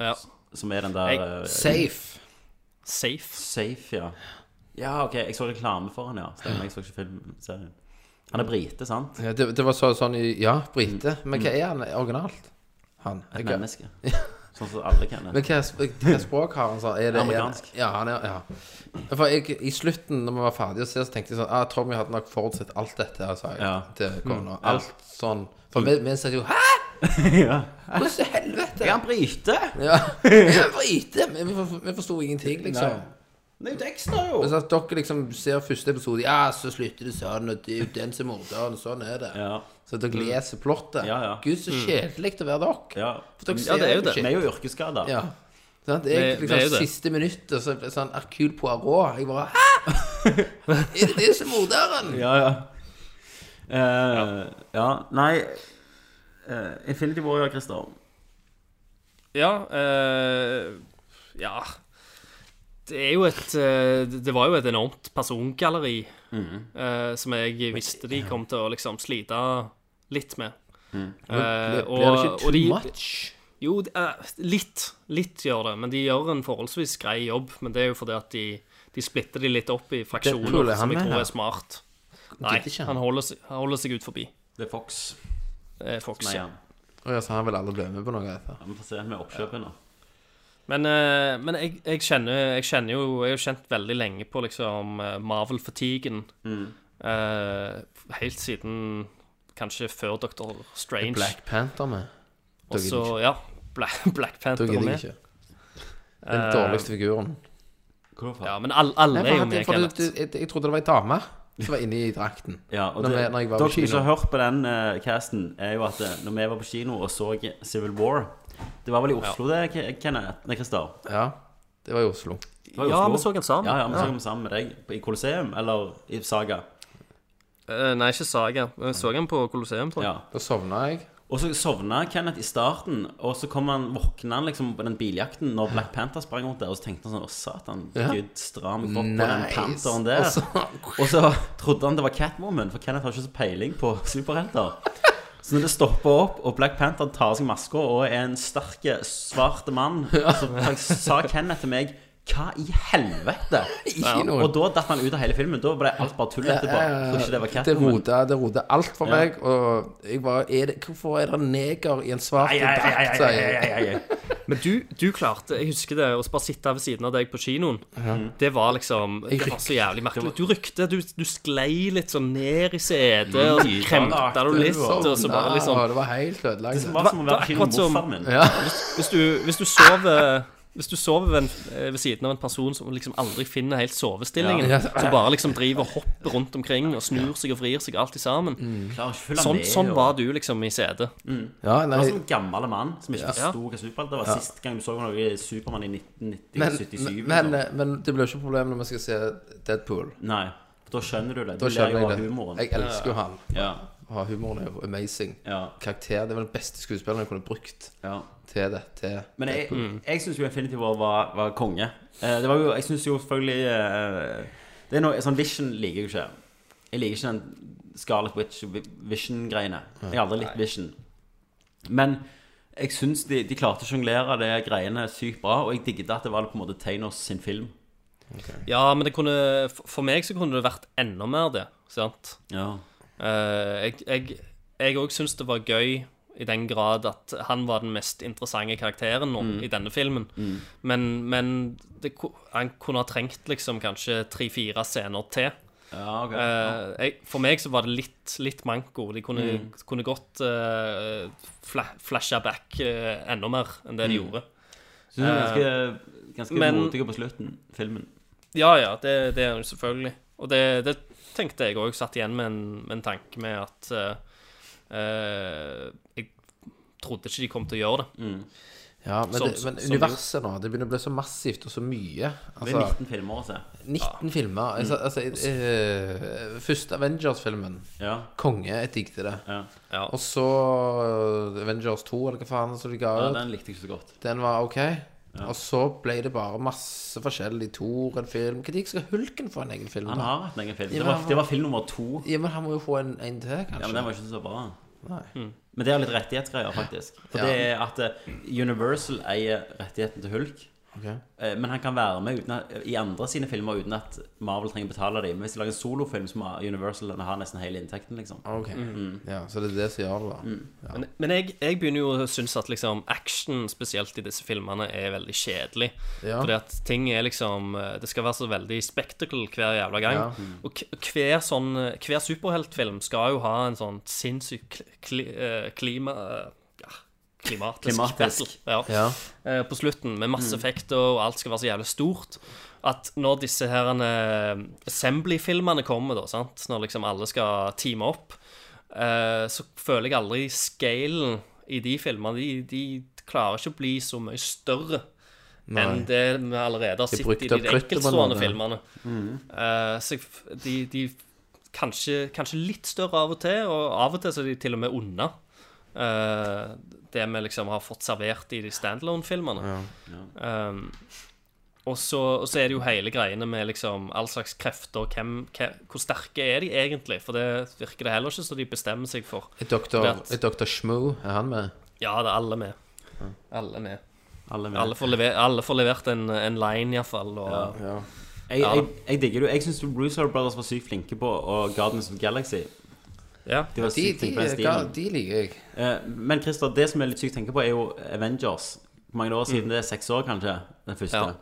Speaker 1: ja.
Speaker 4: Som er den der
Speaker 1: Jeg-
Speaker 4: eh,
Speaker 5: Safe.
Speaker 1: Safe.
Speaker 4: Safe, ja. Ja, OK, jeg så reklame for han, ja. Stemmer, jeg så ikke filmserien. Han er brite, sant?
Speaker 5: Ja, det, det var så, sånn i Ja, brite. Men hva er han originalt? Han.
Speaker 4: Mm. Et
Speaker 5: Hva-
Speaker 4: menneske. Sånn som alle kan.
Speaker 5: Men hva, hva språk har han sånn? Er det,
Speaker 4: Amerikansk.
Speaker 5: Ja, han er, ja. For jeg, i slutten, når vi var ferdige å se, så tenkte jeg sånn ah, Tommy hadde nok forutsett alt dette, altså,
Speaker 4: Ja. Mm.
Speaker 5: til kona. Alt sånn. For vi, vi satt jo Hæ?!
Speaker 4: ja.
Speaker 5: Hvordan i helvete?
Speaker 4: Er han brite?
Speaker 5: Ja. Vi brite! Men vi, for- vi forsto ingenting, liksom.
Speaker 4: Nei. Det er jo Dexter, jo!
Speaker 5: Men så at dere liksom ser første episode Ja, så slutter det sånn, og det er jo den som er morderen, og sånn er det.
Speaker 4: Ja.
Speaker 5: Så dere
Speaker 1: Mm.
Speaker 5: leser plottet.
Speaker 4: Ja, ja.
Speaker 5: Gud, så kjedelig å være dere.
Speaker 4: Ja.
Speaker 5: For dere
Speaker 1: Ja, det er
Speaker 5: ser
Speaker 1: jo det.
Speaker 5: ikke-
Speaker 4: Vi er jo yrkesskada.
Speaker 5: Ja. Sant? Jeg,
Speaker 1: Det-
Speaker 5: liksom,
Speaker 1: det er jo det.
Speaker 5: Siste minuttet så ble sånn Hercule Poirot. Jeg bare Hæ?! Er det det som er morderen?
Speaker 4: Ja, ja. Eh, ja, nei eh, Infinity Warrior, Christer.
Speaker 1: Ja. eh, ja. Det er jo et eh, Det var jo et enormt persongalleri eh, som jeg visste de kom til å liksom slite litt med. Eh,
Speaker 5: Blir- Blir det
Speaker 1: og-
Speaker 5: ikke
Speaker 1: og
Speaker 5: too
Speaker 1: de-
Speaker 5: much?
Speaker 1: Jo, det er- litt. Litt gjør det. Men de gjør en forholdsvis grei jobb. Men det er jo fordi at de, de splitter de litt opp
Speaker 5: Deadpool,
Speaker 1: i
Speaker 5: er
Speaker 1: fraksjoner,
Speaker 5: han
Speaker 1: som jeg
Speaker 5: med
Speaker 1: tror
Speaker 5: her?
Speaker 1: er smart. Nei,
Speaker 5: ikke han.
Speaker 1: han holder, seg- han holder seg ut forbi.
Speaker 4: Det er Fox.
Speaker 1: eh, Fox.
Speaker 4: Nei, ja.
Speaker 5: Å ja, så han vil aldri bli med på noe altså. etter.
Speaker 4: Ja, Vi får se med oppkjøpet nå.
Speaker 1: Men, eh, men jeg, jeg, kjenner, jeg kjenner jo Jeg har jo kjent veldig lenge på liksom eh, Marvel-fatigen.
Speaker 4: Mm.
Speaker 1: Eh, helt siden kanskje før Dr. Strange.
Speaker 5: Black Panther med.
Speaker 1: Og så, ja. Black, Black
Speaker 5: Da
Speaker 1: Panther
Speaker 5: gidder jeg
Speaker 1: med.
Speaker 5: ikke. Den dårligste figuren.
Speaker 4: Hvorfor?
Speaker 1: Ja, men alle, alle
Speaker 5: Nei,
Speaker 1: Eh, er
Speaker 5: for
Speaker 1: jo
Speaker 5: at-
Speaker 1: med,
Speaker 5: for
Speaker 1: Kenneth.
Speaker 5: det- det- jeg trodde det var ei dame som var inne i drakten.
Speaker 4: Ja, og
Speaker 5: Når
Speaker 4: det,
Speaker 5: vi- når jeg var på
Speaker 4: Dere som ikke
Speaker 5: kino.
Speaker 4: har hørt på den eh, casten, er jo at eh, når vi var på kino og så Civil War Det var vel i Oslo, det, Ke- Kenneth? Nei, Christer.
Speaker 5: Ja, det var i Oslo.
Speaker 4: Det var i
Speaker 1: Ja,
Speaker 4: Oslo.
Speaker 1: vi så den sammen.
Speaker 4: Ja, ja, vi så den sammen med deg på- i Colosseum, eller i Saga.
Speaker 1: Eh, nei, ikke Saga. Jeg så den på Colosseum, tror jeg.
Speaker 4: Ja.
Speaker 5: Da sovna jeg.
Speaker 4: Og så sovna Kenneth i starten, og så kom han, våkna han liksom på den biljakten når Black Panther sprang rundt der, og så tenkte han sånn Å, satan, gud, stram meg opp på den
Speaker 5: Nice.
Speaker 4: Pantheren der.
Speaker 5: Og så-
Speaker 4: og så trodde han det var Catwoman, for Kenneth har ikke så peiling på superhelter. Så når det stopper opp, og Black Panther tar av seg maska og er en sterk, svart mann, så tak- sa Kenneth til meg Hva i helvete?
Speaker 5: I kinoen.
Speaker 4: Og da datt han ut av hele filmen. Da ble alt bare tull etterpå. Jeg tror ikke det var
Speaker 5: Det
Speaker 4: Catwoman.
Speaker 5: rota, det rota alt for meg. Og jeg bare er det, Hvorfor er det neger i en svart drakt? sier jeg.
Speaker 1: Men du, du klarte jeg husker det, å bare sitte ved siden av deg på kinoen. Det var liksom Det var så jævlig merkelig. Du rykte, du, du sklei litt sånn ned i setet, og så kremta du litt, og så bare liksom
Speaker 5: Ja, Det var helt ødelagt.
Speaker 4: Det var som å være på
Speaker 1: Det er
Speaker 4: kino
Speaker 1: akkurat
Speaker 4: med
Speaker 1: som-
Speaker 4: morfaren min.
Speaker 1: Hvis du, hvis du sover hvis du sover ved, en, eh, ved siden av en person som liksom aldri finner helt sovestillingen,
Speaker 5: Ja.
Speaker 1: som bare liksom driver og hopper rundt omkring og snur seg og vrir seg alltid sammen
Speaker 4: Klarer ikke å følge
Speaker 1: Sånn,
Speaker 4: med,
Speaker 1: sånn
Speaker 4: og-
Speaker 1: var du liksom i setet.
Speaker 5: Ja, nei,
Speaker 4: Det var som en gammel mann som ikke
Speaker 1: Ja.
Speaker 4: forsto hva superhelt var. Sist gang du så noe i Supermann i
Speaker 5: men,
Speaker 4: 1977.
Speaker 5: men, eh,
Speaker 4: liksom.
Speaker 5: men det blir ikke problem når vi skal se Deadpool.
Speaker 4: Nei, for da skjønner du det.
Speaker 5: Da
Speaker 4: Du ler jo
Speaker 5: skjønner
Speaker 4: av
Speaker 5: jeg det.
Speaker 4: humoren.
Speaker 5: Jeg elsker jo han.
Speaker 4: Ja,
Speaker 5: Ha, humoren er jo amazing.
Speaker 4: ja,
Speaker 5: Karakter, Det var den beste skuespilleren jeg kunne brukt
Speaker 4: ja.
Speaker 5: til det. Til
Speaker 4: Men jeg,
Speaker 5: Mm.
Speaker 4: jeg syns jo Infinity War var, var konge. Eh, Det var jo, jeg syns jo selvfølgelig eh, Det er noe, Sånn Vision liker jeg jo ikke. Jeg liker ikke den Scarlet Witch Vi- Vision-greiene. Jeg har aldri likt Vision. Men jeg syns de, de klarte å sjonglere de greiene sykt bra, og jeg digget at det var på en måte Thanos sin film.
Speaker 1: Ja, men det kunne, for- for meg så kunne det vært enda mer det. sant?
Speaker 4: Ja
Speaker 1: Eh, jeg- jeg- Jeg òg syns det var gøy i den grad at han var den mest interessante karakteren nå, i denne filmen. Men, men det, ku- han kunne ha trengt liksom kanskje tre-fire scener til.
Speaker 4: Ja, ok.
Speaker 1: Eh, jeg, for meg så var det litt, litt manko. De kunne, kunne godt uh, fla, flasha back eh, enda mer enn det de gjorde.
Speaker 4: Synes du det er ganske, ganske
Speaker 1: men-
Speaker 4: modig på slutten, filmen.
Speaker 1: Ja, ja, det, det er han jo selvfølgelig. Og det, det tenkte jeg òg, satt igjen med en, med en tanke med at eh, eh, jeg, trodde ikke de kom til å gjøre
Speaker 5: Mm.
Speaker 1: det.
Speaker 5: Ja, men,
Speaker 1: Som-
Speaker 5: det, men
Speaker 1: som- som
Speaker 5: universet nå, det begynner å bli så massivt og så mye.
Speaker 4: Det er
Speaker 5: Altså,
Speaker 4: 19 filmer å se.
Speaker 5: 19 filmer. Altså, altså, eh, første Avengers-filmen.
Speaker 4: Ja.
Speaker 5: Konge, jeg digget det.
Speaker 4: ja.
Speaker 1: Ja.
Speaker 5: Og så eh, Avengers 2, eller hva faen som de ga
Speaker 4: ja
Speaker 5: ut.
Speaker 4: den likte jeg ikke så godt.
Speaker 5: Den var ok. Og så ble det bare masse forskjellig. Thor, en film Når skal Hulken få en egen film?
Speaker 4: Han
Speaker 5: da?
Speaker 4: har hatt en egen film.
Speaker 5: Ja,
Speaker 4: Det
Speaker 5: men
Speaker 4: var,
Speaker 5: han-
Speaker 4: det var film nummer to.
Speaker 5: Ja, men han må jo få en, en til,
Speaker 4: Ja,
Speaker 5: kanskje.
Speaker 4: men den var Mm. ikke så bra.
Speaker 5: Nei.
Speaker 4: Men det er litt rettighetsgreier, faktisk. For
Speaker 5: Ja.
Speaker 4: det er at eh, Universal eier rettigheten til Hulk.
Speaker 5: Ok.
Speaker 4: Eh, Men han kan være med uten at, i andre sine filmer uten at Marvel trenger betale dem. Men hvis de lager en solofilm, så må Universal ha nesten hele inntekten, liksom.
Speaker 5: Ok. Ja, så det er det som gjør det, da.
Speaker 4: Mm.
Speaker 1: Men, men jeg, jeg begynner jo å synes at liksom action, spesielt i disse filmene, er veldig kjedelig.
Speaker 5: Ja.
Speaker 1: Fordi at ting er liksom eh, Det skal være så veldig spectacle hver jævla gang.
Speaker 5: Ja.
Speaker 1: Og k- hver sånn eh, Hver superheltfilm skal jo ha en sånn sinnssyk kli, kli, eh, klima... eh, ja, Klimatisk,
Speaker 4: Klimatisk.
Speaker 1: battle. Ja.
Speaker 5: Ja.
Speaker 1: eh, på slutten, med masse effekter, og alt skal være så jævlig stort. At når disse her eh, Assembly-filmene kommer, da, sant? når liksom alle skal teame opp, eh, så føler jeg aldri scalen i de filmene. De, de klarer ikke å bli så mye større enn det vi allerede har
Speaker 5: De
Speaker 1: sett
Speaker 5: brukte
Speaker 1: i de
Speaker 5: opp kruttet på en
Speaker 1: enkeltstående
Speaker 5: måte.
Speaker 1: filmene. Eh, så jeg f- de, de kanskje, kanskje litt større av og til, og av og til så er de til og med unna. eh, det vi liksom har fått servert i de standalone-filmene. Um, og så, og så er det jo hele greiene med liksom all slags krefter. Hvem, hva- hvor sterke er de egentlig? For det virker det heller ikke så de bestemmer seg for.
Speaker 5: Er Dr.
Speaker 1: Vet.
Speaker 5: er Dr. Schmoo, er han med?
Speaker 1: Ja, det er alle med. Alle med.
Speaker 4: Alle med.
Speaker 1: Alle får, lever, alle får levert en, en line, iallfall. Og
Speaker 4: Ja.
Speaker 5: Ja.
Speaker 4: Jeg, jeg, jeg digger det. jo. Jeg syns Russo Brothers var sykt flinke på og Guardians of the Galaxy.
Speaker 1: ja.
Speaker 4: De var
Speaker 5: De, de,
Speaker 4: sykt flinke på den
Speaker 5: hva,
Speaker 4: stilen.
Speaker 5: de liker jeg.
Speaker 4: Eh, Men Christer, det som er litt sykt å tenke på, er jo Avengers. Hvor mange år siden?
Speaker 5: Mm.
Speaker 4: Det er seks år, kanskje? Den første.
Speaker 1: Ja.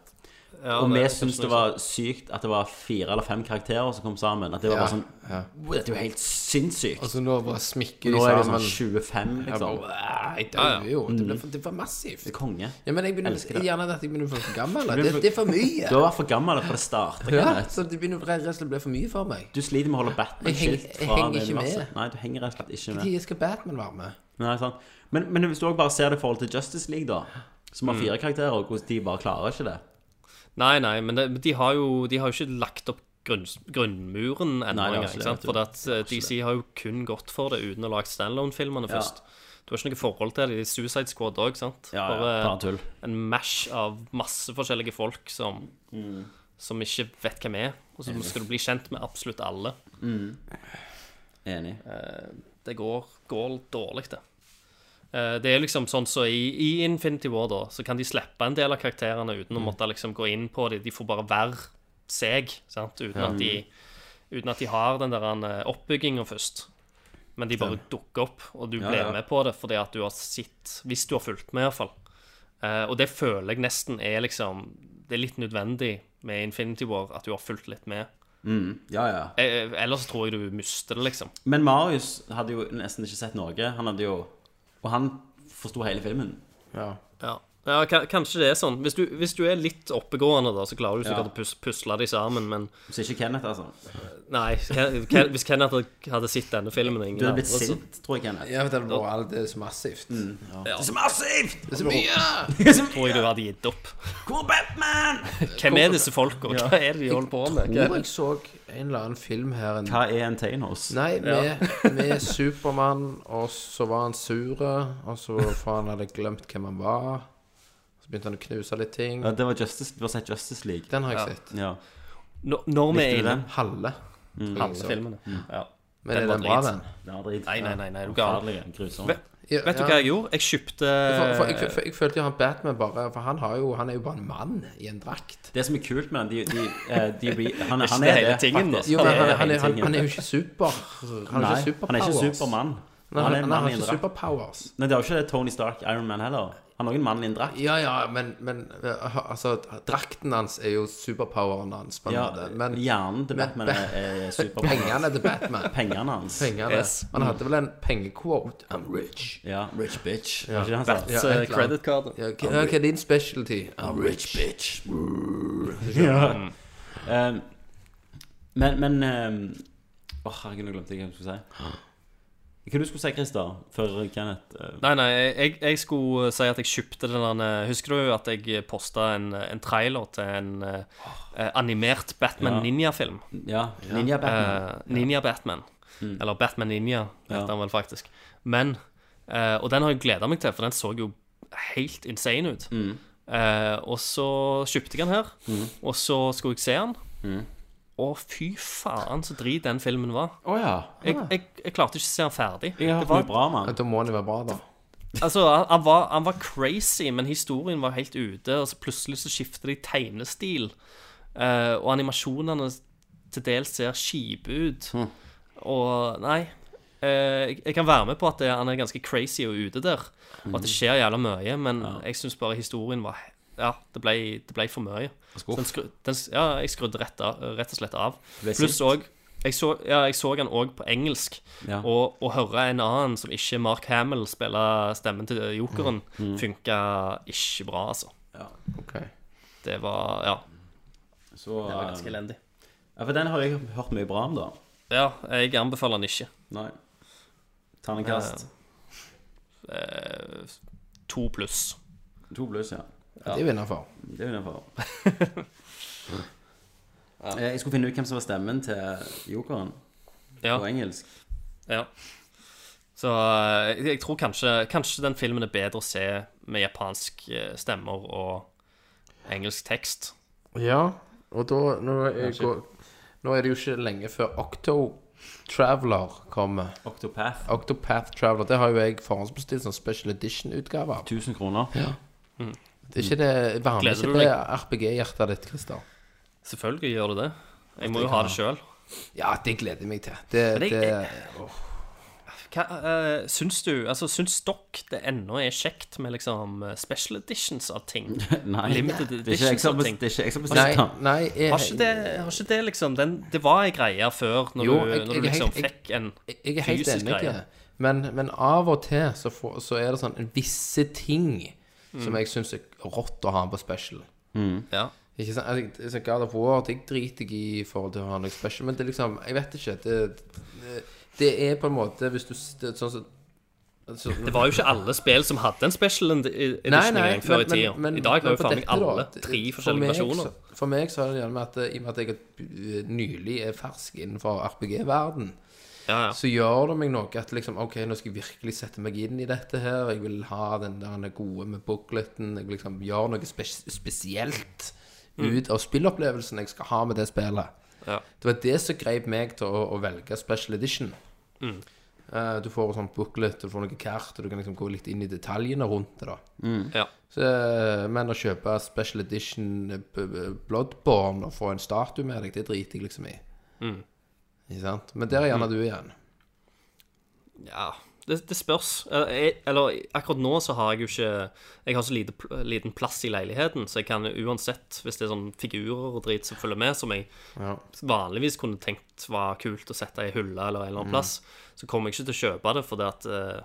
Speaker 1: Ja,
Speaker 4: og
Speaker 1: det-
Speaker 4: vi syntes det var sykt at det var fire eller fem karakterer som kom sammen. At det var
Speaker 5: Ja,
Speaker 4: bare sånn
Speaker 5: ja.
Speaker 4: wow, Dette er jo helt sinnssykt.
Speaker 5: Altså, nå bare smikker de
Speaker 4: Nå er det
Speaker 5: sammen.
Speaker 4: sånn Mm. 25,
Speaker 5: Jeg
Speaker 4: liksom.
Speaker 5: bare, Nei, det
Speaker 1: Ja,
Speaker 5: er
Speaker 1: ja.
Speaker 5: jo Det, ble, for- det var massivt.
Speaker 4: Det er konge.
Speaker 5: Ja, men jeg begynner,
Speaker 4: Elsker det.
Speaker 5: gjerne at jeg begynner å bli for gammel.
Speaker 4: blir
Speaker 5: Det,
Speaker 4: for-
Speaker 5: det er for mye.
Speaker 4: Du har vært for gammel for det starta.
Speaker 5: Ja,
Speaker 4: Kenneth.
Speaker 5: så det begynner rett og slett å bli for mye for meg.
Speaker 4: Du sliter med å holde Batman
Speaker 5: Jeg henger-
Speaker 4: skilt
Speaker 5: jeg
Speaker 4: fra
Speaker 5: henger
Speaker 4: det
Speaker 5: ikke med.
Speaker 4: universet. Nei, du henger rett og slett ikke med.
Speaker 5: Når skal Batman være med?
Speaker 4: Nei, sant? Men, men hvis du også bare ser det i forhold til Justice League, da. Som
Speaker 5: Mm.
Speaker 4: har fire karakterer, og hvordan de bare klarer ikke det.
Speaker 1: Nei, nei, men det, de har jo de har jo ikke lagt opp grunn, grunnmuren
Speaker 4: Nei,
Speaker 1: ennå
Speaker 4: det er
Speaker 1: engang.
Speaker 4: ikke det,
Speaker 1: sant?
Speaker 4: vet du.
Speaker 1: For at eh, DC har jo kun gått for det uten å lage standalone-filmene
Speaker 4: Ja.
Speaker 1: først. Du har ikke noe forhold til det i Suicide Squad òg, sant?
Speaker 4: Ja, ja, bare tull.
Speaker 1: en mash av masse forskjellige folk som,
Speaker 4: Mm.
Speaker 1: som ikke vet hvem er. Og så skal du bli kjent med absolutt alle.
Speaker 4: Enig.
Speaker 1: Eh, Det går, går dårlig, det. Eh, Det er liksom sånn så i, I Infinity War da Så kan de slippe en del av karakterene uten
Speaker 4: Mm.
Speaker 1: å måtte liksom gå inn på dem. De får bare være seg, sant? Uten, at de, uten at de har den der oppbygginga først. Men de bare dukker opp, og du
Speaker 4: Ja,
Speaker 1: blir
Speaker 4: ja.
Speaker 1: med på det fordi at du har sett Hvis du har fulgt med, iallfall. Uh, og det føler jeg nesten er liksom Det er litt nødvendig med Infinity War at du har fulgt litt med.
Speaker 4: Mm. Ja, ja.
Speaker 1: Eh, ellers tror jeg du mister det, liksom.
Speaker 4: Men Marius hadde jo nesten ikke sett noe. Han hadde jo Og han forsto hele filmen.
Speaker 5: Ja.
Speaker 1: Ja, ja ka- kanskje det er sånn. Hvis du, hvis du er litt oppegående, da, så klarer du sikkert
Speaker 4: Ja.
Speaker 1: å pus pusle de sammen, men
Speaker 4: Så ikke Kenneth, altså.
Speaker 1: nei. Ken- Ken- Hvis Kenneth hadde- hadde sett denne filmen og ingen
Speaker 4: Du hadde blitt
Speaker 1: andre, så-
Speaker 4: sint, tror jeg, Kenneth.
Speaker 5: Jeg vet at det var alt det er så massivt.
Speaker 4: Det er så massivt!
Speaker 5: Det er så mye!
Speaker 1: tror jeg du hadde gitt opp.
Speaker 4: Hvor er Batman?
Speaker 1: Hvem er disse folka? Hva er det de holder på med?
Speaker 5: Jeg tror jeg så en eller annen film her en
Speaker 4: Hva er en Thanos?
Speaker 5: Nei, med, med Supermann, og så var han sure, og så faen hadde jeg glemt hvem han var. Så begynte han å knuse litt ting.
Speaker 4: Ja, det var Justice, du har sett Justice League.
Speaker 5: Den har jeg sett.
Speaker 4: Ja.
Speaker 1: Når, når vi
Speaker 4: Likte
Speaker 1: er
Speaker 4: du
Speaker 1: inne
Speaker 4: den?
Speaker 5: Halve. tror jeg
Speaker 1: på
Speaker 5: så.
Speaker 1: filmene
Speaker 4: Mm.
Speaker 1: ja.
Speaker 5: Men
Speaker 1: Den
Speaker 5: er
Speaker 1: var
Speaker 5: den bra,
Speaker 1: drit.
Speaker 5: den?
Speaker 4: Ja, drit.
Speaker 1: Nei, nei, nei, nei, du er gal.
Speaker 4: Forferdelig. Grusom.
Speaker 1: Vet-
Speaker 5: Ja,
Speaker 1: Vet du
Speaker 5: ja.
Speaker 1: hva jeg gjorde? Jeg kjøpte
Speaker 5: For, for,
Speaker 1: Eh.
Speaker 5: jeg, for jeg følte jo han Batman bare For han, har jo, han er jo bare en mann i en drakt.
Speaker 4: Det som er kult med den, de, de, eh, de, re- han,
Speaker 1: Ikke
Speaker 4: han
Speaker 1: det
Speaker 4: er
Speaker 1: hele
Speaker 4: det,
Speaker 1: tingen, da.
Speaker 4: faktisk.
Speaker 5: Jo, men han, altså.
Speaker 4: Det
Speaker 5: han,
Speaker 4: er
Speaker 5: han, er-
Speaker 4: hele
Speaker 5: han,
Speaker 4: tingen.
Speaker 5: han er jo ikke super. Han
Speaker 4: Nei,
Speaker 5: er ikke
Speaker 4: han er ikke
Speaker 5: superpowers.
Speaker 4: Supermann.
Speaker 5: Nei,
Speaker 4: Han er en
Speaker 5: han
Speaker 4: mann
Speaker 5: har
Speaker 4: i en
Speaker 5: ikke
Speaker 4: drakt.
Speaker 5: superpowers.
Speaker 4: Nei, det er jo ikke det Tony Stark, Iron Man heller. Han er også en mann i en drakt.
Speaker 5: Ja, ja, men, men eh, altså, drakten hans er jo superpoweren hans, på en
Speaker 4: Ja,
Speaker 5: måte. Men
Speaker 4: hjernen til
Speaker 5: men-
Speaker 4: Batman er, er Supermann.
Speaker 5: pengene til Batman
Speaker 4: Pengene hans.
Speaker 5: Pengene.
Speaker 1: Yes.
Speaker 5: Han hadde vel en pengequote. I'm rich.
Speaker 4: Ja. Rich bitch. Ja. Ikke det han sa?
Speaker 5: Ja, et
Speaker 1: Så
Speaker 5: eller annet.
Speaker 1: credit card.
Speaker 5: Ja, hva hva er din specialty? I'm rich.
Speaker 4: bitch. ja. Um, men men um, Åh, herregud, nå glemte jeg hva jeg skulle si. Hva du skulle si, Christer, før Kenneth eh,
Speaker 1: Nei, nei, jeg, jeg skulle si at jeg kjøpte den der eh, Husker du at jeg posta en, en trailer til en eh, eh, animert Batman
Speaker 4: Ja.
Speaker 1: Ninja-film?
Speaker 4: Ja, Ninja Batman. Mm.
Speaker 1: Eh, Ninja Batman. Eller Batman Ninja, heter
Speaker 4: Ja.
Speaker 1: han vel faktisk. Men eh, Og den har jeg gleda meg til, for den så jo helt insane ut.
Speaker 4: Mm.
Speaker 1: Eh, og så kjøpte jeg den her, og så skulle jeg se den.
Speaker 4: Mm.
Speaker 1: Å, fy faen, så drit den filmen var.
Speaker 4: Eh, Å ja.
Speaker 1: Jeg, jeg, jeg klarte ikke å se den ferdig.
Speaker 4: Ah. Jeg har
Speaker 1: Det
Speaker 4: hørt
Speaker 1: var-
Speaker 4: mye bra, mann.
Speaker 5: Da må det være bra, da.
Speaker 1: Altså, han, han, var, han var crazy, men historien var helt ute. Og så plutselig så skifter de tegnestil. eh, og animasjonene til dels ser kjipe ut.
Speaker 4: Hm.
Speaker 1: Og nei. eh, jeg, jeg kan være med på at det, han er ganske crazy og ute der. Og at det
Speaker 4: Hm.
Speaker 1: skjer jævla mye, men jeg syns bare historien var Ja, det ble, det ble for mye. Så Den skru, den, s- ja, jeg skrudde rett, av, rett og slett av.
Speaker 4: ble
Speaker 1: Pluss
Speaker 4: sint.
Speaker 1: òg jeg så, ja, jeg så han òg på engelsk.
Speaker 4: Ja.
Speaker 1: Og å høre en annen som ikke Mark Hamill spiller stemmen til jokeren, funka ikke bra, altså.
Speaker 5: Ok.
Speaker 1: Det var Ja,
Speaker 4: Så,
Speaker 1: det var ganske
Speaker 4: eh,
Speaker 1: elendig.
Speaker 4: ja, for den har jeg hørt mye bra om, da.
Speaker 1: Ja, jeg anbefaler den ikke.
Speaker 4: Nei. Terningkast
Speaker 1: Eh, to pluss.
Speaker 4: to pluss, ja.
Speaker 5: Det er vi innafor.
Speaker 4: Det er innafor. Eh, Jeg skulle finne ut hvem som var stemmen til jokeren
Speaker 1: Ja.
Speaker 4: på engelsk.
Speaker 1: ja. Så eh, jeg, jeg tror kanskje, kanskje den filmen er bedre å se med japansk eh, stemmer og engelsk tekst.
Speaker 5: Ja, og da nå er, jeg, går- nå er det jo ikke lenge før Octo Traveler kommer.
Speaker 4: Octopath.
Speaker 5: Octopath Traveler, det har jo jeg forhåndsbestilt som special edition-utgave av.
Speaker 4: 1000 kroner.
Speaker 5: Det er ikke det varme,
Speaker 1: Gleder
Speaker 5: ikke
Speaker 1: du
Speaker 5: det RPG-hjertet ditt, Christer.
Speaker 1: Selvfølgelig gjør det det. Jeg må jo ha det sjøl.
Speaker 5: Ja, det gleder jeg meg til. Det,
Speaker 1: Men jeg-
Speaker 5: det,
Speaker 1: Hva, eh, syns du Altså, syns dere det ennå er kjekt med liksom eh, special editions av ting?
Speaker 4: Nei,
Speaker 1: Limited
Speaker 4: det er ikke jeg
Speaker 1: edition
Speaker 4: som
Speaker 1: og
Speaker 4: bes-
Speaker 1: ting.
Speaker 4: det er ikke jeg som
Speaker 5: nei,
Speaker 4: bestilte den.
Speaker 5: nei jeg,
Speaker 1: Har ikke det, har ikke det liksom den, Det var ei greie før, når
Speaker 5: Jo,
Speaker 1: du,
Speaker 5: jeg-
Speaker 1: når du
Speaker 5: jeg er
Speaker 1: liksom
Speaker 5: helt- jeg-
Speaker 1: fikk en
Speaker 5: jeg er helt
Speaker 1: fysisk
Speaker 5: enig i
Speaker 1: greie.
Speaker 5: det. Men, men av og til så, får, så er det sånn visse ting
Speaker 1: Mm.
Speaker 5: som jeg syns er rått å ha på special.
Speaker 1: Ja.
Speaker 5: Ikke sant? Altså, Jeg, jeg, jeg, sånn God of War det driter jeg i forhold til å ha noe special, men det er liksom Jeg vet ikke. Det, det, det er på en måte Hvis du s- det, er sånn som sånn så,
Speaker 1: Det var jo ikke alle spill som hadde en special ed- edition
Speaker 5: Nei, nei,
Speaker 1: engang før i tida. I dag har
Speaker 5: men
Speaker 1: jo
Speaker 5: på
Speaker 1: faen meg
Speaker 5: dette da,
Speaker 1: alle
Speaker 5: at-
Speaker 1: tre
Speaker 5: for
Speaker 1: forskjellige
Speaker 5: meg
Speaker 1: versjoner.
Speaker 5: så- For meg så er det gjerne med at eh, i og med at jeg er, eh, nylig er fersk innenfor RPG-verden,
Speaker 1: Ja, ja.
Speaker 5: så gjør det meg noe at liksom, ok, nå skal jeg virkelig sette meg inn i dette her, jeg vil ha den der den gode med bookleten, jeg vil liksom gjør noe spes spesielt ut av spillopplevelsen jeg skal ha med det spillet.
Speaker 1: Mm. Ja.
Speaker 5: Det var det som greip meg til å, å velge special edition.
Speaker 1: Mm.
Speaker 5: Eh, du får sånn booklet, du får noe kart, og du kan liksom gå litt inn i detaljene rundt det da.
Speaker 1: ja.
Speaker 5: Så, men å kjøpe special edition eh, b- b- Bloodborne og få en statue med deg, det driter jeg liksom i.
Speaker 1: Mm.
Speaker 5: Ikke sant? Men der er gjerne du igjen.
Speaker 1: ja. Det, det spørs. Eh, Jeg, eller akkurat nå så har jeg jo ikke Jeg har så lite, pl- liten plass i leiligheten, så jeg kan uansett, hvis det er sånn figurer og drit som følger med, som jeg
Speaker 5: Ja.
Speaker 1: vanligvis kunne tenkt var kult å sette i hylle eller en eller
Speaker 5: Mm.
Speaker 1: annen plass, så kommer jeg ikke til å kjøpe det fordi at eh,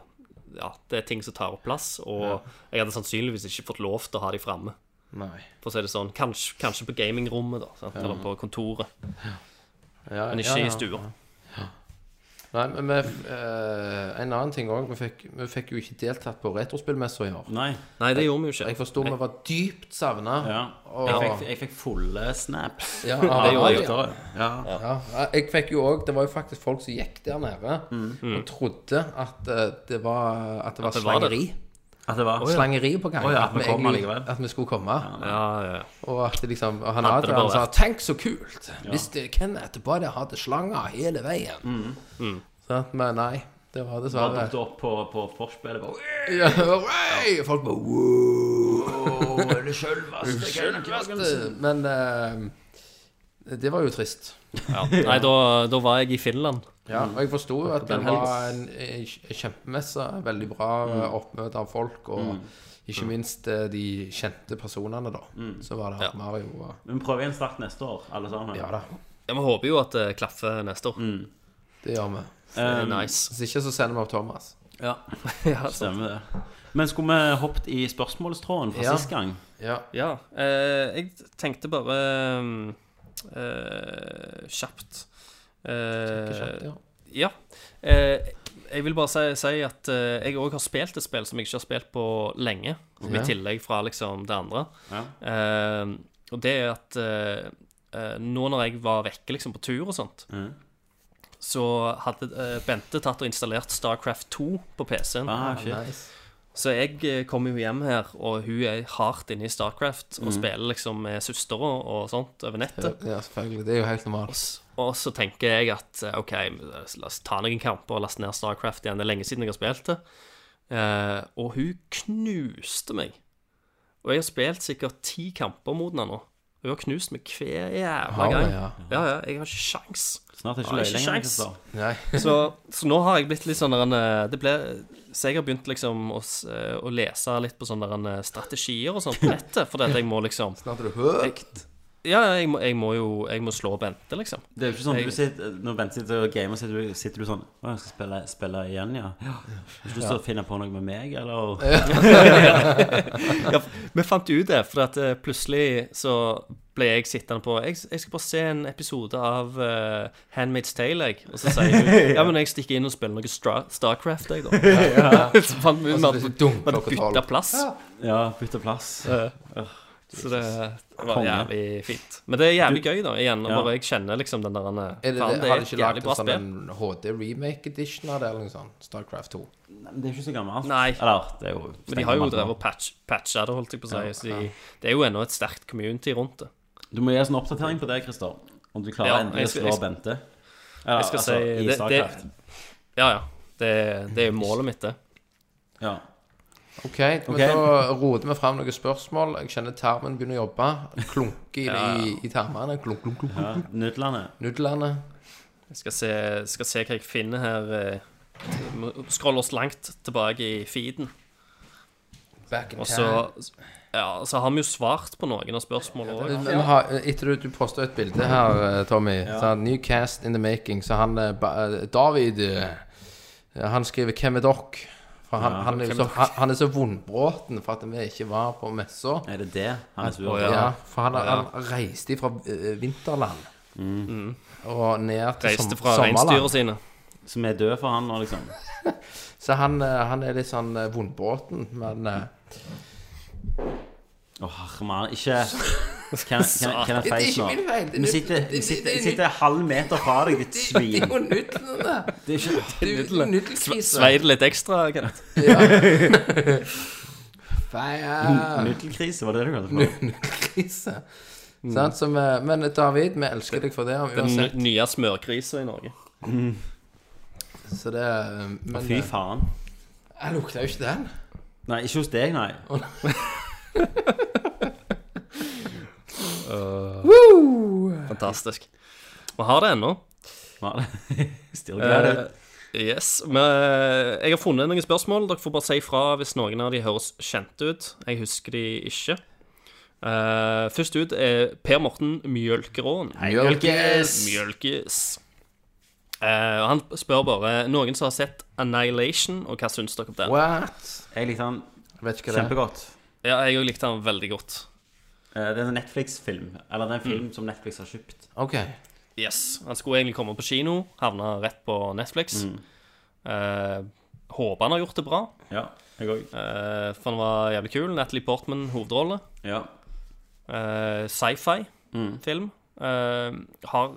Speaker 1: ja, det er ting som tar opp plass, og jeg hadde sannsynligvis ikke fått lov til å ha de framme.
Speaker 5: Nei.
Speaker 1: For å si det sånn, kanskje, kanskje på gamingrommet, da, sant? eller på kontoret,
Speaker 5: Ja,
Speaker 1: men
Speaker 5: ja,
Speaker 1: ikke
Speaker 5: ja.
Speaker 1: i stua.
Speaker 5: Nei, men vi, eh, en annen ting òg. Vi, fikk- vi fikk jo ikke deltatt på retrospillmessa i år.
Speaker 4: Nei.
Speaker 1: Nei, det gjorde vi jo
Speaker 5: Jeg
Speaker 1: ikke.
Speaker 5: forsto vi var dypt savna.
Speaker 4: Ja.
Speaker 5: Og-
Speaker 4: Jeg, fikk, jeg fikk fulle snaps.
Speaker 5: Ja,
Speaker 1: Det gjorde jeg.
Speaker 5: ja, ja. Jeg fikk jo òg Det var jo faktisk folk som gikk der nede
Speaker 4: Mm.
Speaker 5: og trodde at eh, det var, at det var
Speaker 1: Mm. At det var det.
Speaker 5: slangeri.
Speaker 4: At det var
Speaker 5: Slangeri på gang.
Speaker 4: Å ja, at vi kom
Speaker 5: egentlig-
Speaker 4: allikevel.
Speaker 5: at vi skulle komme.
Speaker 1: Ja, ja, ja.
Speaker 5: Og at det liksom og Han
Speaker 1: Hadde det
Speaker 5: Adrian
Speaker 1: bare
Speaker 5: sa
Speaker 1: vært.
Speaker 5: 'Tenk så kult!' Hvis det, Kenneth bare hadde slanger hele veien.
Speaker 1: Mm,
Speaker 5: Sant? men nei. Det var
Speaker 4: Bare
Speaker 5: dessverre
Speaker 4: dukket opp på, på forspillet. Bare,
Speaker 5: Ja, hei! Folk bare wow, er det sjølveste? Sjølveste? Men eh, det var jo trist.
Speaker 1: ja. Nei, da, da var jeg i Finland.
Speaker 5: Ja, og jeg forsto jo at det
Speaker 1: Mm. Den
Speaker 5: var en, en kjempemesse. Veldig bra eh,
Speaker 1: Mm.
Speaker 5: oppmøte av folk, og ikke minst eh, de kjente personene, da. Så var det
Speaker 1: Mm.
Speaker 5: ja.
Speaker 1: Ja.
Speaker 5: Mario og
Speaker 4: men prøv igjen snart neste år, alle sammen.
Speaker 5: Ja da,
Speaker 1: Ja, Vi håper jo at det klaffer neste år.
Speaker 5: det gjør vi.
Speaker 1: Det er nice.
Speaker 5: Hvis ikke, så sender vi opp Thomas.
Speaker 4: Ja,
Speaker 1: Ja, sant.
Speaker 4: stemmer det. Men skulle vi hoppet i spørsmålstråden fra
Speaker 5: Ja.
Speaker 4: sist gang?
Speaker 5: Ja.
Speaker 1: Ja, eh, jeg tenkte bare eh, kjapt eh,
Speaker 5: Eh, Kjent, ja.
Speaker 1: Ja. Eh, jeg vil bare si, si at eh, jeg òg har spilt et spill som jeg ikke har spilt på lenge, som i tillegg fra liksom det andre. Eh, og det er at eh, eh, nå når jeg var vekke liksom på tur og sånt, så hadde eh, Bente tatt og installert Starcraft 2 på PC-en.
Speaker 4: Ah, shit.
Speaker 1: Så jeg eh, kom jo hjem her, og hun er hardt inne i Starcraft og spiller liksom med søstera og sånt over nettet.
Speaker 5: Mm. Ja, selvfølgelig. Det er jo helt normalt.
Speaker 1: Og så tenker jeg at eh, OK, la oss ta noen kamper og laste ned Starcraft igjen. Det er lenge siden jeg har spilt det. Eh, og hun knuste meg. Og jeg har spilt sikkert ti kamper mot henne nå. Hun har knust meg hver jævla
Speaker 5: Har hun,
Speaker 1: gang.
Speaker 5: ja?
Speaker 1: Ja. ja, Jeg har ikke sjans.
Speaker 4: Snart er
Speaker 1: Ja,
Speaker 4: ikke løy
Speaker 1: ikke
Speaker 4: lenger.
Speaker 1: sjans.
Speaker 4: Christer.
Speaker 5: Nei.
Speaker 1: Så, så nå har jeg blitt litt sånn der en eh, Det ble Så jeg har begynt liksom å, s- eh, å lese litt på sånne der en, eh, strategier og sånn på nettet, fordi at jeg må liksom
Speaker 5: Snart er det høyt.
Speaker 1: Ja, ja, jeg må, jeg må jo Jeg må slå Bente, liksom.
Speaker 4: Det er jo ikke sånn at
Speaker 1: Jeg-
Speaker 4: du sitter, Når Bent sitter og gamer, sitter du, sitter du sånn Å, jeg skal spille, spille igjen, ja. Har du ikke lyst til å finne på noe med meg, eller?
Speaker 1: ja, vi fant jo ut det, for at eh, plutselig så ble jeg sittende på Jeg, jeg skal bare se en episode av eh, Handmaid's Tale, jeg. Og så sier hun ja, men jeg stikker inn og spiller noe Stra Starcraft, jeg, da. så fant vi ut
Speaker 5: Og så
Speaker 1: at
Speaker 5: blir
Speaker 1: vi
Speaker 5: det dunk
Speaker 1: hadde
Speaker 5: Altså, klokka tolv.
Speaker 1: bytta plass.
Speaker 4: Ja, bytte plass.
Speaker 1: Så det det var
Speaker 4: Konge.
Speaker 1: jævlig fint. Men det er jævlig gøy, da, igjen. Og
Speaker 4: Ja.
Speaker 1: bare jeg kjenner liksom den der han, eh,
Speaker 5: Er det,
Speaker 1: faen,
Speaker 5: det,
Speaker 1: er
Speaker 5: har de
Speaker 1: et
Speaker 5: ikke
Speaker 1: jævlig
Speaker 5: lagd
Speaker 1: bra
Speaker 5: en sånn
Speaker 1: spill.
Speaker 5: en HD remake edition av det, eller noe sånt? Starcraft 2.
Speaker 4: Men Det er ikke så gammelt.
Speaker 1: Nei.
Speaker 4: Eller, det er jo
Speaker 1: Men de har jo drevet og patch, patcha det, holdt jeg på å si. Så de, det er jo ennå et sterkt community rundt det.
Speaker 4: Du må gi oss en oppdatering på det, Christer. Om du klarer
Speaker 1: Ja,
Speaker 4: endelig å
Speaker 1: jeg skal-
Speaker 4: slå
Speaker 1: jeg skal-
Speaker 4: Bente. Eller,
Speaker 1: skal
Speaker 4: altså,
Speaker 1: si-
Speaker 4: i
Speaker 1: det- det-
Speaker 4: Starcraft.
Speaker 1: Ja, ja. Det, det er jo målet mitt, det.
Speaker 4: Ja.
Speaker 5: OK, men
Speaker 4: Ok.
Speaker 5: da roter vi fram noen spørsmål. Jeg kjenner termen begynner å jobbe. Klunker i, i, i termene. Klunk, klunk, klunk.
Speaker 4: ja. Nudlene.
Speaker 5: Nudlene.
Speaker 1: Jeg skal se, skal se hva jeg finner her. eh. Må Scroll oss langt tilbake i feeden.
Speaker 5: Back in
Speaker 1: Og
Speaker 5: time.
Speaker 1: så, ja, så har vi jo svart på noen av spørsmålene òg.
Speaker 5: Men ha, etter du, du postet et bilde her, eh, Tommy så New cast in the making Så han, eh, ba, eh, David eh, Han skriver 'Hvem er dere?' For han, han, er, jo så, han, han er så vondbråten for at vi ikke var på messa.
Speaker 4: Er det det han er sur på?
Speaker 1: Å,
Speaker 5: Ja.
Speaker 1: Ja. Mm.
Speaker 5: for han, han reiste fra eh, vinterland
Speaker 4: Mm.
Speaker 5: og ned til
Speaker 1: Reiste
Speaker 5: som,
Speaker 1: fra
Speaker 5: sommerland.
Speaker 1: reinsdyra sine.
Speaker 4: Som er død for han nå, liksom?
Speaker 5: Så han, eh, han er litt sånn eh, vondbråten, men eh,
Speaker 4: Å, herman, ikke Can, can, can I
Speaker 5: Det er
Speaker 4: face
Speaker 5: ikke
Speaker 4: nå?
Speaker 5: min feil, det er
Speaker 4: Vi
Speaker 5: nu-
Speaker 4: sitter, vi
Speaker 5: det-
Speaker 4: sitter,
Speaker 5: det- det-
Speaker 4: sitter halv meter fra deg, ditt
Speaker 5: Det er
Speaker 4: svin.
Speaker 5: jo nudlene!
Speaker 4: Det er ikke
Speaker 5: Det er jo nudelkrise.
Speaker 1: Svei det litt ekstra, Kenneth.
Speaker 5: Feil.
Speaker 4: Nudelkrise, var det det du kalte det? for?
Speaker 5: krise.
Speaker 4: Mm.
Speaker 5: Sant, som, eh, men David, vi elsker deg for det. om
Speaker 1: Den
Speaker 5: Uansett.
Speaker 1: nye smørkrisa i Norge.
Speaker 5: Så det eh, Men
Speaker 4: Fy
Speaker 5: eh,
Speaker 4: faen.
Speaker 5: jeg lukta jo ikke den.
Speaker 4: Nei, ikke hos deg, nei.
Speaker 1: Fantastisk. Vi har det ennå.
Speaker 4: Var det? Still glad ut.
Speaker 1: Eh, Yes. Men jeg har funnet noen spørsmål. Dere får bare si ifra hvis noen av de høres kjente ut. Jeg husker de ikke. Eh, først ut er Per Morten Mjølkeråen.
Speaker 4: Mjølkes.
Speaker 1: Mjølkes. Eh, og han spør bare noen som har sett Annihilation, og hva syns dere om den?
Speaker 5: What?
Speaker 4: Jeg likte han
Speaker 5: Jeg vet ikke hva det er.
Speaker 4: kjempegodt.
Speaker 1: Ja, jeg òg likte den veldig godt.
Speaker 4: Eh, Det er en Netflix-film. Eller det er en film som Netflix har kjøpt.
Speaker 5: Ok.
Speaker 1: Yes, Han skulle egentlig komme på kino, havna rett på Netflix. Eh, håper han har gjort det bra,
Speaker 4: Ja, jeg òg.
Speaker 1: eh, for han var jævlig kul. Natalie Portman hovedrolle.
Speaker 4: Ja.
Speaker 1: Eh,
Speaker 4: Mm.
Speaker 1: Sci-fi-film. Eh, har,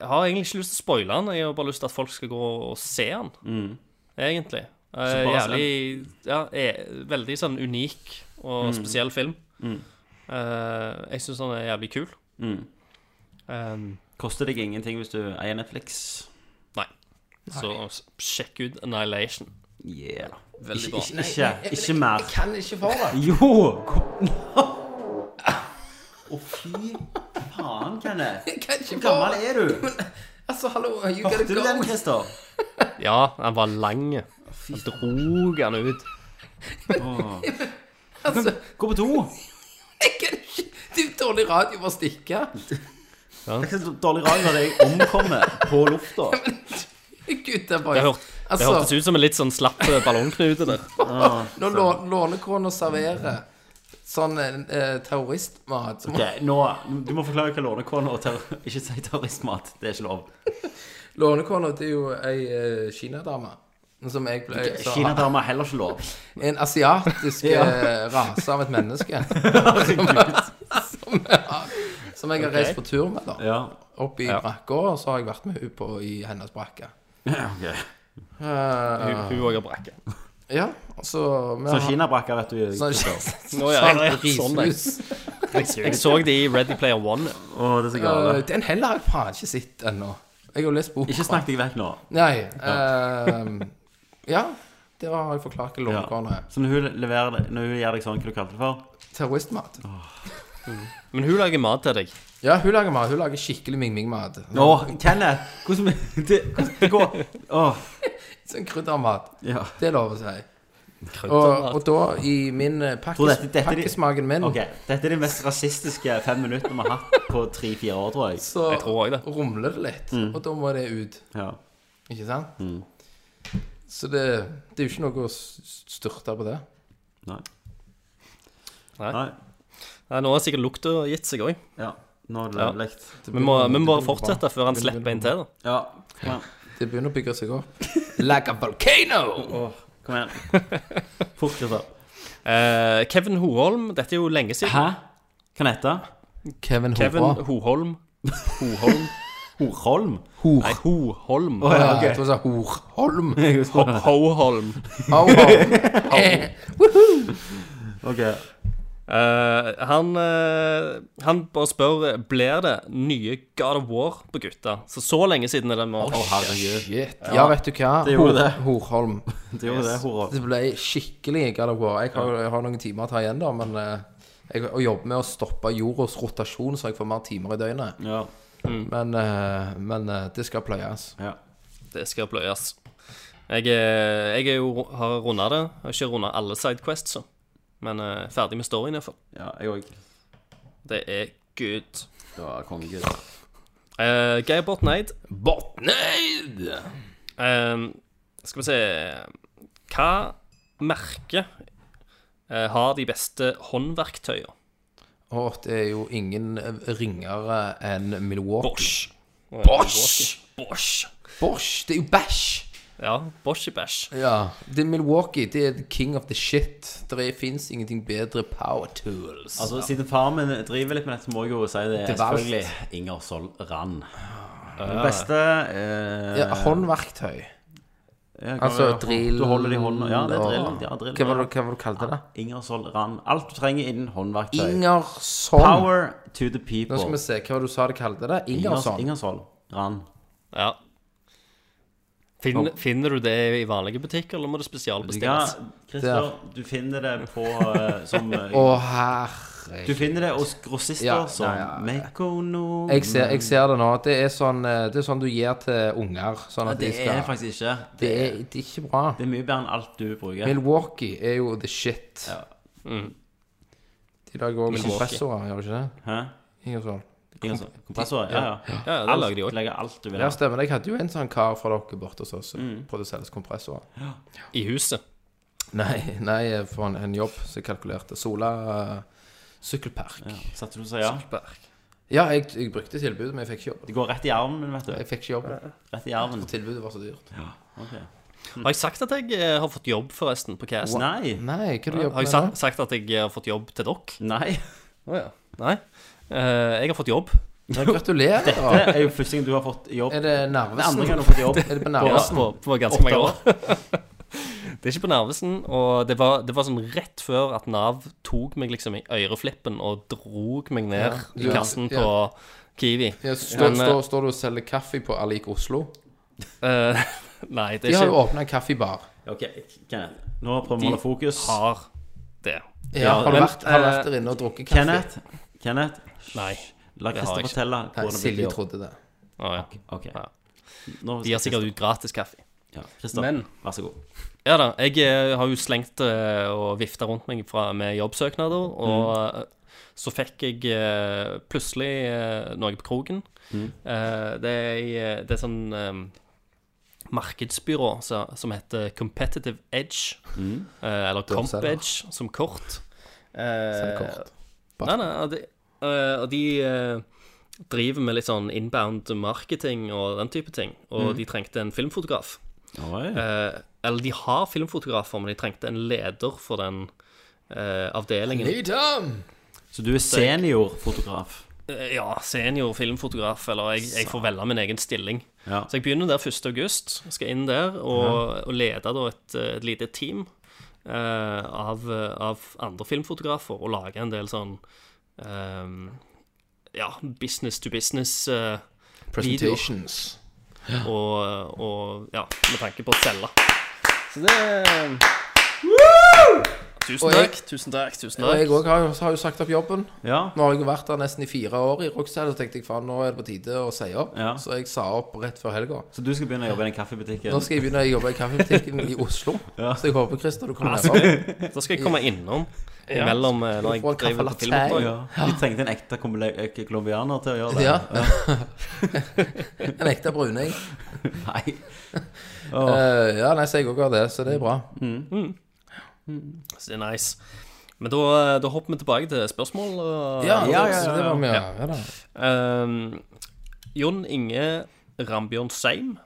Speaker 1: jeg har egentlig ikke lyst til å spoile den, jeg har bare lyst til at folk skal gå og se den. Egentlig. Eh,
Speaker 4: Mm. Så bare se den. Mm.
Speaker 1: jævlig ja, er, Veldig sånn unik og spesiell film. Eh, jeg syns den er jævlig kul.
Speaker 4: Mm.
Speaker 1: Eh,
Speaker 4: Koster deg ingenting hvis du eier Netflix.
Speaker 1: nei. Så s- sjekk ut Annihilation.
Speaker 4: Yeah.
Speaker 1: Veldig bra.
Speaker 4: Ikke, ikke, ikke mer.
Speaker 5: Jeg kan ikke for det.
Speaker 4: Jo! kom- Å, fy faen, Kenneth.
Speaker 5: Jeg kan ikke
Speaker 4: Hvor
Speaker 5: for
Speaker 4: gammel
Speaker 5: det.
Speaker 4: er du?
Speaker 5: Altså, hallo, you gotta
Speaker 4: Hørte du den,
Speaker 5: go.
Speaker 4: Christer?
Speaker 1: Ja, han var lang. Han drog han ut.
Speaker 5: Altså,
Speaker 4: Gå på do.
Speaker 5: jeg kan ikke Det er jo dårlig radio bare å stikke.
Speaker 4: Det er ikke så dårlig radio at jeg omkommer på lufta.
Speaker 5: Gutta
Speaker 1: Det,
Speaker 5: boys.
Speaker 1: hørt, det
Speaker 5: Altså,
Speaker 1: hørtes ut som en litt sånn slapp eh, ballongknute der.
Speaker 5: når lå- lånekona serverer sånn eh, terroristmat så må-
Speaker 4: Ok, nå, Du må forklare hva lånekona og terror... Ikke si terroristmat. Det er ikke lov.
Speaker 5: Lånekona det er jo ei eh, kinadame. Som jeg ble så-
Speaker 4: Kinadamer har heller ikke lov.
Speaker 5: En asiatisk
Speaker 4: Ja.
Speaker 5: eh, rase av et menneske. som, jeg, som jeg har reist på tur med, da.
Speaker 4: Ja.
Speaker 5: Opp i brakka, og så har jeg vært med henne på i hennes brakke.
Speaker 4: Okay.
Speaker 5: Eh,
Speaker 1: Hun- Hun òg har brakke.
Speaker 5: ja, altså vi
Speaker 4: Så
Speaker 5: har-
Speaker 4: kinabrakker, vet du.
Speaker 5: Sånn,
Speaker 1: Nå, ja, ja, ja, sånn, ja.
Speaker 5: rishus.
Speaker 1: Jeg så de i Ready Player One.
Speaker 4: Å, det er så
Speaker 5: Eh,
Speaker 4: gale.
Speaker 5: Den heller har jeg faen ikke sett ennå. Jeg har jo lest boka.
Speaker 4: Ikke snakk deg vekk nå.
Speaker 5: Nei. eh, ja, det har jeg forklart hva lånekona er.
Speaker 4: Så når hun, leverer, det- når hun gjør deg sånn, hva du kalte det for?
Speaker 5: Terroristmat.
Speaker 1: Men hun lager mat til deg.
Speaker 5: Ja, hun lager mat. Hun lager skikkelig ming-ming-mat.
Speaker 4: Å, Kenneth! Hvordan det, hvordan det går? Åh,
Speaker 5: Sånn kryddermat.
Speaker 4: ja.
Speaker 5: Det er lov å si. Og,
Speaker 1: Kryddermat.
Speaker 5: og da, i min eh,
Speaker 4: Tror
Speaker 5: pakkes,
Speaker 4: dette- dette er de-
Speaker 5: pakkesmaken min,
Speaker 4: Ok, Dette er de mest rasistiske fem minuttene vi har hatt på tre-fire år, tror Mm. jeg.
Speaker 5: så
Speaker 1: Jeg tror også det.
Speaker 5: rumler det litt. Og da må det ut.
Speaker 4: Ja.
Speaker 5: Ikke sant?
Speaker 4: Mm.
Speaker 5: Så det, det er jo ikke noe å s- styrte på det.
Speaker 4: Nei.
Speaker 1: Nei.
Speaker 4: Nei.
Speaker 1: Nei, nå har sikkert lukta gitt seg òg.
Speaker 4: Ja. Nå er det
Speaker 1: Ja.
Speaker 4: lekt.
Speaker 1: Vi må, vi må bare fortsette før han slipper en til. da.
Speaker 4: Ja. Kom igjen.
Speaker 5: Det begynner å bygge seg opp. Like a volcano!
Speaker 4: Åh, kom igjen. Fort, Christer.
Speaker 1: Eh, Kevin Hoholm, dette er jo lenge siden.
Speaker 4: Hæ? Hva heter det?
Speaker 5: Kevin
Speaker 1: Kevin
Speaker 5: Hora.
Speaker 1: Hoholm. Hoholm.
Speaker 4: Horholm?
Speaker 1: Nei, Hoholm.
Speaker 4: Å, ja,
Speaker 5: Jeg tror jeg sa Horholm.
Speaker 1: Ho- Hoholm.
Speaker 5: Ho-ho.
Speaker 4: Ok.
Speaker 1: Eh, han, eh, han bare spør Blir det nye God of War på gutta. Så så lenge siden er det med
Speaker 4: Å, herregud.
Speaker 5: Shit. Ja, vet du hva?
Speaker 4: Det gjorde det.
Speaker 5: Horholm.
Speaker 4: Det gjorde det, Horholm.
Speaker 5: Det ble skikkelig God of War. Jeg har, jeg har noen timer å ta igjen, da, men eh, jeg å jobbe med å stoppe jordas rotasjon, så jeg får mer timer i døgnet.
Speaker 4: Ja.
Speaker 5: Men, eh, men eh, det skal pløyes.
Speaker 4: ja.
Speaker 1: Det skal pløyes. Jeg, er- jeg er jo, har runda det. Jeg har ikke runda alle sidequests, så. men eh, ferdig med storyen iallfall.
Speaker 4: Ja, jeg òg.
Speaker 1: Det er good.
Speaker 4: Det var kongegud.
Speaker 1: Eh, Geir Borten Eid,
Speaker 5: Botnaid!
Speaker 1: eh, skal vi se Hva merke eh, har de beste håndverktøyene?
Speaker 5: Og det er jo ingen eh, ringere enn Milwaukee.
Speaker 1: Bosch.
Speaker 5: Bosch!
Speaker 1: Bosch.
Speaker 5: Bosch! Det er jo bæsj!
Speaker 1: Ja, Bosch i bæsj.
Speaker 5: Ja. Det er Milwaukee. Det er the king of the shit. Det fins ingenting bedre power tools.
Speaker 4: Altså, siden faren min driver litt med dette, så må jeg jo si det er
Speaker 5: Til valgt.
Speaker 4: selvfølgelig Inger Sol Rand. Den beste eh,
Speaker 5: ja, håndverktøy.
Speaker 4: ja, hva
Speaker 5: Altså
Speaker 4: var det?
Speaker 5: drill
Speaker 4: Du holder det i hånda. Ja, det er drill.
Speaker 5: og-
Speaker 4: Ja, drill.
Speaker 5: Hva var det hva var det du kalte det?
Speaker 4: Inger Sol Rand. Alt du trenger innen håndverktøy.
Speaker 5: Ingersson.
Speaker 4: Power to the people.
Speaker 5: Nå skal vi se hva var det du sa det kalte det.
Speaker 4: Ingersoll.
Speaker 5: Ingersson.
Speaker 4: Ingersoll Rand.
Speaker 1: Ja. Finn, finner du det i vanlige butikker, eller må det spesialbestilles?
Speaker 4: Ja, Christer, du finner det på eh, som eh,
Speaker 5: Å, herre
Speaker 4: Du finner det hos grossister
Speaker 5: Ja,
Speaker 4: som
Speaker 5: nei, ja, ja.
Speaker 4: Mekonom
Speaker 5: jeg ser, jeg ser det nå. Det er sånn, eh, det er sånn du gir til unger. Sånn at
Speaker 4: Det
Speaker 5: de
Speaker 4: er
Speaker 5: skal
Speaker 4: faktisk ikke.
Speaker 5: det, er, det er ikke bra.
Speaker 4: Det er mye bedre enn alt du bruker.
Speaker 5: Milwaukee er jo the shit.
Speaker 4: Ja.
Speaker 5: De lager òg
Speaker 1: Milwaukee.
Speaker 5: kompressorer, gjør de ikke det?
Speaker 4: Hæ?
Speaker 5: Ingersson.
Speaker 4: Ingersoll. Kompressorer? Ja, ja.
Speaker 1: Ja, det lager de
Speaker 4: Alt,
Speaker 1: òg.
Speaker 4: legger alt du vil
Speaker 5: Ja,
Speaker 4: ha.
Speaker 5: stemmer. det. Jeg hadde jo en sånn kar fra dere borte hos oss som prøvde å selge oss kompressorer.
Speaker 1: I huset.
Speaker 5: Nei, nei, for en, en jobb som jeg kalkulerte. Sola eh, sykkelpark. Ja,
Speaker 4: Satte du og sa ja?
Speaker 5: jeg, jeg brukte tilbudet, men jeg fikk ikke jobb.
Speaker 4: Det går rett i armen min, vet du.
Speaker 5: Jeg fikk ikke jobb.
Speaker 4: Rett i armen.
Speaker 5: Tilbudet var så dyrt.
Speaker 4: Ok.
Speaker 1: Har jeg sagt at jeg eh, har fått jobb, forresten, på Cast?
Speaker 4: Nei.
Speaker 5: Nei, hva du
Speaker 1: Har
Speaker 5: jobber
Speaker 1: jeg
Speaker 5: med
Speaker 1: sa
Speaker 5: nå?
Speaker 1: sagt at jeg eh, har fått jobb til dere?
Speaker 4: Nei.
Speaker 1: Nei. Eh, jeg har fått jobb.
Speaker 5: Ja, Gratulerer.
Speaker 4: Det er jo første gang du har fått jobb.
Speaker 5: Er det
Speaker 4: Den andre gangen
Speaker 5: Narvesen?
Speaker 4: du har fått jobb.
Speaker 5: Er det på
Speaker 1: Ja,
Speaker 5: Narvesen?
Speaker 1: på, på ganske mange år. det er ikke på Narvesen. Og det var, det var sånn rett før at Nav tok meg liksom i øreflippen og drog meg ned
Speaker 5: Ja,
Speaker 1: i kassen
Speaker 5: ja.
Speaker 1: på Kiwi.
Speaker 5: Ja, står,
Speaker 1: Men, eh,
Speaker 5: står, står du og selger kaffe på Alik Oslo?
Speaker 1: Eh, nei,
Speaker 5: De
Speaker 1: det er
Speaker 5: har jo
Speaker 1: ikke
Speaker 5: åpna en kaffebar.
Speaker 4: Ok, Kenneth. Nå prøver vi å holde fokus.
Speaker 1: har det.
Speaker 5: Ja, har, du
Speaker 1: men,
Speaker 5: vært, har du
Speaker 1: eh,
Speaker 5: vært der inne og drukket kaffe?
Speaker 4: Kenneth. Kenneth.
Speaker 1: Nei.
Speaker 4: La
Speaker 1: Det har
Speaker 4: Christer
Speaker 1: jeg ikke.
Speaker 4: fortelle
Speaker 5: Nei,
Speaker 4: hvordan det blir
Speaker 5: Silje
Speaker 4: jobb.
Speaker 5: trodde det.
Speaker 1: Å, ja.
Speaker 4: Ok.
Speaker 1: Ja.
Speaker 4: Nå
Speaker 1: De har sikkert ut gratis kaffe.
Speaker 4: Ja, Christer,
Speaker 1: Men-
Speaker 4: vær så god.
Speaker 1: Ja da. Jeg eh, har jo slengt eh, og vifta rundt meg fra, med jobbsøknader, og eh, så fikk jeg eh, plutselig eh, noe på kroken. Eh, det, er, i, eh, det er sånn eh, markedsbyrå så, som heter Competitive Edge, eh, eller
Speaker 5: Dørselger.
Speaker 1: Comp Edge som kort. Eh,
Speaker 5: kort.
Speaker 1: Nei, nei, og de, eh, og de eh, driver med litt sånn inbound marketing og den type ting, og de trengte en filmfotograf.
Speaker 4: Oi.
Speaker 1: Eh, eller de har filmfotografer, men de trengte en leder for den eh, avdelingen.
Speaker 4: Så du er seniorfotograf?
Speaker 1: Eh, Ja, senior filmfotograf, eller jeg, jeg får velge min egen stilling.
Speaker 4: Ja.
Speaker 1: Så jeg begynner der 1. august, skal inn der og, og lede da et, eh, et lite team eh, av, eh, av andre filmfotografer, og lage en del sånn eh, ja, business to business eh,
Speaker 5: Presentations.
Speaker 1: og, og ja, med tanke på å selge. Så det
Speaker 5: Og
Speaker 1: Tusen
Speaker 5: jeg-
Speaker 1: takk, tusen takk, tusen
Speaker 5: Og jeg
Speaker 1: takk.
Speaker 5: òg har, jo- har jo sagt opp jobben.
Speaker 4: Ja.
Speaker 5: Nå har jeg jo vært der nesten i fire år i Roxelle, og tenkte jeg faen, nå er det på tide å si opp.
Speaker 4: Ja.
Speaker 5: Så jeg sa opp rett før helga.
Speaker 4: Så du skal begynne å jobbe i den
Speaker 5: Nå
Speaker 4: kaffebutikken?
Speaker 5: skal jeg begynne å jobbe i kaffebutikken i Oslo. Så jeg håper, Christer, du kommer nedom.
Speaker 1: Da skal jeg komme innom imellom eh,
Speaker 5: få en
Speaker 1: når jeg driver
Speaker 5: kaffe
Speaker 1: på filmoppdrag.
Speaker 4: Ja. De trengte en ekte kombile- eh, colombianer til å gjøre det?
Speaker 5: Ja. en ekte bruning.
Speaker 4: Nei.
Speaker 5: Eh, ja, nei, så jeg òg har det, så det er bra.
Speaker 1: Så det er nice. Men da, eh, da hopper vi tilbake til spørsmål. og-
Speaker 5: Ja,
Speaker 4: ja, ja,
Speaker 5: så det var mye. Ja, da.
Speaker 1: Ehm, Jon Inge Rambjørn Seim.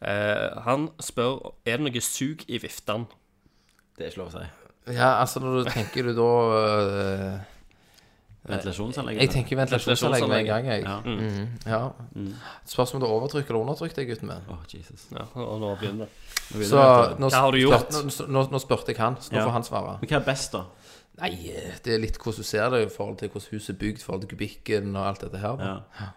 Speaker 1: Eh, han spør Er det noe sug i viftene.
Speaker 4: Det er ikke lov å si.
Speaker 5: ja, altså, når du tenker du da eh,
Speaker 4: Ventilasjonsanlegget?
Speaker 5: Jeg tenker ventilasjonsanlegg med en gang, jeg.
Speaker 4: Ja.
Speaker 5: Mm, ja. Spørsmål om du overtrykker eller undertrykker deg, gutten min.
Speaker 4: Åh, Jesus.
Speaker 1: Ja, og nå begynner det.
Speaker 4: Nå vil
Speaker 5: Så
Speaker 4: jeg vite.
Speaker 5: nå,
Speaker 1: Hva har du gjort?
Speaker 5: Spør, nå, nå, nå spurte jeg han, så nå
Speaker 4: Ja.
Speaker 5: får han svare.
Speaker 4: Men hva er best, da?
Speaker 5: Nei, det er litt hvordan du ser det i forhold til hvordan huset er bygd, i forhold til kubikken og alt dette her.
Speaker 4: Ja.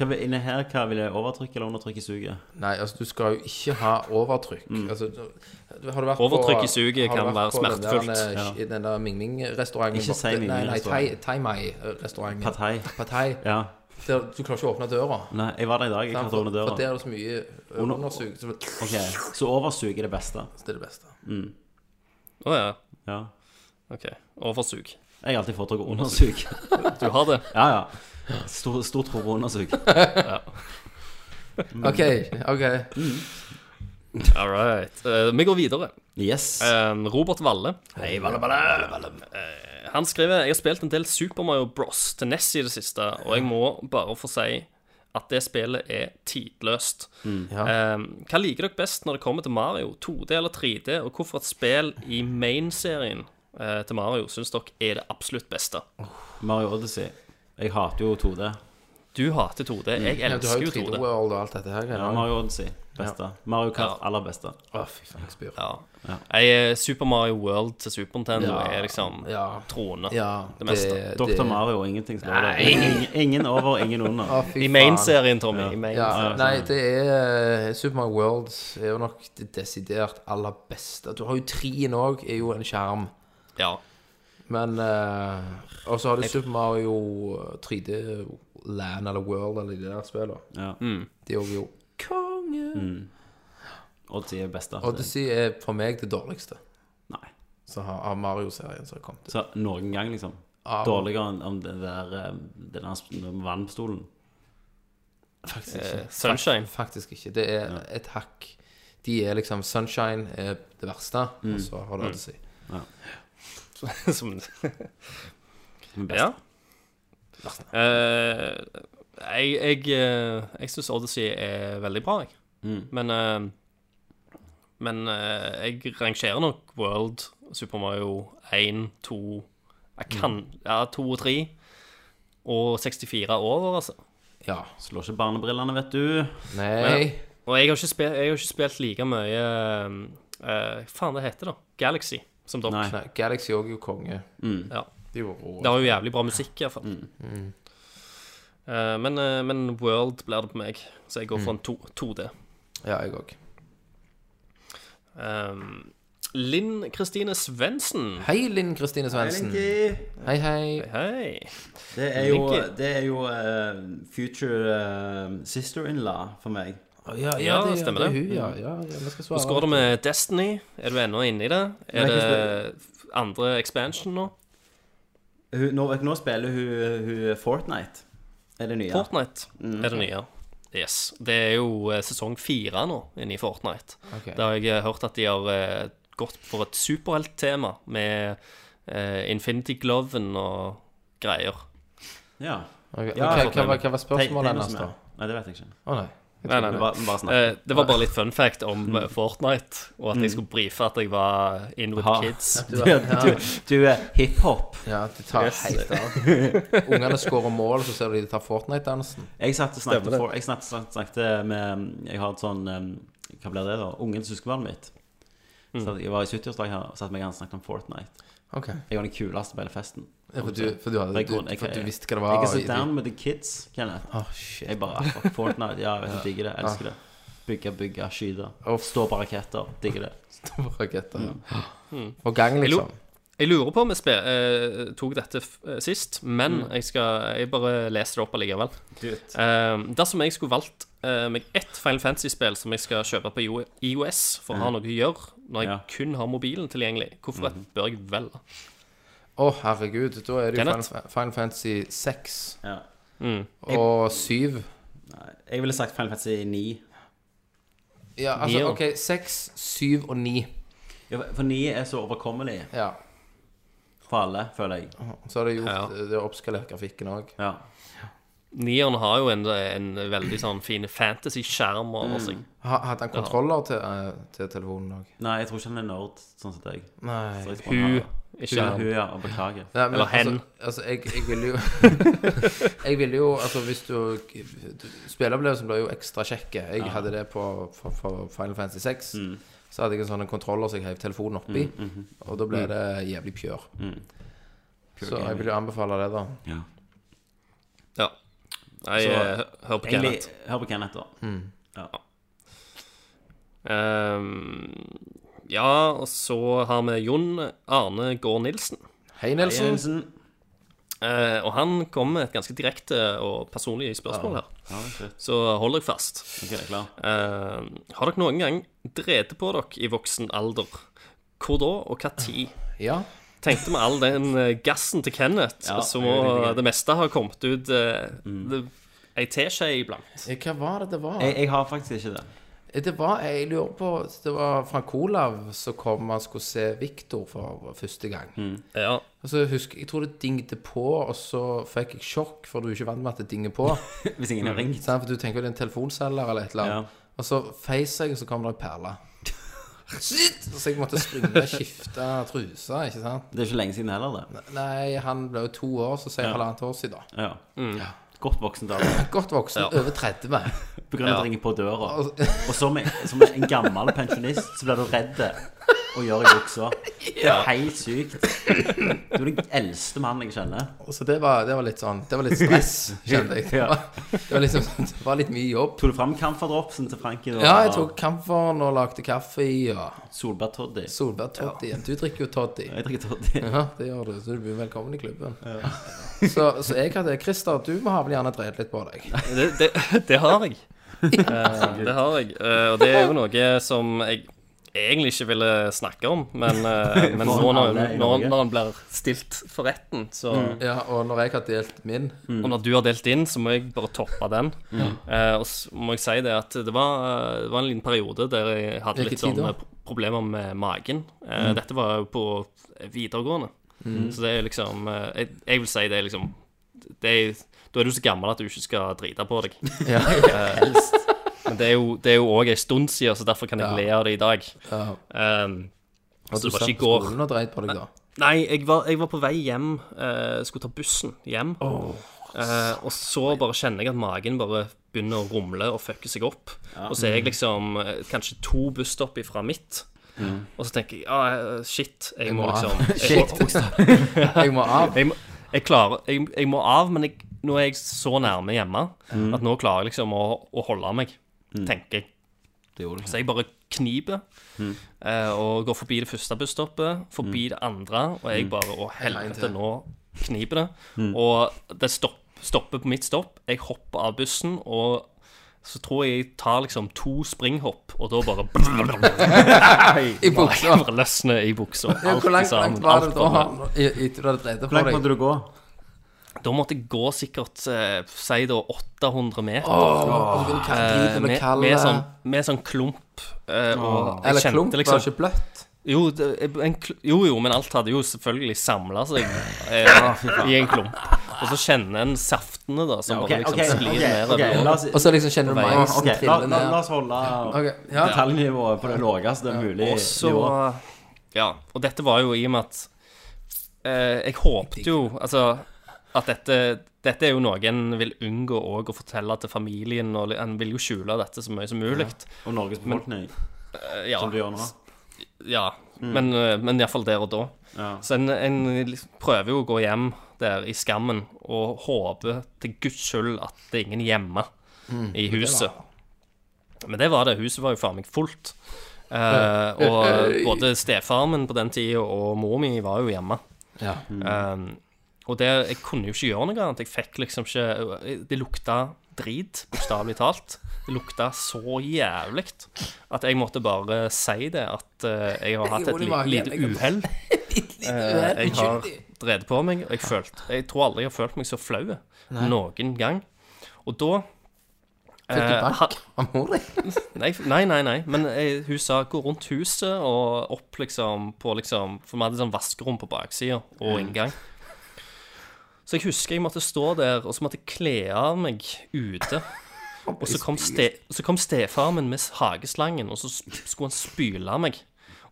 Speaker 4: Hva vil, inne her, hva vil jeg overtrykke eller undertrykke suget?
Speaker 5: Nei, altså, du skal jo ikke ha overtrykk. Altså, du- har du vært
Speaker 1: Mm. Overtrykk
Speaker 5: på,
Speaker 1: i suget
Speaker 5: har du
Speaker 1: kan
Speaker 5: vært
Speaker 1: være
Speaker 5: på den der,
Speaker 1: smertefullt.
Speaker 5: eh, I den der Ming-Ming-restauranten.
Speaker 4: Ikke si Ming
Speaker 5: Nei, nei,
Speaker 4: Ming-restaurant.
Speaker 5: Thai- Thai Mai-restauranten.
Speaker 4: Partei.
Speaker 5: Pattei.
Speaker 4: Ja.
Speaker 5: Der du klarer ikke å åpne døra.
Speaker 4: Nei, jeg var der i dag. Jeg
Speaker 5: Sant?
Speaker 4: klarte å åpne
Speaker 5: For der
Speaker 4: døra.
Speaker 5: er det så mye eh,
Speaker 4: Under-
Speaker 5: undersug, så det
Speaker 4: Ok, Så oversug er det beste.
Speaker 5: er det beste.
Speaker 1: Å ja.
Speaker 4: Ja.
Speaker 1: OK. Oversug.
Speaker 4: Jeg har alltid foretrukket undersug.
Speaker 1: Du har det?
Speaker 4: Ja, ja. Stor, stor tro på undersug.
Speaker 5: OK. ok
Speaker 1: All right. Eh, vi går videre.
Speaker 4: Yes.
Speaker 1: Eh, Robert Valle. Hei, Valle, Valle. Eh, han skriver Jeg har spilt en del Super Mario Bros. til NES i det siste, og jeg må bare få si at det spillet er tidløst. Eh, hva liker dere best når det kommer til Mario? 2D eller 3D? Og hvorfor et spill i main-serien eh, til Mario syns dere er det absolutt beste?
Speaker 4: Mario Odyssey. Jeg hater jo 2D.
Speaker 1: Du hater 2D. Jeg
Speaker 5: Ja, du har
Speaker 1: elsker
Speaker 5: jo
Speaker 1: jo 2D.
Speaker 5: 3D World og alt dette her.
Speaker 4: Ja,
Speaker 5: Ja,
Speaker 4: Mario Odyssey. Beste. Mario Kart
Speaker 1: Ja.
Speaker 4: aller beste.
Speaker 5: Å, fy faen, jeg spyr.
Speaker 1: Ja. Jeg, Super Mario World til Super Nintendo
Speaker 5: Ja.
Speaker 1: er liksom
Speaker 5: Ja.
Speaker 1: troende.
Speaker 5: Ja,
Speaker 1: Det meste.
Speaker 4: Dr. Mario, ingenting skal være der. Ingen, ingen over, ingen under.
Speaker 5: Å, fy
Speaker 1: I
Speaker 5: faen.
Speaker 1: main-serien, Tommy. I main
Speaker 5: Ja, nei, det er Super Mario World er jo nok det desidert aller beste. Du har jo trien òg, er jo en skjerm.
Speaker 1: ja.
Speaker 5: Men eh, Og så har du Super Mario 3D Land eller World eller de der spillene.
Speaker 4: Ja.
Speaker 5: De er jo konge.
Speaker 4: Odyssey er beste.
Speaker 5: Odyssey er for meg det dårligste
Speaker 4: Nei.
Speaker 5: som har- av Mario-serien som har kommet.
Speaker 4: Så noen gang, liksom. Dårligere enn enn det der, eh, den der sp- vannpistolen.
Speaker 5: Faktisk ikke.
Speaker 1: Eh, Sunshine.
Speaker 5: Fak- Faktisk ikke. Det er et hakk. De er liksom Sunshine er det verste,
Speaker 1: Mm.
Speaker 5: og så har du Odyssey.
Speaker 1: Som
Speaker 4: Den beste.
Speaker 1: Ja. Eh, jeg jeg, eh, jeg syns Odyssey er veldig bra, jeg. Men, eh, men eh, jeg rangerer nok World, Super Mario 1, 2 Jeg kan Ja, 2 og 3. Og 64 over, altså.
Speaker 5: Ja.
Speaker 4: Slår ikke barnebrillene, vet du.
Speaker 5: Nei.
Speaker 1: Og jeg har ikke spilt, jeg har ikke spilt like mye eh, eh, Hva faen det heter da? Galaxy, som dere.
Speaker 4: Nei.
Speaker 5: Nei. Galaxy òg er jo konge.
Speaker 1: Ja.
Speaker 5: De var rå.
Speaker 1: Det har jo jævlig bra musikk, i hvert fall. Mm. Eh, men, eh, men World blir det på meg, så jeg går for en to- 2D.
Speaker 5: Ja, jeg òg.
Speaker 1: Um, Linn Kristine Svendsen.
Speaker 5: Hei, Linn Kristine Svendsen. Hei, hei.
Speaker 1: Hei.
Speaker 4: Det er jo,
Speaker 1: Linky.
Speaker 4: det er jo eh, future eh, sister-in-law for meg.
Speaker 5: Ja,
Speaker 1: Ja, stemmer
Speaker 5: det. er
Speaker 1: det. Mm.
Speaker 5: hun, Ja, ja, ja, vi skal svare.
Speaker 1: Hvordan går det med Destiny? Er du ennå inne i det? Er
Speaker 4: Nei,
Speaker 1: det andre expansion nå?
Speaker 4: Hun, nå, nå spiller hun, hun Fortnite. Er det nye? Mm.
Speaker 1: Fortnite er det nye. Yes. Det er jo eh, sesong fire nå inne i Fortnite.
Speaker 5: Ok.
Speaker 1: Da har jeg eh, hørt at de har eh, gått for et superhelttema med eh, Infinity Gloven og greier.
Speaker 4: Ja.
Speaker 5: Ok,
Speaker 4: Ja,
Speaker 5: hva,
Speaker 4: jeg
Speaker 5: hva, var- hva var
Speaker 4: Te-
Speaker 5: spørsmålet
Speaker 4: Thanos
Speaker 5: hennes, da?
Speaker 4: med. Nei, det vet jeg ikke.
Speaker 5: Å nei.
Speaker 1: Nei, nei,
Speaker 4: Vi
Speaker 1: nei.
Speaker 4: bare, vi bare snakker.
Speaker 1: Eh, det var bare litt fun fact om
Speaker 4: Mm.
Speaker 1: eh, Fortnite, og at jeg skulle brife at jeg var in with
Speaker 4: Ha.
Speaker 1: kids.
Speaker 4: Du, du, du er hiphop.
Speaker 5: Ja, de tar helt av. Ungene skårer mål, så ser du de tar Fortnite-dansen.
Speaker 4: Jeg satt og snakket, for, jeg snakket, snakket, snakket med Jeg har et sånn eh, Hva blir det, da? Ungen til søskenbarnet mitt.
Speaker 5: Mm.
Speaker 4: Så jeg var i 70-årsdag her og satt meg og snakket om Fortnite.
Speaker 5: Ok ja,
Speaker 4: Jeg var den kuleste på hele festen.
Speaker 5: for, du, for, du hadde,
Speaker 4: Jeg
Speaker 5: du,
Speaker 4: kunne- jeg-
Speaker 5: for du visste hva det
Speaker 4: Jeg
Speaker 5: var?
Speaker 4: kan
Speaker 5: og-
Speaker 4: sit down with the kids, Kenneth.
Speaker 5: Å, shit. Ah.
Speaker 4: Jeg bare "Ah, fuck Fortnite. Ja, jeg vet, jeg digger det. Jeg elsker det. Bygge, bygge, skyte.
Speaker 5: Uff.
Speaker 4: Stå på raketter. Digger det. Mm.
Speaker 5: Raketter. Ja. Og gang, liksom.
Speaker 1: Hmm. Jeg lurer på om jeg spe, eh, tok dette f eh, sist, men
Speaker 4: Mm.
Speaker 1: jeg, skal, jeg bare leser det opp allikevel. Eh, dersom jeg skulle valgt eh, meg ett Final Fantasy-spill som jeg skal kjøpe på IO- IOS for å ha noe å gjøre, når
Speaker 4: Mm.
Speaker 1: jeg
Speaker 4: Ja. Mm-hmm.
Speaker 1: kun har mobilen tilgjengelig, hvorfor et bør jeg velge?
Speaker 5: Å, herregud. Da er det jo
Speaker 1: Kenneth?
Speaker 5: Final, Final Fantasy 6
Speaker 4: Ja.
Speaker 1: Hmm.
Speaker 5: og 7.
Speaker 4: Jeg ville sagt Final Fantasy 9.
Speaker 5: Ja,
Speaker 1: Nio.
Speaker 5: altså, OK. 6, 7 og 9.
Speaker 4: Ja, For 9 er så overkommelig
Speaker 5: Ja.
Speaker 4: for alle, føler jeg.
Speaker 5: Så har de gjort
Speaker 1: Ja.
Speaker 5: Det har oppskalert grafikken òg.
Speaker 4: Ja.
Speaker 1: Nieren har jo en, en veldig sånn fin fantasy-skjerm
Speaker 4: Mm.
Speaker 1: over seg.
Speaker 5: Hadde han kontroller til, eh, til telefonen òg?
Speaker 4: Nei, jeg tror ikke han er nerd, sånn som deg. Så
Speaker 5: Nei.
Speaker 4: jeg tror han
Speaker 1: Hun
Speaker 4: har-
Speaker 1: ikke
Speaker 4: Ja,
Speaker 1: han.
Speaker 4: hun, ja. Og beklager.
Speaker 5: Nei, men
Speaker 1: Eller hen.
Speaker 5: Altså, altså jeg, jeg ville jo Jeg ville jo Altså, hvis du Spilleopplevelsen blir jo ekstra kjekk. Jeg hadde det på, på, på Final Fantasy 6.
Speaker 1: Mm.
Speaker 5: Så hadde jeg en sånn kontroller som jeg heiv telefonen oppi,
Speaker 1: mhm.
Speaker 5: og da
Speaker 1: Mm.
Speaker 5: ble det jævlig pjør. Så jeg vil jo anbefale det, da.
Speaker 4: Ja.
Speaker 1: Ja. Nei,
Speaker 4: Så-
Speaker 1: eh, hør på
Speaker 4: Egentlig,
Speaker 1: Kenneth.
Speaker 4: hør på Kenneth, da. Ja.
Speaker 1: Ehm, ja, og så har vi Jon Arne Gaard Nilsen.
Speaker 5: Hei, Nelson.
Speaker 4: Jensen.
Speaker 1: Eh, og han kom med et ganske direkte og personlig spørsmål her.
Speaker 4: Ja, det er slutt.
Speaker 1: Så hold dere fast.
Speaker 4: Ok, jeg er klar.
Speaker 1: Eh, har dere noen gang drevet på dere i voksen alder? Hvor da, og hva tid?
Speaker 5: Ja.
Speaker 1: Tenkte med all den eh, gassen til Kenneth,
Speaker 4: Ja,
Speaker 1: så
Speaker 4: det
Speaker 1: må
Speaker 4: er veldig gøy. Mm.
Speaker 1: det meste ha kommet ut eh, det- ei teskje iblant.
Speaker 5: Eh, Hva var det det var? Eh,
Speaker 4: Jeg, jeg har faktisk ikke det.
Speaker 5: Det var, jeg lurer på Det var Frank Olav som kom og skulle se Viktor for første gang.
Speaker 1: Ja.
Speaker 5: Og så husker, Altså, Jeg tror det dingte på, og så fikk jeg sjokk, for du er ikke vant med at det dinger på.
Speaker 4: Hvis ingen har ringt.
Speaker 5: Sant, for du tenker jo det er en telefonselger eller et eller annet.
Speaker 4: Ja.
Speaker 5: Og så feis jeg, og så kom det ei perle. Shit! Så jeg måtte springe og skifte truse, ikke sant.
Speaker 4: Det er ikke lenge siden heller, det.
Speaker 5: Nei, han ble jo to år, så sier jeg halvannet år siden.
Speaker 4: Ja. Godt voksen dame.
Speaker 5: Godt voksen, over 30.
Speaker 4: På grunn av at det ringer på døra. Og som, som en gammel pensjonist så blir du redd og gjør i buksa. Det er helt sykt. Du er den eldste mannen jeg kjenner.
Speaker 5: Og Så det var, det var litt sånn Det var litt stress, kjente jeg. Det
Speaker 4: Ja.
Speaker 5: var, det var, liksom, det var litt mye jobb.
Speaker 4: Tok du fram kamferdropsen til Frankie?
Speaker 5: Ja, jeg tok kamferen og lagde kaffe i, og
Speaker 4: Solbærtoddy.
Speaker 5: solbærtoddy. Du drikker jo toddy.
Speaker 4: Jeg drikker toddy.
Speaker 5: Ja, det gjør du. Så du blir velkommen i klubben. Så, så jeg hadde Christer, du må ha vel gjerne dreid litt på deg.
Speaker 1: Det, det, det har jeg. Eh, det har jeg. Eh, og det er jo noe som jeg egentlig ikke ville snakke om, men, eh, men
Speaker 4: For
Speaker 1: nå når,
Speaker 4: alle i
Speaker 1: når,
Speaker 4: Norge. Mm.
Speaker 1: når han blir stilt for retten, så
Speaker 5: Ja, og når jeg har delt min
Speaker 1: Og når du har delt inn, så må jeg bare toppe den.
Speaker 5: Mm.
Speaker 1: Eh, og så må jeg si det at det var, eh, det var en liten periode der jeg hadde
Speaker 5: Hvilken
Speaker 1: litt
Speaker 5: tid
Speaker 1: sånn
Speaker 5: da? Mm.
Speaker 1: eh, pro- problemer med magen. Eh, Dette var jo på videregående. Så det er liksom eh, jeg, jeg vil si det er liksom det er, Da er du så gammel at du ikke skal drite på deg. Eh, Men det er jo- det er jo òg ei stund siden, så derfor kan jeg
Speaker 5: Ja.
Speaker 1: le av det i dag.
Speaker 5: Ja.
Speaker 1: Um, så
Speaker 5: Du
Speaker 1: det var
Speaker 5: satt
Speaker 1: ikke i
Speaker 5: på
Speaker 1: går.
Speaker 5: skolen og dreit på deg da.
Speaker 1: Nei, jeg var, jeg var på vei hjem. eh, skulle ta bussen hjem. Eh, og så bare kjenner jeg at magen bare begynner å rumle og fucke seg opp. Og så er jeg liksom eh, kanskje to busstopp ifra mitt. Og så tenker jeg ah, eh, shit, Mm. jeg må
Speaker 5: må av.
Speaker 1: liksom jeg,
Speaker 5: Shit. Jeg må av.
Speaker 1: jeg, må- jeg klarer jeg, jeg må av, men jeg, nå er jeg så nærme hjemme
Speaker 4: Mm.
Speaker 1: at nå klarer jeg liksom å, å holde meg, tenker jeg.
Speaker 4: Det gjorde du. Mm.
Speaker 1: Så jeg bare kniper eh, og går forbi det første busstoppet, forbi det andre, og
Speaker 4: Mm.
Speaker 1: jeg bare Å, helvete, nå kniper det. Og det stopp, stopper på mitt stopp. Jeg hopper av bussen, og så tror jeg jeg tar liksom to springhopp, og da bare
Speaker 5: I buksa.
Speaker 1: Bare løsner i buksa.
Speaker 5: Ja, Hvor langt,
Speaker 1: alt sammen,
Speaker 5: langt var det
Speaker 1: alt
Speaker 5: da
Speaker 1: bare.
Speaker 5: han- i- etter du hadde dreid
Speaker 4: Hvor
Speaker 5: på
Speaker 4: langt
Speaker 5: deg?
Speaker 4: måtte du gå?
Speaker 1: Da måtte jeg gå sikkert eh, si da 800 meter.
Speaker 5: Åh, du kan
Speaker 1: eh,
Speaker 5: drite med
Speaker 1: med,
Speaker 5: kalde-
Speaker 1: med, sånn, med sånn klump. Eh, og
Speaker 5: Eller
Speaker 1: jeg kjente
Speaker 5: klump, var
Speaker 1: liksom
Speaker 5: ikke bløtt?
Speaker 1: Jo, det, en, kl- jo, jo, men alt hadde jo selvfølgelig samla seg eh, i en klump. Og så kjenner en saftene, da, som
Speaker 4: Ok,
Speaker 1: bare liksom
Speaker 4: ok,
Speaker 1: sklir
Speaker 4: ok,
Speaker 1: nedover.
Speaker 4: ok, la oss-
Speaker 5: Og så liksom kjenner du
Speaker 1: På vei.
Speaker 5: magen som
Speaker 4: ok, la,
Speaker 5: triller
Speaker 4: la, la
Speaker 5: ned.
Speaker 4: oss holde
Speaker 5: Ok, ja.
Speaker 4: detaljnivået på det laveste mulige
Speaker 1: Og så eh,
Speaker 4: nivået.
Speaker 1: Ja, og dette var jo i og med at eh, Jeg håpte jo altså at dette dette er jo noe en vil unngå òg å fortelle til familien. Og li- En vil jo skjule dette så mye som mulig.
Speaker 4: Og Norges befolkning,
Speaker 1: Eh, Ja.
Speaker 4: som du gjør nå. Mm.
Speaker 1: ja. Men, eh, men iallfall der og da.
Speaker 4: Ja.
Speaker 1: Så en, en liksom prøver jo å gå hjem der i skammen og håper til guds skyld at det er ingen hjemme
Speaker 4: Mm.
Speaker 1: i huset. Men det var det. Huset var jo faen meg fullt. Eh, og både stefaren min på den tida og mor mi var jo hjemme.
Speaker 5: Ja.
Speaker 1: Eh, og det, jeg kunne jo ikke gjøre noe annet. Jeg fikk liksom ikke Det lukta drit, bokstavelig talt. Det lukta så jævlig at jeg måtte bare si det, at eh, jeg har hatt
Speaker 5: gjorde
Speaker 1: et
Speaker 5: det
Speaker 1: li,
Speaker 5: bare igjen.
Speaker 1: lite
Speaker 5: Jeg-
Speaker 1: uhell.
Speaker 5: Eh,
Speaker 1: Jeg har drevet på meg, og jeg, følte, jeg tror aldri jeg har følt meg så flau noen gang. Og da
Speaker 5: Fikk du
Speaker 1: eh, ha-
Speaker 5: bank av mor di?
Speaker 1: Nei, nei, nei, nei. men jeg, hun sa gå rundt huset og opp liksom på liksom For vi hadde sånn vaskerom på baksida og inngang. Så jeg husker jeg måtte stå der, og så måtte jeg kle av meg ute. Og så kom, ste, så kom stefaren min med hageslangen, og så s- skulle han spyle meg.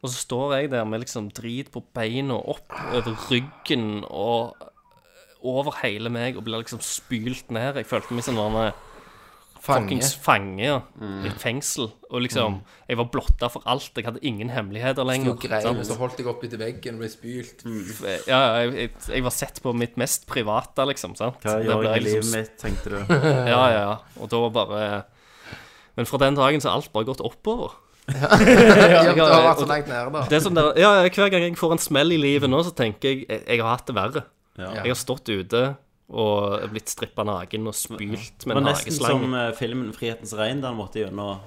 Speaker 1: Og så står jeg der med liksom drit på beina opp over ryggen og eh, over hele meg og blir liksom spylt ned. Jeg følte meg som en sånn, eh,
Speaker 5: Fange.
Speaker 1: fuckings fange ja. i et fengsel. Og
Speaker 4: Mm.
Speaker 1: liksom, jeg var blotta for alt. Jeg hadde ingen
Speaker 5: Du
Speaker 1: hemmeligheter lenger.
Speaker 5: grein,
Speaker 1: sant?
Speaker 4: liksom.
Speaker 1: eh,
Speaker 5: så holdt jeg opp etter veggen og ble spylt.
Speaker 1: Ja, jeg, jeg, jeg var sett på mitt mest private, liksom. sant?
Speaker 4: Hva
Speaker 1: Det
Speaker 4: gjør
Speaker 1: ble
Speaker 4: jeg i
Speaker 1: liksom
Speaker 4: livet mitt, tenkte du.
Speaker 1: Ja, ja, ja. Og da bare Men fra den dagen så har alt bare gått oppover.
Speaker 5: Ja, du har
Speaker 1: jeg-
Speaker 5: vært så langt nede, da.
Speaker 1: Det er sånn der, ja, ja, Hver gang jeg får en smell i livet nå, så tenker jeg jeg, jeg har hatt det verre.
Speaker 4: Ja.
Speaker 1: Jeg har stått ute og blitt strippa naken og spylt
Speaker 4: Det
Speaker 1: med
Speaker 4: var
Speaker 1: en
Speaker 4: nesten
Speaker 1: hageslange.
Speaker 4: som eh, filmen 'Frihetens regn', der han måtte gjennom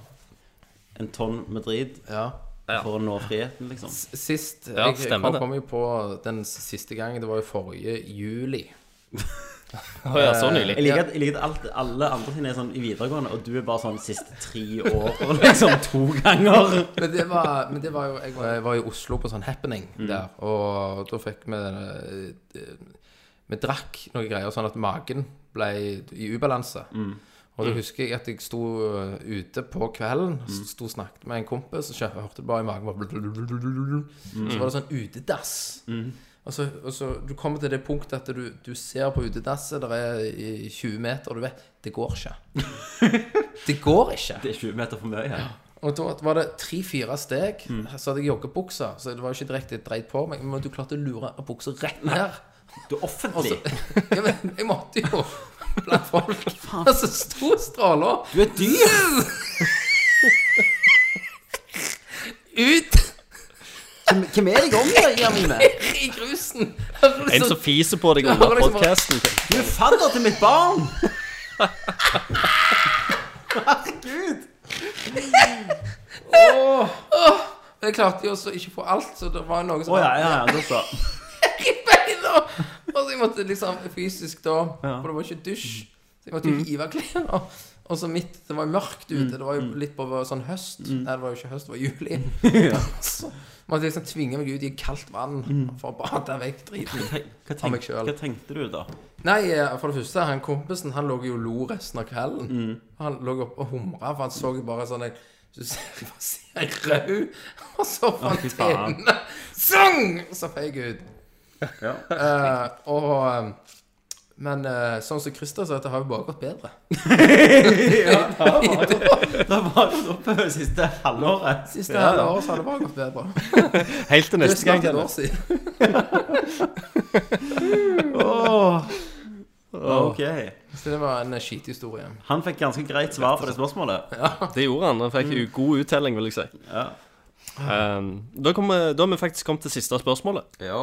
Speaker 4: en tonn med drit
Speaker 5: Ja.
Speaker 4: for å nå friheten, liksom.
Speaker 5: Sist
Speaker 1: Ja,
Speaker 5: Jeg
Speaker 1: stemmer
Speaker 5: kom,
Speaker 1: det.
Speaker 5: kom jo på den siste gangen, det var jo forrige juli.
Speaker 1: Å ja, så nylig.
Speaker 4: Jeg liker at, jeg liker at alt, alle andre sine er sånn i videregående, og du er bare sånn siste tre år, og liksom to ganger.
Speaker 5: Men det var, men det var jo jeg var, jeg var i Oslo på sånn happening der, og da fikk vi eh, eh, Vi drakk noen greier sånn at magen ble i ubalanse. Og da husker jeg at jeg sto eh, ute på kvelden, sto og snakket med en kompis, og kjø- hørte det bare i magen bare blululululul. Så var det sånn utedass. Og så, og så Du kommer til det punktet at du, du ser på utedasset, det er i 20 meter, og du vet Det går ikke. det går ikke.
Speaker 4: Det er 20 meter for mye.
Speaker 5: Og da var det tre-fire steg.
Speaker 4: Mm.
Speaker 5: Så hadde jeg joggebuksa, så det var jo ikke direkte dreit på meg. Men du klarte å lure buksa rett ned.
Speaker 4: Du er offentlig.
Speaker 5: Ja, men jeg måtte jo blant folk. Altså, Og så sto stråla
Speaker 4: Du er et dyr.
Speaker 5: ut
Speaker 4: Hvem, hvem er jeg omgir meg med?
Speaker 5: i grusen. Altså,
Speaker 1: En som fiser på deg
Speaker 5: Ja,
Speaker 1: under
Speaker 5: liksom bare-
Speaker 1: podkasten.
Speaker 4: Du er fadder til mitt barn.
Speaker 5: Men Jeg klarte jo også ikke å få alt, så det var noe som
Speaker 4: Å ja, ja, ja, da så.
Speaker 5: i beina. Og så jeg måtte liksom fysisk da For det var ikke dusj. Så jeg måtte jo hive klærne. Og så midt Det var jo mørkt ute. Det var jo litt på sånn høst. Nei, det var jo ikke høst, det var juli. så måtte jeg liksom tvinge meg ut i kaldt vann for å bade vekk driten.
Speaker 4: Tenk- Hva,
Speaker 5: Av meg
Speaker 4: tenk,
Speaker 5: selv.
Speaker 4: hva tenkte du, da?
Speaker 5: Nei, eh, for det første, han kompisen han lå jo og lo resten av kvelden. Han lå oppe og humra, for han så jo bare sånn en så ser jeg bare ser jeg rød, og så
Speaker 4: fy
Speaker 5: fant jeg
Speaker 4: faen.
Speaker 5: henne Sang! Så feig ut.
Speaker 4: Ja.
Speaker 5: Eh, og eh, Men eh, sånn som Christer sa, det har jo bare gått bedre.
Speaker 4: Det var jo oppe det siste halvåret.
Speaker 5: Siste halve året så har det bare gått bedre.
Speaker 1: Helt til
Speaker 5: Det er
Speaker 1: neste gang.
Speaker 5: snart et år siden.
Speaker 4: Åh. Ok.
Speaker 5: Så det var en eh, skithistorie.
Speaker 4: Han fikk ganske greit svar på det spørsmålet.
Speaker 1: Det gjorde han. Han fikk god uttelling, vil jeg si.
Speaker 4: Ja.
Speaker 1: Um, da, kommer- da har vi faktisk kommet til siste spørsmålet.
Speaker 5: Ja.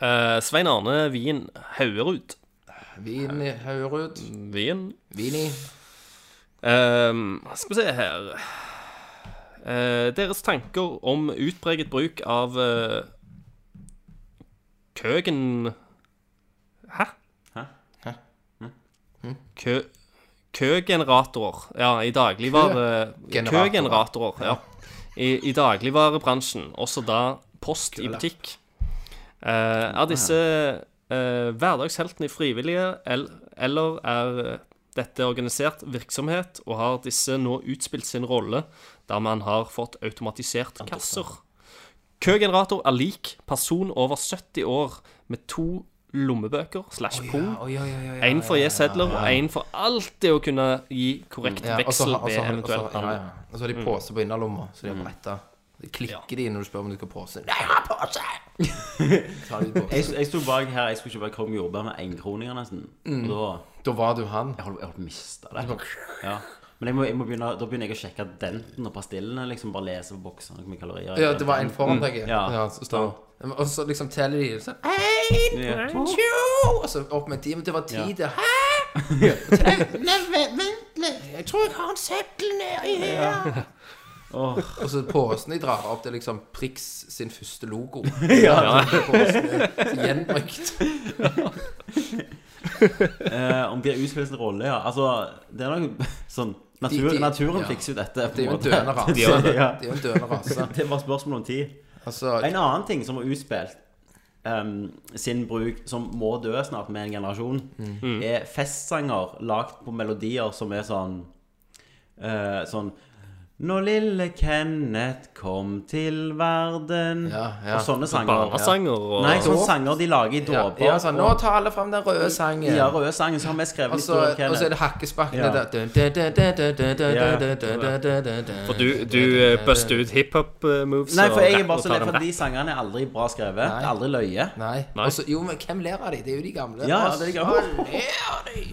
Speaker 1: Eh, Svein Arne Wien Haugerud.
Speaker 5: Vin i Haurud.
Speaker 1: Wien
Speaker 5: Vin i
Speaker 1: Ehm, skal vi se her Eh, Deres tanker om utpreget bruk av uh, Køgen Hæ?
Speaker 4: Hæ?
Speaker 1: Kø... Køgeneratorer. Ja, i dagligvare...
Speaker 5: Køgeneratorer.
Speaker 1: Køgeneratorer, ja. I, I dagligvarebransjen, også da post i butikk. Eh, er disse eh, Eh, hverdagshelten i frivillige, el eller er eh, dette organisert virksomhet, og har disse nå utspilt sin rolle, der man har fått automatisert kasser? Køgenerator er lik person over 70 år med to lommebøker slash pung.
Speaker 5: Oi, oi, oi, oi,
Speaker 1: Én for å gi sedler, og én for alltid å kunne gi korrekt
Speaker 5: Ja, og så
Speaker 1: veksel
Speaker 5: har- og så
Speaker 1: ved
Speaker 5: har- og så har-
Speaker 1: eventuell
Speaker 5: ja, Mm.
Speaker 1: handel.
Speaker 5: ja. Og så har de pose på innerlomma, så de har bretta. De klikker de når du spør om de skal ha pose. Nei, jeg har pose! Så har de pose.
Speaker 4: Jeg, jeg sto bak her, jeg skulle kjøpe krom jordbær med énkroninger nesten.
Speaker 5: Mm.
Speaker 4: Og da
Speaker 5: Da var du han.
Speaker 4: Jeg holdt jeg holdt på å miste det. Ja. Men jeg må, jeg må begynne, da begynner jeg å sjekke denten og pastillene. Liksom bare lese på boksene hvor mye kalorier
Speaker 5: Ja, det var en foran deg.
Speaker 4: Ja.
Speaker 5: Ja, så står han. Og så liksom teller de sånn
Speaker 4: Ja.
Speaker 5: Tjo! Og så opp med en time. Det var ti, det. Hæ? Og til deg, Nei, vent vent litt. Jeg tror jeg har en seddel nedi her.
Speaker 4: Åh.
Speaker 5: Og så posen de drar opp, det er liksom Prix sin første logo.
Speaker 4: Ja.
Speaker 5: Posen er så Gjenbrukt.
Speaker 4: Eh, om de har utspilt sin rolle, ja. Altså, det er noe sånn natur,
Speaker 5: De- de-
Speaker 4: Naturen
Speaker 5: ja.
Speaker 4: fikser jo dette. på
Speaker 5: Det er jo en
Speaker 4: måte.
Speaker 5: døende rase.
Speaker 4: Ja.
Speaker 5: Det er jo en døende rase.
Speaker 4: Det er bare spørsmål om tid.
Speaker 5: Altså,
Speaker 4: En annen ting som har utspilt ehm, sin bruk, som må dø snart med en generasjon,
Speaker 5: Mm.
Speaker 4: er festsanger lagd på melodier som er sånn eh, Sånn Når lille Kenneth kom til verden
Speaker 5: Ja, ja.
Speaker 4: Og sånne sanger.
Speaker 1: Barnesanger og
Speaker 4: Nei, sånne sanger de lager i
Speaker 5: ja,
Speaker 4: dåper.
Speaker 5: ja, sånn, nå tar alle fram den røde sangen.
Speaker 4: Ja, røde sangen, så har vi skrevet
Speaker 5: Og
Speaker 4: litt
Speaker 5: så,
Speaker 4: om
Speaker 5: og så er
Speaker 4: Kenneth.
Speaker 5: det hakkespakken
Speaker 4: Ja.
Speaker 5: der. Dun, dun, dun, dun, dun, dun, dun,
Speaker 4: Ja.
Speaker 5: dun, dun, dun, dun, dun, dun.
Speaker 1: For du, du eh, buster ut hiphop-moves
Speaker 4: Nei, for jeg er
Speaker 1: og
Speaker 4: bare så
Speaker 1: tar
Speaker 4: lei for
Speaker 1: dem
Speaker 4: at de sangene er aldri bra skrevet.
Speaker 5: Nei.
Speaker 4: Det er aldri løye.
Speaker 5: Nei. Og så- jo, men hvem ler av de? Det er jo de gamle.
Speaker 4: Ja, ja, det er de gamle.
Speaker 5: Hva ler av de?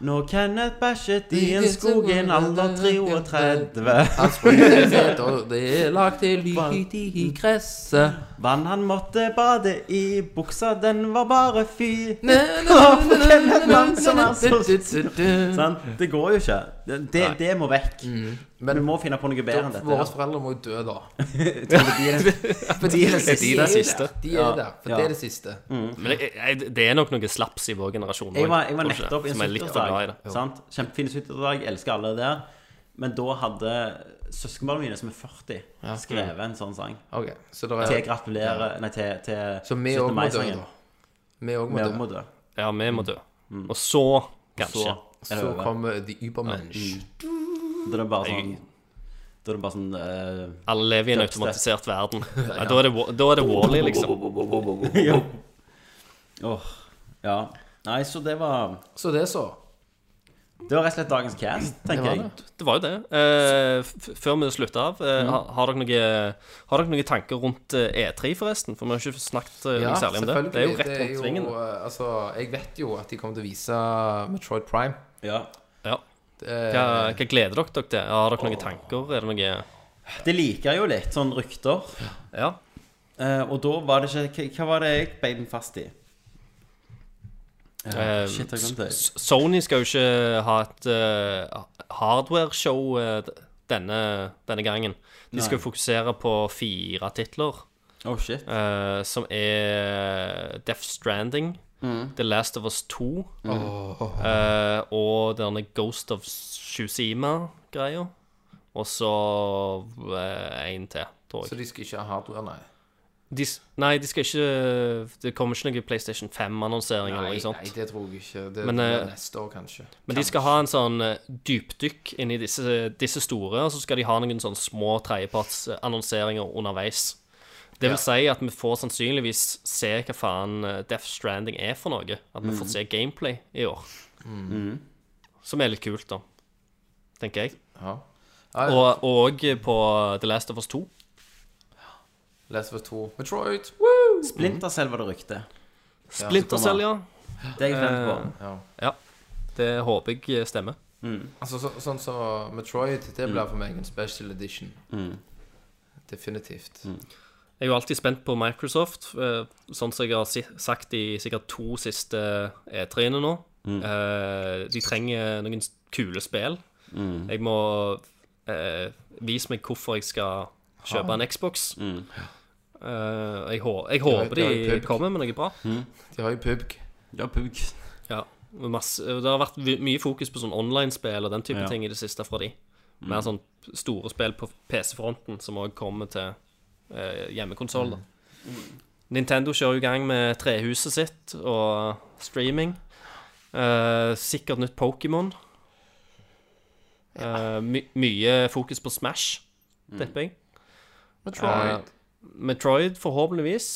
Speaker 4: Når Kenneth bæsjet i en skog i en alder 33
Speaker 5: Han springer fet, og det er lagt til lyd i gresset.
Speaker 4: Vann han måtte bade i, buksa den var bare fy.
Speaker 5: Na, na, na,
Speaker 4: for
Speaker 5: na,
Speaker 4: hvem er
Speaker 5: na,
Speaker 4: det
Speaker 5: na,
Speaker 4: man som er
Speaker 5: na,
Speaker 4: så-
Speaker 5: du, du, du, du.
Speaker 4: Sant? Det går jo ikke. Det, det, det må vekk.
Speaker 5: Mm.
Speaker 4: Men vi må finne på noe bedre enn dette.
Speaker 5: Våre foreldre må jo dø, da.
Speaker 4: For de er det
Speaker 1: de er
Speaker 4: siste.
Speaker 1: det siste.
Speaker 5: De er der, for
Speaker 4: Ja.
Speaker 5: det er det siste.
Speaker 1: Men jeg, jeg, det er nok noe slaps i vår generasjon.
Speaker 4: Jeg var,
Speaker 1: også,
Speaker 4: jeg var
Speaker 1: tror ikke
Speaker 4: nettopp i
Speaker 1: det,
Speaker 4: en
Speaker 1: som er litt for glad i det.
Speaker 4: 70-årsdag. sant? Kjempefin 70-årsdag. Elsker alle der. Men da hadde søskenbarna mine, som er 40, skrevet en sånn sang.
Speaker 5: Ok, så det
Speaker 4: Til
Speaker 5: er
Speaker 4: gratulerer Nei, til, til
Speaker 5: Så vi
Speaker 4: 17.
Speaker 5: òg må dø,
Speaker 4: mai-sangen.
Speaker 5: da. Vi òg
Speaker 4: Vi
Speaker 5: må dø.
Speaker 4: må dø.
Speaker 1: Ja, vi må dø. Og så,
Speaker 4: Mm. Så
Speaker 1: kanskje.
Speaker 4: er det
Speaker 5: Så
Speaker 4: over.
Speaker 5: kommer Mm. de Übermensch.
Speaker 4: Da er det bare sånn Da er det bare sånn eh,
Speaker 1: Alle lever i en
Speaker 4: Dubstep.
Speaker 1: automatisert verden. Nei, da er det, Wa- da er det Wall-E, liksom.
Speaker 4: Ja. Åh, ja. Nei, så det var
Speaker 5: Så det, så.
Speaker 4: Det var rett og slett dagens cast, tenker jeg.
Speaker 1: Det var jo det. Eh, f- før vi slutter av, eh,
Speaker 4: Mm.
Speaker 1: har, har, dere noe, har dere noen tanker rundt eh, E3, forresten? For vi har ikke snakket eh, noe særlig om det. Det er jo rett rundt svingen.
Speaker 5: eh, Altså, jeg vet jo at de kommer til å vise Metroid Prime.
Speaker 4: Ja.
Speaker 1: Ja.
Speaker 5: Det er,
Speaker 1: Hva, hva gleder dere dere til? Har dere noen tanker? Er det noe
Speaker 4: Det liker jeg jo litt, sånn rykter.
Speaker 1: Ja.
Speaker 4: Eh, og da var det ikke Hva hva var det jeg beit meg fast i?
Speaker 1: Eh,
Speaker 4: shit, jeg glemte det.
Speaker 1: S- Sony skal jo ikke ha et eh, hardware-show eh, d- denne, denne gangen. De skal jo fokusere på fire titler,
Speaker 4: Oh, shit.
Speaker 1: eh, som er Death Stranding, The Last of Us 2 eh, og denne Ghost of Tsushima-greia. Og så eh, en til, tror
Speaker 5: Så
Speaker 1: jeg.
Speaker 5: de skal ikke ha hardware, nei.
Speaker 1: De, s- nei, de skal ikke Det kommer ikke noen PlayStation 5-annonsering eller noe sånt.
Speaker 5: nei, det tror jeg ikke. Det
Speaker 1: Men,
Speaker 5: blir
Speaker 1: eh,
Speaker 5: neste år, kanskje.
Speaker 1: Men de skal ha en sånn eh, dypdykk inn i disse, disse store, og så skal de ha noen sånn små tredjepartsannonseringer underveis. Det vil si at vi får sannsynligvis se hva faen eh, Death Stranding er for noe. At vi får se gameplay i år.
Speaker 4: Mm.
Speaker 1: Som er litt kult, da. Tenker jeg.
Speaker 5: Ja. Ja, ja.
Speaker 1: Og òg på The Last of Us 2.
Speaker 5: Last of Us 2. Metroid! Woo!
Speaker 4: Splinter selv var det rykte.
Speaker 1: Splinter Cell, ja.
Speaker 4: Det er jeg spent på.
Speaker 5: Ja.
Speaker 1: ja. Det håper jeg stemmer.
Speaker 5: Altså, så, sånn som Metroid, det
Speaker 1: Mm.
Speaker 5: blir for meg en special edition. Definitivt.
Speaker 1: Mm. Jeg er jo alltid spent på Microsoft, eh, sånn som jeg har si sagt i sikkert to siste E3-ene nå.
Speaker 5: Mm.
Speaker 1: Eh, de trenger noen s- kule spill.
Speaker 4: Mm.
Speaker 5: Mm.
Speaker 1: Jeg må eh, vise meg hvorfor jeg skal kjøpe en Xbox.
Speaker 4: Mm.
Speaker 1: Eh, jeg, hå jeg håper
Speaker 5: det har jo
Speaker 1: de
Speaker 5: pubg.
Speaker 1: kommer med noe bra.
Speaker 5: De har jo PubG.
Speaker 1: Eh,
Speaker 4: Ja, pugg.
Speaker 1: Ja, og masse, og det har vært vi- mye fokus på sånn online-spill og den type
Speaker 4: Ja.
Speaker 1: ting i det siste fra de. Mer sånn store spill på PC-fronten som òg kommer til eh, hjemmekonsoll, da. Nintendo kjører jo i gang med trehuset sitt og streaming. Eh, sikkert nytt Pokémon. Eh, my mye fokus på Smash, tipper jeg.
Speaker 5: Metroid.
Speaker 1: Eh, Metroid, forhåpentligvis.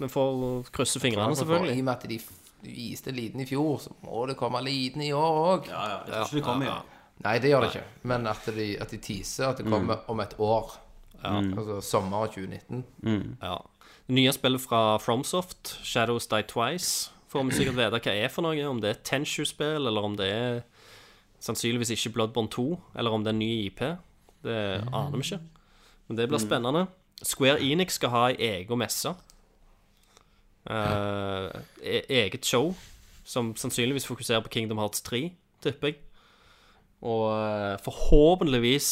Speaker 1: Vi får krysse fingrene,
Speaker 5: I
Speaker 1: selvfølgelig.
Speaker 5: og med at de f- viste liten i fjor, så må det komme liten i år òg.
Speaker 4: Ja, ja, jeg tror ikke det kommer i år.
Speaker 5: Nei, det gjør det ikke. Men at de, at de teaser at det kommer om et år. Altså sommer 2019.
Speaker 1: Ja. Det nye spillet fra Fromsoft, Shadows Die Twice, får vi sikkert vite hva er for noe. Om det er Tenshu-spill, eller om det er sannsynligvis ikke Bloodborne 2, eller om det er en ny IP. Det aner vi ikke. Men det blir spennende. Square Enix skal ha ei egen messe. Eh, e eget show, som sannsynligvis fokuserer på Kingdom Hearts 3, tipper jeg. Og eh, forhåpentligvis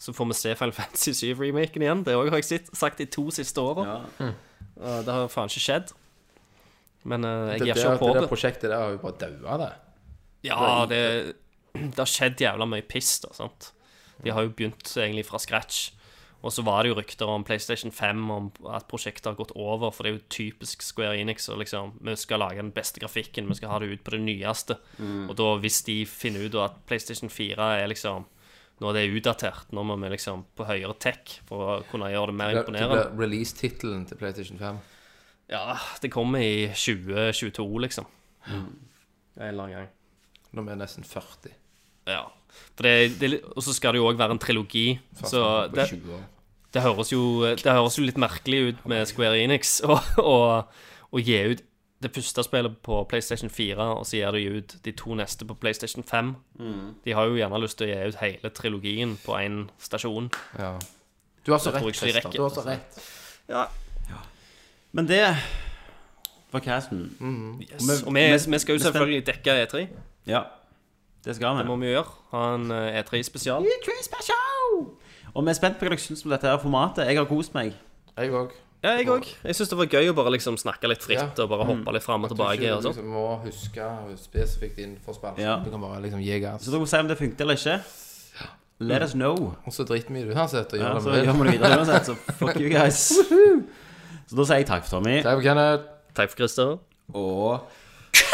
Speaker 1: så får vi se Final Fantasy 7-remaken igjen. Det òg har jeg sett, sagt de to siste åra.
Speaker 4: Ja.
Speaker 1: Og Eh, Det har jo faen ikke skjedd. Men eh,
Speaker 5: Det,
Speaker 1: jeg gir
Speaker 5: der-
Speaker 1: ikke opp
Speaker 5: det der
Speaker 1: håpet.
Speaker 5: prosjektet der har jo bare daua, det.
Speaker 1: Ja, det, det har skjedd jævla mye piss, da, sant. De har jo begynt egentlig fra scratch. Og så var det jo rykter om PlayStation 5, om at prosjektet har gått over, for det er jo typisk Square Enix. Og liksom, vi skal lage den beste grafikken, vi skal ha det ut på det nyeste.
Speaker 5: Mm.
Speaker 1: Og da, hvis de finner ut da at PlayStation 4 er liksom Nå er det utdatert, nå må vi liksom på høyere tech for å kunne gjøre det mer
Speaker 5: Det
Speaker 1: imponerende.
Speaker 5: ble release-tittelen til PlayStation 5.
Speaker 1: Ja, det kommer i 2022, liksom. En eller annen gang.
Speaker 5: Når vi er nesten 40.
Speaker 1: Ja. For det, det, er litt- og så skal det jo òg være en trilogi. Så
Speaker 5: Altså, på
Speaker 1: det,
Speaker 5: 20 år.
Speaker 1: det, høres jo, det høres jo litt merkelig ut med Square Enix å å- å gi ut det første spillet på PlayStation 4, og så gir de ut de to neste på PlayStation 5. De har jo gjerne lyst til å gi ut hele trilogien på én stasjon.
Speaker 5: Ja. Du har så
Speaker 1: tror
Speaker 5: rett,
Speaker 1: jeg
Speaker 5: Christer.
Speaker 1: ikke de rekker.
Speaker 5: Du har så rett.
Speaker 4: Men det var casten.
Speaker 1: Yes. Og vi, vi skal jo selvfølgelig dekke E3.
Speaker 4: Ja, det skal vi.
Speaker 1: Det må vi jo gjøre. Ha en eh, E3-spesial.
Speaker 4: Og vi er spent på hva dere syns om dette her formatet. Jeg har kost meg.
Speaker 5: Jeg òg.
Speaker 1: Ja, jeg òg. Jeg syns det var gøy å bare liksom snakke litt fritt
Speaker 5: Ja.
Speaker 1: og bare altså. hoppe litt fram og tilbake. og sånn. sånt.
Speaker 5: liksom må huske spesifikt innenfor spalten.
Speaker 4: Ja.
Speaker 5: Du kan bare liksom gi gass.
Speaker 4: Så dere må si om det funket eller ikke. Let us know.
Speaker 5: Og så driter vi i det uansett. Og
Speaker 4: Ja,
Speaker 5: gjør
Speaker 4: så
Speaker 5: det
Speaker 4: gjør vi
Speaker 5: med
Speaker 4: det videre uansett, så fuck you guys. Så da sier jeg takk for Tommy.
Speaker 5: Takk for Kenneth.
Speaker 1: Takk for Christer.
Speaker 4: Og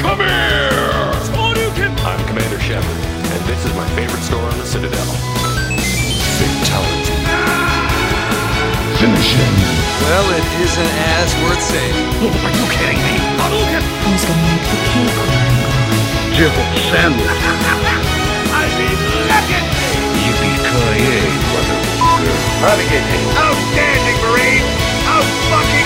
Speaker 6: Come here! I'm Commander Shepard, and this is my favorite store on the Citadel. Fatality.
Speaker 3: Finish him.
Speaker 7: Well, it isn't as worth saying.
Speaker 3: Who's gonna make the cake rain?
Speaker 6: Yippee-ki-yay, mother. Outstanding, Marine! Out-fucking